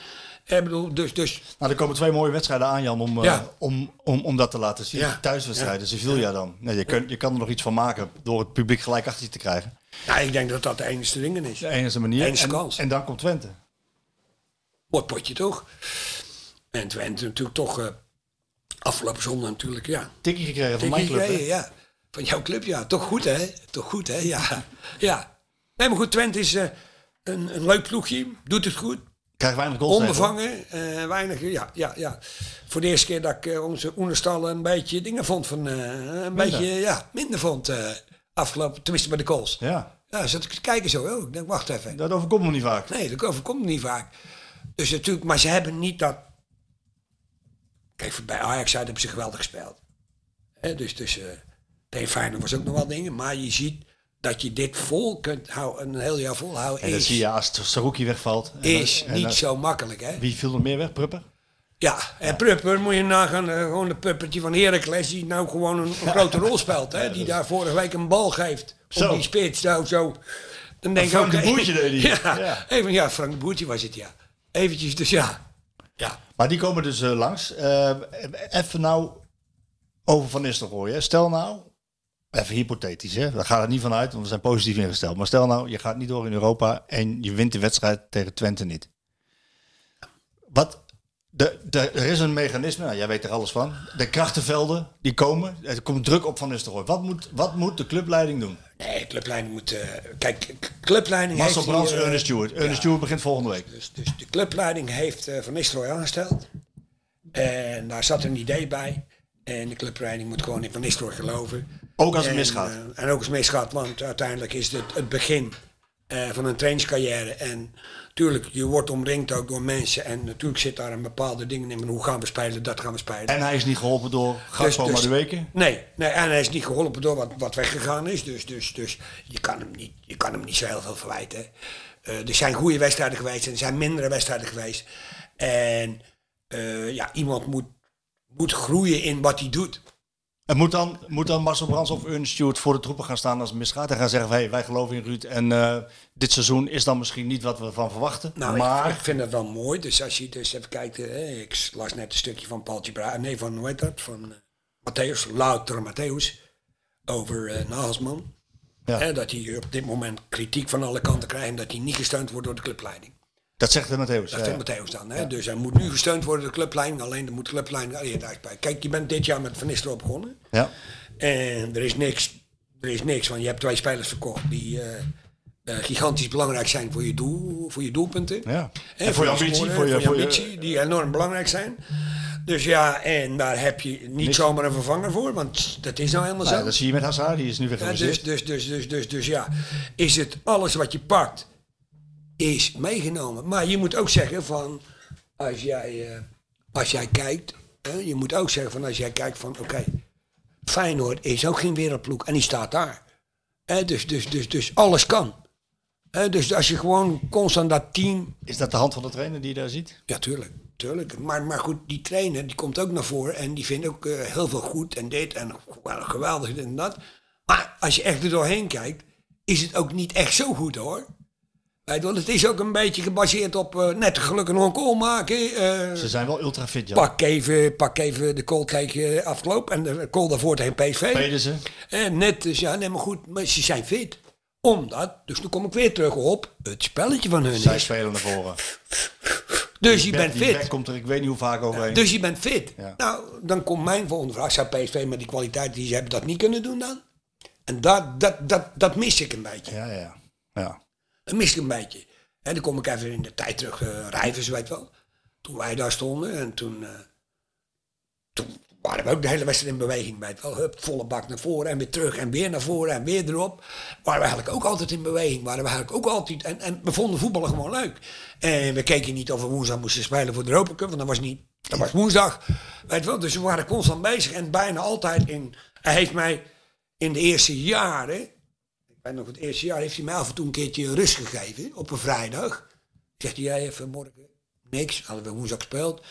S9: Ik bedoel, dus, dus
S8: Nou, er komen twee mooie wedstrijden aan, Jan, om, eh,
S9: Ja.
S8: om, om, om dat te laten zien.
S9: Ja.
S8: Thuiswedstrijden, Sevilla dan. Nee, je, kunt, je kan er nog iets van maken door het publiek gelijk achter je te krijgen.
S9: nou, ik denk dat dat de enige dingen is.
S8: De enige manier.
S9: Enige
S8: en,
S9: kans.
S8: en dan komt Twente.
S9: Wat potje toch? En Twente natuurlijk toch eh, afgelopen zondag natuurlijk, ja.
S8: Tikkie gekregen van
S9: Tikkie
S8: mijn club. hè?
S9: gekregen, ja. Van jouw club, ja. Toch goed, hè? Toch goed, hè? Ja. ja. Nee, maar goed, Twente is eh, een, een leuk ploegje. Doet het goed.
S8: Krijgt weinig goals. tegen, hoor.
S9: Onbevangen. eh, weinig, ja, ja, ja. Voor de eerste keer dat ik eh, onze Oenerstallen een beetje dingen vond van... eh, een beetje, ja, minder vond eh, afgelopen, tenminste bij de goals.
S8: Ja,
S9: Ja, zat ik te kijken zo. Oh, ik denk, wacht even.
S8: dat overkomt me niet vaak.
S9: Nee, dat overkomt niet vaak. Dus natuurlijk, maar ze hebben niet dat... Kijk, bij Ajax uit hebben ze geweldig gespeeld. Hè, dus dus eh tegen Feyenoord was ook nog wel dingen. Maar je ziet dat je dit vol kunt houden, een heel jaar volhouden,
S8: En dat
S9: is,
S8: zie je als Saruki wegvalt. En
S9: is
S8: dan- en
S9: Eh, niet
S8: dan-
S9: zo makkelijk. Hè?
S8: Wie viel er meer weg, Prupper?
S9: Ja, en Prupper moet je nagaan, eh, gewoon de puppertje van Heracles, die nou gewoon een, een grote rol speelt. Hè? Die daar vorige week een bal geeft op
S8: Zo.
S9: die spits. Nou, zo. Dan denk
S8: Frank
S9: ik,
S8: de
S9: oké.
S8: Boertje deed die.
S9: Ja,
S8: Ja.
S9: Even, ja, Frank de Boertje was het, ja. Eventjes, dus ja. Ja,
S8: Maar die komen dus eh, langs. Eh, even nou over Van Nistelrooy. Hè. Stel nou, even hypothetisch, hè. daar gaat het niet van uit, want we zijn positief ingesteld. Maar stel nou, je gaat niet door in Europa en je wint de wedstrijd tegen Twente niet. Wat, de, de, er is een mechanisme, nou, jij weet er alles van. De krachtenvelden, die komen. Er komt druk op Van Nistelrooy. Wat moet, wat moet de clubleiding doen?
S9: nee, clubleiding moet... eh, kijk, k- clubleiding
S8: Marcel
S9: heeft...
S8: Brands,
S9: hier, eh,
S8: Ernest Stewart. Ernest Stewart begint volgende week.
S9: Dus, dus de clubleiding heeft eh, Van Nistelrooy aangesteld. En daar zat een idee bij. En de clubleiding moet gewoon in Van Nistelrooy geloven.
S8: Ook als het
S9: En,
S8: misgaat.
S9: eh, en ook als het misgaat, want uiteindelijk is dit het begin eh, van een trainingscarrière. En natuurlijk, je wordt omringd ook door mensen. En natuurlijk zit daar een bepaalde dingen in. van Hoe gaan we spelen, dat gaan we spelen.
S8: En hij is niet geholpen door
S9: Dus-
S8: Gakpo
S9: dus-
S8: Madueke.
S9: Nee, nee, en hij is niet geholpen door wat, wat weggegaan is. Dus, dus, dus je, kan hem niet, je kan hem niet zo heel veel verwijten. Eh, er zijn goede wedstrijden geweest en er zijn mindere wedstrijden geweest. En eh, ja, iemand moet, moet groeien in wat hij doet.
S8: En moet dan, moet dan Marcel Brands of Ernst Stewart voor de troepen gaan staan als het misgaat? En gaan zeggen, hey, wij geloven in Ruud en eh, dit seizoen is dan misschien niet wat we van verwachten.
S9: Nou, ik-
S8: maar
S9: ik, vind dat wel mooi. Dus als je dus even kijkt, eh, ik las net een stukje van Paultje Bra, eh, nee van hoe heet dat? Van eh, Matthäus, louter Matthäus, over eh Nagelsman.
S8: Ja.
S9: Eh, dat hij op dit moment kritiek van alle kanten krijgt en dat hij niet gesteund wordt door de clubleiding.
S8: dat zegt de Matthäus.
S9: Dat
S8: ja.
S9: vindt Matthäus dan. Hè? Dus hij moet nu gesteund worden door de clublijn. Alleen dan moet de Ah, clublijn alleen uitspreken. Kijk, je bent dit jaar met Van Nistelrooy begonnen.
S8: Ja.
S9: En er is niks. Er is niks, want je hebt twee spelers verkocht die eh, eh, gigantisch belangrijk zijn voor je, doel, voor je doelpunten.
S8: Ja.
S9: Hè,
S8: En voor je ambitie,
S9: scoren,
S8: voor je- voor je-
S9: ambitie, die enorm belangrijk zijn. Dus ja, en daar heb je niet zomaar een vervanger voor, want dat is nou helemaal
S8: Nou,
S9: zo.
S8: dat zie je met Hazard, die is nu weer
S9: Ja,
S8: geblesseerd.
S9: dus, dus, dus, dus, dus, dus ja, is het alles wat je pakt, is meegenomen. Maar je moet ook zeggen van, als jij, eh, als jij kijkt, hè, je moet ook zeggen van als jij kijkt van, oké, Feyenoord is ook geen wereldploeg en die staat daar. Hè, dus, dus, dus, dus alles kan. Hè, dus als je gewoon constant dat team
S8: Is dat de hand van de trainer die je daar ziet?
S9: ja, tuurlijk. tuurlijk. Maar, maar goed, die trainer die komt ook naar voren en die vindt ook eh, heel veel goed en dit en wel geweldig dit en dat. Maar als je echt er doorheen kijkt, is het ook niet echt zo goed hoor. Weet je wel, het is ook een beetje gebaseerd op eh, net gelukkig nog een goal maken. eh,
S8: Ze zijn wel ultra fit, Jan.
S9: pak, even, pak even de goal tegen eh, afgelopen en de goal daarvoor tegen PSV.
S8: Spelen ze.
S9: Eh, En net, dus ja, nee, maar goed, maar ze zijn fit. Omdat, dus nu kom ik weer terug op het spelletje van hun.
S8: Zij
S9: is.
S8: spelen naar voren.
S9: Dus je
S8: Die
S9: bent
S8: back- die
S9: fit.
S8: back komt er, ik weet niet hoe vaak overheen.
S9: Dus je bent fit.
S8: Ja.
S9: Nou, dan komt mijn volgende vraag. Zou PSV met die kwaliteit die ze hebben dat niet kunnen doen dan? En dat, dat, dat, dat mis ik een beetje.
S8: Ja, ja. ja.
S9: Dat mis ik een beetje. En dan kom ik even in de tijd terug, eh Rijvers, weet je wel. Toen wij daar stonden en toen, eh, toen waren we ook de hele wedstrijd in beweging, weet je wel. Hup, volle bak naar voren en weer terug en weer naar voren en weer erop. Waren we eigenlijk ook altijd in beweging, waren we eigenlijk ook altijd... En, en we vonden voetballen gewoon leuk. En we keken niet of we woensdag moesten spelen voor de Europa Cup, want dat was niet... Dat was woensdag, weet je wel. Dus we waren constant bezig en bijna altijd in... Hij heeft mij in de eerste jaren en nog het eerste jaar heeft hij mij af en toe een keertje rust gegeven op een vrijdag. Zegt hij, jij even morgen niks. Hadden we woensdag gespeeld.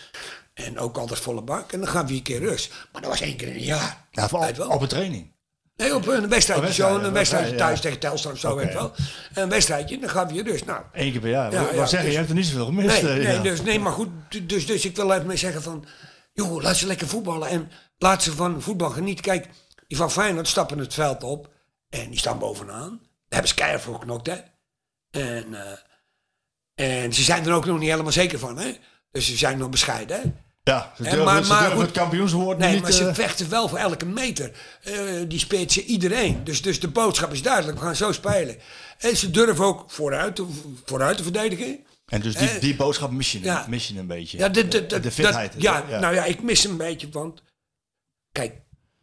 S9: En ook altijd volle bak. En dan gaan we een keer rust. Maar dat was één keer in een jaar.
S8: ja
S9: Weet
S8: op,
S9: wel.
S8: op een training.
S9: Nee, op een wedstrijdje.
S8: Een
S9: Zo'n
S8: wedstrijd,
S9: een wedstrijdje
S8: ja.
S9: thuis tegen Telstra of zo.
S8: Oké.
S9: weet je wel. Een wedstrijdje, dan gaan we je rust. Nou,
S8: Eén keer per jaar.
S9: Ja,
S8: Wat
S9: ja,
S8: zeg je,
S9: dus-
S8: je hebt er niet zoveel gemist.
S9: nee,
S8: eh,
S9: nee,
S8: ja.
S9: dus, nee maar goed. Dus, dus ik wil even mee zeggen van... joh, laat ze lekker voetballen. En laat ze van voetbal genieten. Kijk, die van Feyenoord stappen het veld op. En die staan bovenaan. Daar hebben ze keihard voor geknokt, hè. En, eh, en ze zijn er ook nog niet helemaal zeker van, hè? Dus ze zijn nog bescheiden, hè?
S8: Ja, ze
S9: Hè,
S8: durven,
S9: Eh, maar-
S8: ze
S9: maar
S8: durven
S9: goed.
S8: het kampioenswoord
S9: Nee,
S8: niet.
S9: maar ze
S8: eh,
S9: vechten wel voor elke meter. Eh, die speelt ze iedereen. Dus, dus de boodschap is duidelijk, we gaan zo spelen. En ze durven ook vooruit te, vooruit te verdedigen.
S8: en dus die,
S9: eh,
S8: die boodschap mis je,
S9: ja.
S8: mis je een beetje.
S9: Ja, dit- dit-
S8: de,
S9: dat-
S8: de
S9: dat-
S8: fitheid.
S9: ja, nou ja, ik mis een beetje, want... Kijk,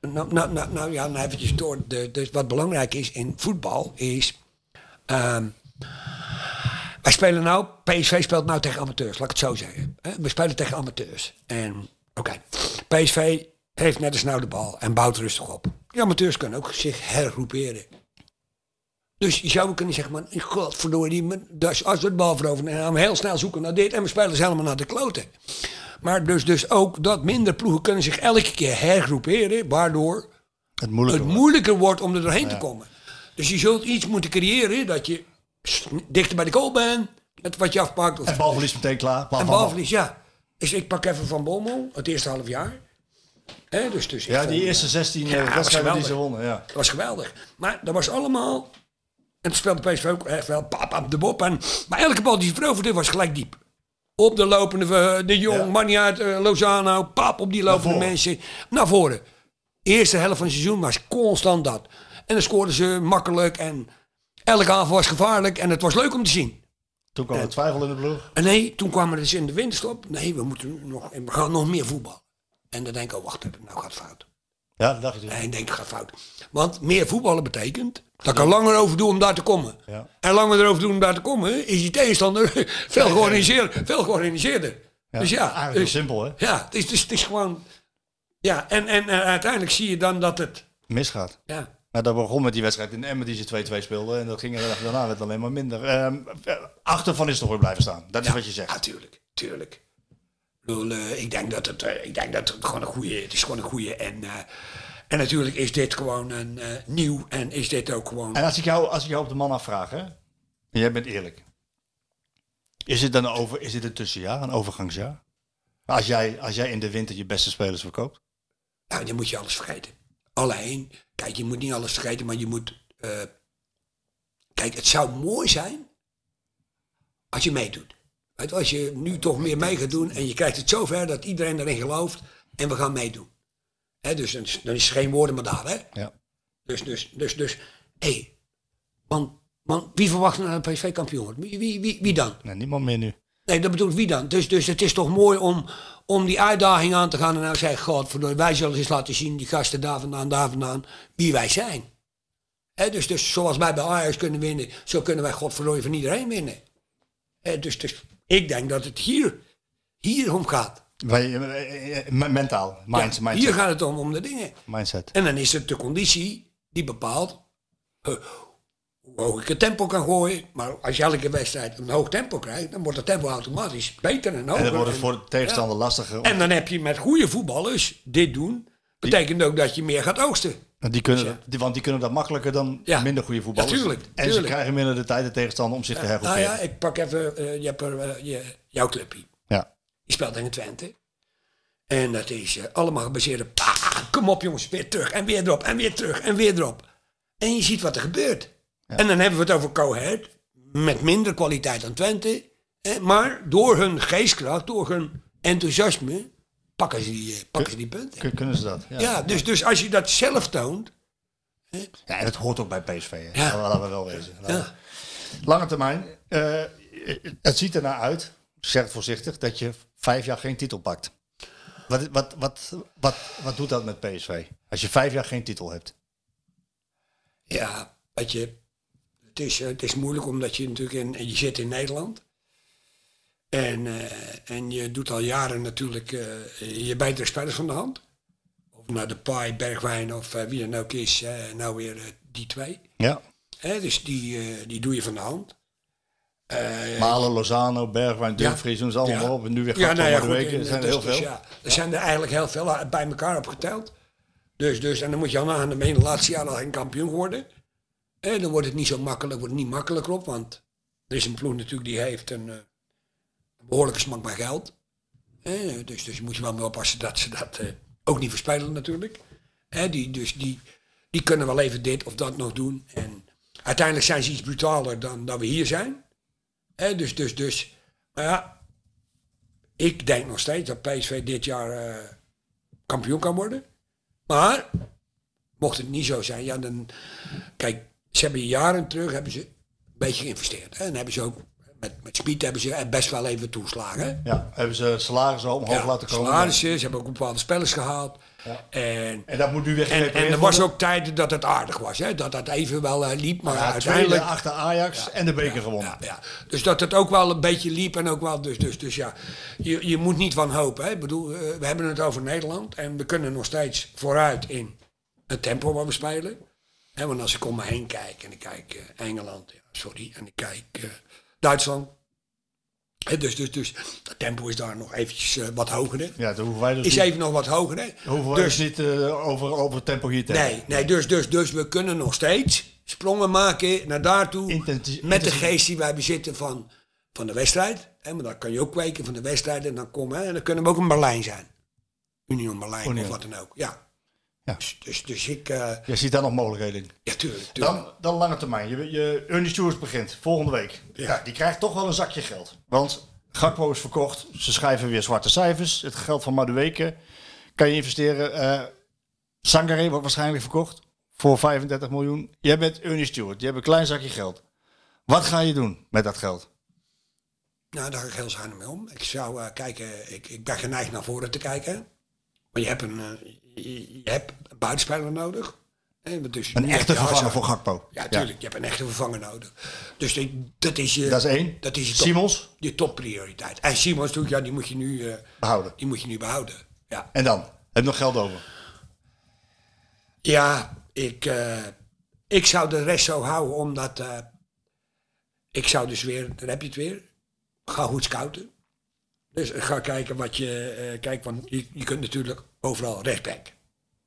S9: nou, nou, nou, nou ja, nou eventjes door. De, dus wat belangrijk is in voetbal is... ehm, wij spelen nou... PSV speelt nou tegen amateurs, laat ik het zo zeggen. hè. We spelen tegen amateurs. En, oké, PSV heeft net als nou de bal en bouwt rustig op. Die amateurs kunnen ook zich hergroeperen. Dus je zou kunnen zeggen, man, godverdorie, dus als we de bal veroveren en gaan we heel snel zoeken naar dit en we spelen ze helemaal naar de kloten. Maar dus, dus ook dat minder ploegen kunnen zich elke keer hergroeperen, waardoor
S8: het moeilijke.
S9: het moeilijker wordt om er doorheen te komen. Dus je zult iets moeten creëren dat je s- dichter bij de goal bent, met wat je afpakt. Of,
S8: En balverlies meteen klaar. Bal
S9: en
S8: van-
S9: balverlies, ja. Dus ik pak even Van Bommel, het eerste half jaar. Hè, dus, dus ik
S8: Ja,
S9: vond,
S8: die
S9: eh,
S8: eerste 16 eh,
S9: ja, dat was
S8: wedstrijden die
S9: geweldig.
S8: ze wonnen. Ja.
S9: Dat was geweldig. Maar dat was allemaal. En het speelde PSV ook echt wel pap, pap, de bop. En, maar elke bal die ze veroverde was gelijk diep. Op de lopende, eh, de Jong,
S8: Ja.
S9: man niet uit, eh, Lozano, pap op die lopende
S8: voren.
S9: mensen. Naar voren. Eerste helft van het seizoen was constant dat. En dan scoorden ze makkelijk en elke aanval was gevaarlijk en het was leuk om te zien.
S8: Toen kwam de twijfel in de ploeg.
S9: En nee, toen kwamen we dus in de winterstop. Nee, we, moeten nog, we gaan nog meer voetballen. En dan denk ik, oh wacht even, nou gaat het fout.
S8: Ja, dat dacht dus. je. toen.
S9: Nee, ik denk het gaat fout. Want meer voetballen betekent dat ik er langer over doe om daar te komen.
S8: Ja.
S9: En langer erover doen om daar te komen, is die tegenstander veel georganiseerder. Veel georganiseerder. dus ja,
S8: Eigenlijk
S9: dus,
S8: heel simpel, hè?
S9: ja het, is, dus het is gewoon... Ja, en, en, eh, uiteindelijk zie je dan dat het...
S8: Misgaat.
S9: Ja,
S8: Nou, dat begon met die wedstrijd in Emmen die ze 2-2 speelden. En dat ging er daarna werd het alleen maar minder. Ehm, eh, achter Van Nistelrooy blijven staan. Dat is wat je zegt.
S9: ja tuurlijk, tuurlijk. Ik, bedoel, eh, ik, denk dat het, eh, ik denk dat het gewoon een goede Het is gewoon een goede. En, eh, en natuurlijk is dit gewoon een eh, nieuw. En is dit ook gewoon...
S8: En als ik, jou, als ik jou op de man afvraag, hè? En jij bent eerlijk. Is dit dan een over, is dit een tussenjaar, een overgangsjaar? Als jij, als jij in de winter je beste spelers verkoopt?
S9: Nou, dan moet je alles vergeten. Alleen, kijk, je moet niet alles vergeten, maar je moet. eh, kijk, het zou mooi zijn als je meedoet. Weet, je, als je nu toch meer mee gaat doen en je krijgt het zover dat iedereen erin gelooft en we gaan meedoen. Hè, dus dan is, dan is er geen woorden maar daden. hè?
S8: Ja.
S9: Dus, dus, dus, dus. Hé, want, want wie verwacht nou dat PSV kampioen wordt? Wie, wie, wie, wie dan?
S8: Nee, niemand meer nu.
S9: Nee, dat bedoelt wie dan? Dus, dus het is toch mooi om, om die uitdaging aan te gaan en nou zeggen, godverdorie, wij zullen eens laten zien, die gasten daar vandaan, daar vandaan, wie wij zijn. Hè, dus, dus zoals wij bij Ajax kunnen winnen, zo kunnen wij godverdorie van iedereen winnen. Hè, dus, dus ik denk dat het hier, hier om gaat.
S8: Wij- eh, eh, me- Mentaal. Minds,
S9: Ja,
S8: mindset.
S9: hier gaat het om, om de dingen.
S8: mindset.
S9: En dan is het de conditie die bepaalt eh, hoe hoog ik het tempo kan gooien. Maar als je elke wedstrijd een hoog tempo krijgt, dan wordt het tempo automatisch beter en hoger.
S8: En dan wordt het voor de tegenstander
S9: Ja.
S8: lastiger.
S9: En dan heb je met goede voetballers dit doen. Betekent ook dat je meer gaat oogsten.
S8: Want Die kunnen, die, want die kunnen dat makkelijker dan
S9: Ja.
S8: minder goede voetballers.
S9: Ja, tuurlijk,
S8: En ze
S9: tuurlijk.
S8: krijgen minder de tijd de tegenstander om zich te
S9: Nou
S8: hergroeperen.
S9: ja, ik pak even eh, je hebt er, eh, je, jouw clubje.
S8: ja.
S9: Die speelt tegen Twente. En dat is eh, allemaal gebaseerd op... "Ah, kom op jongens, weer terug en weer erop en weer terug en weer erop. En je ziet wat er gebeurt. En dan hebben we het over Cohet. Met minder kwaliteit dan Twente. eh, Maar door hun geestkracht, door hun enthousiasme, pakken ze die, eh, pakken ze die punten.
S8: Kun- Kunnen ze dat? Ja.
S9: Ja, dus, dus als je dat zelf toont.
S8: Ja, en dat hoort ook bij PSV. Hè.
S9: Ja.
S8: Laten we wel wezen. Laten we-
S9: Ja.
S8: Lange termijn. eh, het ziet ernaar uit, zeg het voorzichtig, dat je vijf jaar geen titel pakt. Wat, wat, wat, wat, wat doet dat met PSV? Als je vijf jaar geen titel hebt.
S9: Ja, weet je, het is, eh, het is moeilijk omdat je natuurlijk in, en je zit in Nederland. En, eh, en je doet al jaren natuurlijk eh, je betere spelers van de hand. Of naar de Pai, Bergwijn of eh, wie dan ook is, eh, nou weer eh, die twee.
S8: Ja.
S9: Hè, dus die, eh, die doe je van de hand.
S8: Malen, Lozano, Bergwijn, Dumfries, noem ze allemaal
S9: Ja.
S8: maar op. En nu weer
S9: Ja,
S8: gaat
S9: nou ja,
S8: de
S9: goed.
S8: weken. Er
S9: en
S8: zijn er
S9: dus-
S8: heel
S9: dus
S8: veel.
S9: ja, er zijn er eigenlijk heel veel eh, bij elkaar opgeteld. Dus, dus, en dan moet je al nagaan, dan ben je de laatste jaren al geen kampioen geworden. En dan wordt het niet zo makkelijk, wordt het niet makkelijker op, want er is een ploeg natuurlijk die heeft een eh, behoorlijke smak bij geld. Eh, dus, dus je moet je wel mee oppassen dat ze dat eh, ook niet verspelen natuurlijk. Eh, die, dus die, die kunnen wel even dit of dat nog doen. En uiteindelijk zijn ze iets brutaler dan, dan we hier zijn. Eh, dus, dus, dus. Maar ja, ik denk nog steeds dat PSV dit jaar eh, kampioen kan worden. Maar mocht het niet zo zijn, ja dan... Kijk, ze hebben jaren terug hebben ze een beetje geïnvesteerd. Hè? En hebben ze ook, met, met Speed hebben ze eh, best wel even toeslagen. hè?
S8: Ja, hebben ze salarissen al omhoog
S9: Ja,
S8: laten komen.
S9: salarissen, ze hebben ook bepaalde spelers gehaald. En,
S8: En dat moet nu weer
S9: en, en er was ook tijden dat het aardig was. Hè? Dat dat even wel eh, liep, maar
S8: ja,
S9: uiteindelijk...
S8: tweede achter Ajax en de beker gewonnen.
S9: Ja, ja. Dus dat het ook wel een beetje liep en ook wel. Dus, dus, dus ja, je, je moet niet van hopen. Hè? Ik bedoel, eh, we hebben het over Nederland en we kunnen nog steeds vooruit in het tempo waar we spelen. Hè, want als ik om me heen kijk en ik kijk eh, Engeland, ja, sorry, en ik kijk eh, Duitsland. Hè, dus, dus, dus dat tempo is daar nog eventjes eh, wat hoger. Hè?
S8: Ja, dan hoeven wij dus
S9: Is
S8: niet,
S9: even nog wat hoger. Hè?
S8: hoeven wij
S9: dus,
S8: dus niet eh, over, over het tempo hier te hebben.
S9: Nee, nee dus, dus, dus we kunnen nog steeds sprongen maken naar daartoe.
S8: Intensi-
S9: met de
S8: intensi-
S9: geest die wij bezitten van, van de wedstrijd. Hè, maar dan kan je ook kweken van de wedstrijd en dan komen. Hè, en dan kunnen we ook een Berlijn zijn. Union Berlijn
S8: Union.
S9: of wat dan ook. Ja.
S8: Ja.
S9: Dus, dus, dus ik. eh
S8: Je ziet daar nog mogelijkheden in.
S9: ja, tuurlijk. tuurlijk.
S8: Dan, dan lange termijn. Je, je, Ernie Stewart begint volgende week. Ja. die krijgt toch wel een zakje geld. Want Gakpo is verkocht. Ze schrijven weer zwarte cijfers. Het geld van Madueke kan je investeren. Eh Sangare wordt waarschijnlijk verkocht voor 35 miljoen. Jij bent Ernie Stewart. Je hebt een klein zakje geld. Wat ga je doen met dat geld?
S9: Nou, daar ga ik heel zuinig mee om. Ik zou eh, kijken, ik, ik ben geneigd naar voren te kijken. Maar je hebt een, eh, je, je hebt een buitenspeler nodig. Hè, want dus
S8: Een
S9: nu heb
S8: echte
S9: je
S8: vervanger
S9: Hazard.
S8: voor Gakpo.
S9: Ja, tuurlijk. Je hebt een echte vervanger nodig. Dus ik- dat is je...
S8: Dat is één.
S9: Dat is je top,
S8: Simons
S9: Je topprioriteit. En Simons natuurlijk, ja, die moet je nu, eh,
S8: behouden.
S9: die moet je nu behouden. Ja,
S8: En dan? Heb je nog geld over?
S9: ja ik, eh, ik zou de rest zo houden, omdat... eh, ik zou dus weer, daar heb je het weer, ga goed scouten. Dus ga kijken wat je... eh kijk, want je, je kunt natuurlijk overal rechtsback.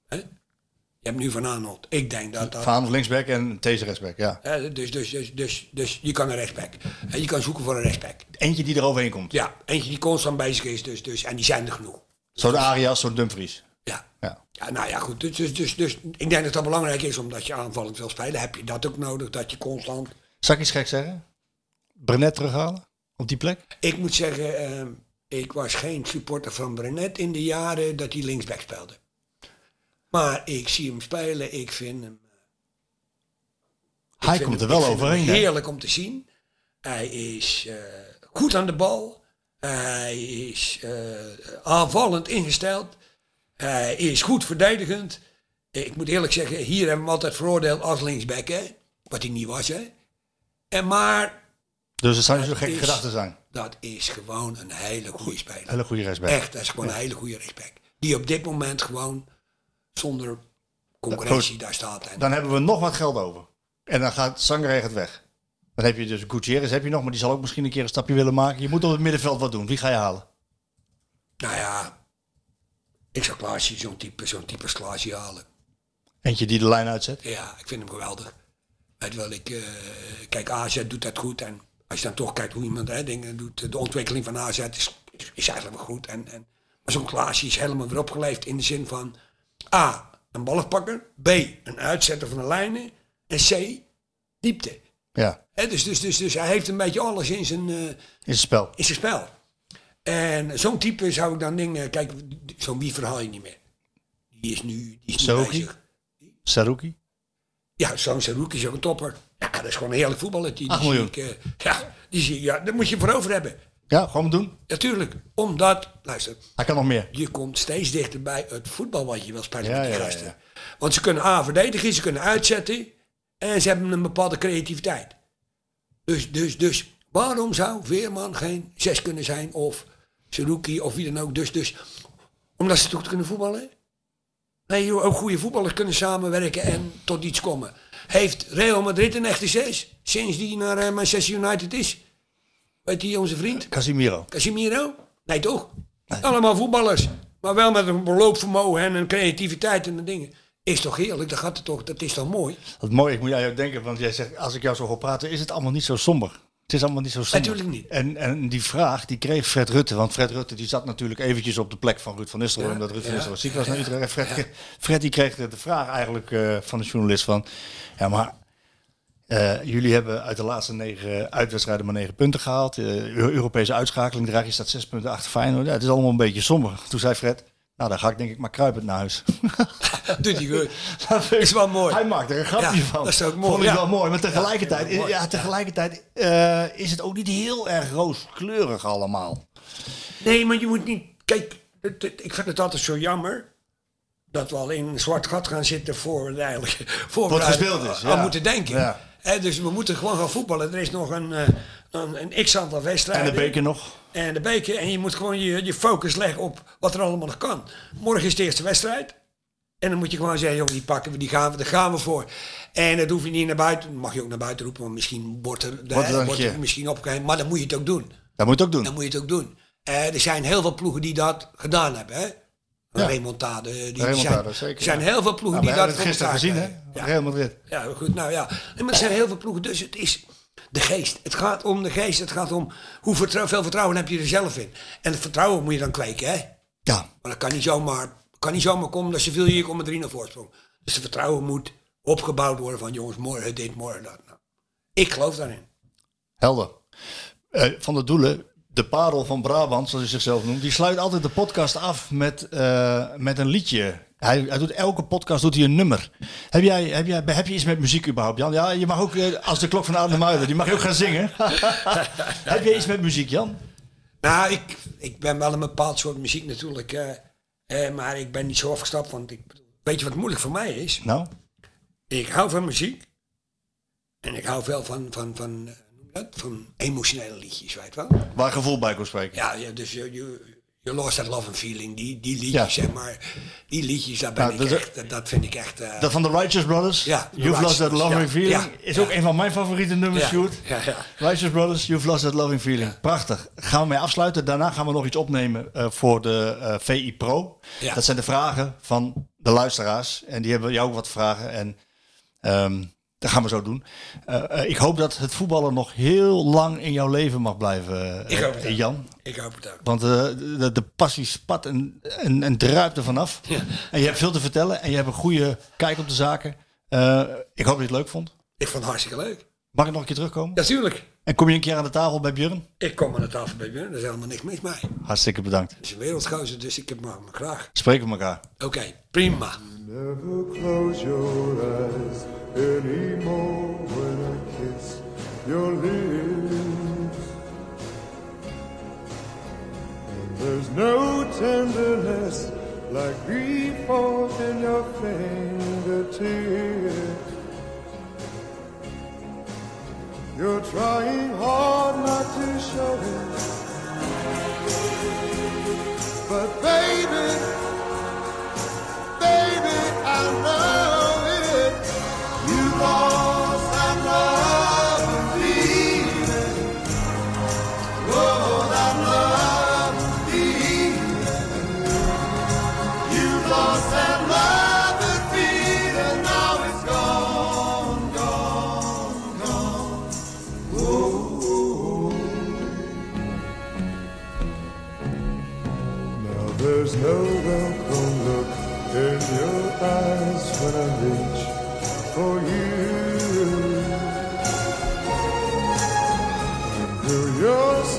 S9: Hè? Je hebt nu Van Aanholt. Ik denk dat dat...
S8: Van linksback en deze rechtsback. Ja.
S9: hè, dus, dus, dus, dus, dus je kan een rechtsback. En je kan zoeken voor een rechtsback.
S8: Eentje die eroverheen komt.
S9: Ja, eentje die constant bezig is, dus, dus, en die zijn er genoeg.
S8: Zo'n Arias, zo'n Dumfries.
S9: Ja.
S8: Ja.
S9: ja nou ja, goed. Dus, dus, dus, dus ik denk dat dat belangrijk is, omdat je aanvallend wil spelen, heb je dat ook nodig, dat je constant...
S8: Zal ik iets gek zeggen? Brenet terughalen? Op die plek?
S9: Ik moet zeggen, ehm, ik was geen supporter van Brenet in de jaren dat hij linksback speelde. Maar ik zie hem spelen, ik vind hem...
S8: Hij
S9: ik vind
S8: komt er wel
S9: hem- ik vind hem
S8: overheen. hè?
S9: Heerlijk om te zien. Hij is eh, goed aan de bal. Hij is eh, aanvallend ingesteld. Hij is goed verdedigend. Ik moet eerlijk zeggen, hier hebben we hem altijd veroordeeld als linksback, hè? Wat hij niet was, hè? En maar
S8: Dus het zou niet zo
S9: Dat
S8: gekke
S9: is-
S8: gedachten zijn.
S9: dat is gewoon een hele goede speler.
S8: Hele goede rechtsback.
S9: Echt, dat is gewoon een hele goede rechtsback. Die op dit moment gewoon zonder concurrentie daar staat. En
S8: Dan hebben we nog wat geld over. En dan gaat Sangaré het weg. Dan heb je dus Gutierrez heb je nog, maar die zal ook misschien een keer een stapje willen maken. Je moet op het middenveld wat doen. Wie ga je halen?
S9: Nou ja, ik zou Klaasje, zo'n type, zo'n type als Klaasje halen.
S8: Eentje die de lijn uitzet.
S9: Ja, ik vind hem geweldig. Weet wel, ik, eh, kijk, AZ doet dat goed. En als je dan toch kijkt hoe iemand hè, dingen doet, de ontwikkeling van AZ is, is, is eigenlijk wel goed. En, en, maar zo'n Klaasje is helemaal weer opgeleefd in de zin van A, een ballenpakker. B, een uitzetter van de lijnen. En C, diepte.
S8: Ja,
S9: Hè, dus, dus, dus, dus hij heeft een beetje alles in zijn, eh,
S8: is het spel.
S9: in zijn spel. En zo'n type zou ik dan denken, kijk, zo'n wie verhaal je niet meer. Die is nu, die is nu
S8: Saruki?
S9: bezig.
S8: Saruki?
S9: Ja, zo'n Saruki is ook een topper. Ja, dat is gewoon een heerlijk voetballer. Die, die
S8: Acht
S9: zie
S8: miljoen.
S9: ik, eh, ja, die zie ik, ja, daar moet je voor over hebben.
S8: Ja, gewoon doen.
S9: Natuurlijk, omdat, luister,
S8: Hij kan nog meer.
S9: je komt steeds dichter bij het voetbal wat je wil spelen
S8: Ja,
S9: met die
S8: ja, ja,
S9: gasten. Want ze kunnen A verdedigen, ze kunnen uitzetten en ze hebben een bepaalde creativiteit. Dus, dus, dus waarom zou Veerman geen zes kunnen zijn of Saruki of wie dan ook? Dus, dus omdat ze goed kunnen voetballen. Nee, joh, ook goede voetballers kunnen samenwerken en tot iets komen. Heeft Real Madrid een echte zes sinds die naar eh, Manchester United is? Weet die onze vriend?
S8: Casimiro.
S9: Casimiro? Nee, toch? Allemaal voetballers. Maar wel met een loopvermogen en een creativiteit en een dingen. Is toch heerlijk? Dat, gaat het toch, dat is toch mooi?
S8: Wat mooi, ik moet aan jou denken, want jij zegt, als ik jou zo hoor praten, is het allemaal niet zo somber. Het is allemaal niet zo somber.
S9: Natuurlijk niet.
S8: En, en die vraag, die kreeg Fred Rutte, want Fred Rutte die zat natuurlijk eventjes op de plek van Ruud van Nistelrooy, omdat Ruud van Nistelrooy ziek was naar Utrecht. En Fred, Fred die kreeg de, de vraag eigenlijk eh, van de journalist van, ja maar eh, jullie hebben uit de laatste negen uitwedstrijden maar negen punten gehaald. Eh, Eu- Europese uitschakeling, Draghi staat zes punten achter Feyenoord. Ja, het is allemaal een beetje somber. Toen zei Fred, nou dan ga ik denk ik maar kruipend naar huis.
S9: Doet die goed.
S8: Dat vind ik-
S9: Is wel mooi.
S8: Hij maakt er een grapje
S9: Ja,
S8: van.
S9: dat is ook mooi,
S8: Vond ik
S9: ja.
S8: wel mooi. Maar tegelijkertijd,
S9: Ja, mooi.
S8: ja, tegelijkertijd eh, is het ook niet heel erg rooskleurig allemaal.
S9: Nee, maar je moet niet. Kijk, het- het- ik vind het altijd zo jammer. Dat we al in een zwart gat gaan zitten voor we eigenlijk. Voor
S8: Wat
S9: we daar
S8: gespeeld is,
S9: Aan
S8: ja.
S9: moeten denken.
S8: Ja.
S9: Hè, dus we moeten gewoon gaan voetballen. Er is nog een, eh, een, een x aantal
S8: En
S9: wedstrijden.
S8: de beker nog.
S9: En de beker. En je moet gewoon je, je focus leggen op wat er allemaal nog kan. Morgen is de eerste wedstrijd. En dan moet je gewoon zeggen, joh, die pakken we, die gaan we, daar gaan we voor. En dat hoef je niet naar buiten. Mag je ook naar buiten roepen, want misschien wordt er,
S8: Wordt er
S9: hè,
S8: een
S9: wordt
S8: keer.
S9: er misschien opgeheven. Maar dan moet je het ook doen.
S8: Dat moet je ook doen.
S9: Dan moet je het ook doen. Eh, er zijn heel veel ploegen die dat gedaan hebben. Hè? Remontade. eh, Die, die
S8: Remontade,
S9: zijn,
S8: zeker,
S9: Er zijn
S8: ja.
S9: heel veel ploegen
S8: Nou, we
S9: die dat
S8: hebben het gisteren
S9: voor
S8: gezien, hè?
S9: elkaar krijgen.
S8: Real Madrid.
S9: Ja, ja, goed. Nou ja. Nee, maar er zijn heel veel ploegen. Dus het is de geest. Het gaat om de geest. Het gaat om hoeveel veel vertrouwen heb je er zelf in. En het vertrouwen moet je dan kweken. Hè?
S8: Ja.
S9: Maar dat kan niet zomaar, kan niet zomaar komen dat Sevilla hier komt met 3 naar voorsprong. Dus het vertrouwen moet opgebouwd worden van jongens, morgen dit, morgen dat. Nou, ik geloof daarin.
S8: Helder. Eh, van de doelen, de parel van Brabant, zoals hij zichzelf noemt, die sluit altijd de podcast af met, eh, met een liedje. Hij, hij doet elke podcast doet hij een nummer. Heb jij, heb jij heb je iets met muziek überhaupt, Jan? Ja, je mag ook eh, als de klok van Adam Muiden, die mag je ook gaan zingen. heb je iets met muziek, Jan?
S9: Nou, ik, ik ben wel een bepaald soort muziek natuurlijk. eh, eh, maar ik ben niet zo afgestapt. Want ik, weet je wat moeilijk voor mij is?
S8: Nou,
S9: Ik hou van muziek. En ik hou wel van, van, van, eh, hoe noem je dat? van emotionele liedjes, weet je wel.
S8: waar gevoel bij kon spreken.
S9: Ja, ja dus je, je, je lost that love and feeling. Die, die liedjes,
S8: Ja.
S9: zeg maar. Die liedjes, daar ben
S8: Nou,
S9: ik
S8: dat-
S9: echt, dat, dat vind ik echt... eh,
S8: Dat van de Righteous Brothers,
S9: Ja, The
S8: You've Lost That
S9: Righteous,
S8: Loving
S9: ja,
S8: Feeling,
S9: ja,
S8: is
S9: ja.
S8: ook een van mijn favoriete nummers,
S9: ja,
S8: Sjoerd.
S9: ja, ja.
S8: Righteous Brothers, You've Lost That Loving Feeling.
S9: Ja.
S8: Prachtig. Gaan we mee afsluiten. Daarna gaan we nog iets opnemen eh, voor de eh, VI Pro.
S9: Ja.
S8: Dat zijn de vragen van de luisteraars. En die hebben jou ook wat vragen. En ehm, dat gaan we zo doen. Eh, eh, ik hoop dat het voetballen nog heel lang in jouw leven mag blijven, eh,
S9: Ik hoop het ook.
S8: Jan.
S9: Ik hoop het ook.
S8: Want eh, de, de passie spat en, en, en druipt er vanaf.
S9: Ja.
S8: En je hebt veel te vertellen. En je hebt een goede kijk op de zaken. Eh, ik hoop dat je het leuk vond.
S9: Ik vond het hartstikke leuk.
S8: Mag ik nog een keer terugkomen?
S9: Natuurlijk.
S8: En kom je een keer aan de tafel bij Björn?
S9: Ik kom aan de tafel bij Björn. Er is helemaal niks mis mee. Het
S8: Hartstikke bedankt.
S9: is een wereldgozer, dus ik heb hem hem graag.
S8: Spreken we elkaar.
S9: Oké, prima.
S10: Never close your eyes anymore when I kiss your lips. And there's no tenderness like grief forth in your fingertips. You're trying hard not to show it. But baby, baby, I love it. You lost that love and feeling. Oh, that love and feeling. You lost that love and feeling. Now it's gone, gone, gone. Oh. Now there's no welcome look in your eyes when I reach for you.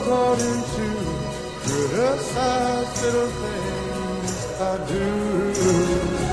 S10: starting to criticize little things I do. Oh,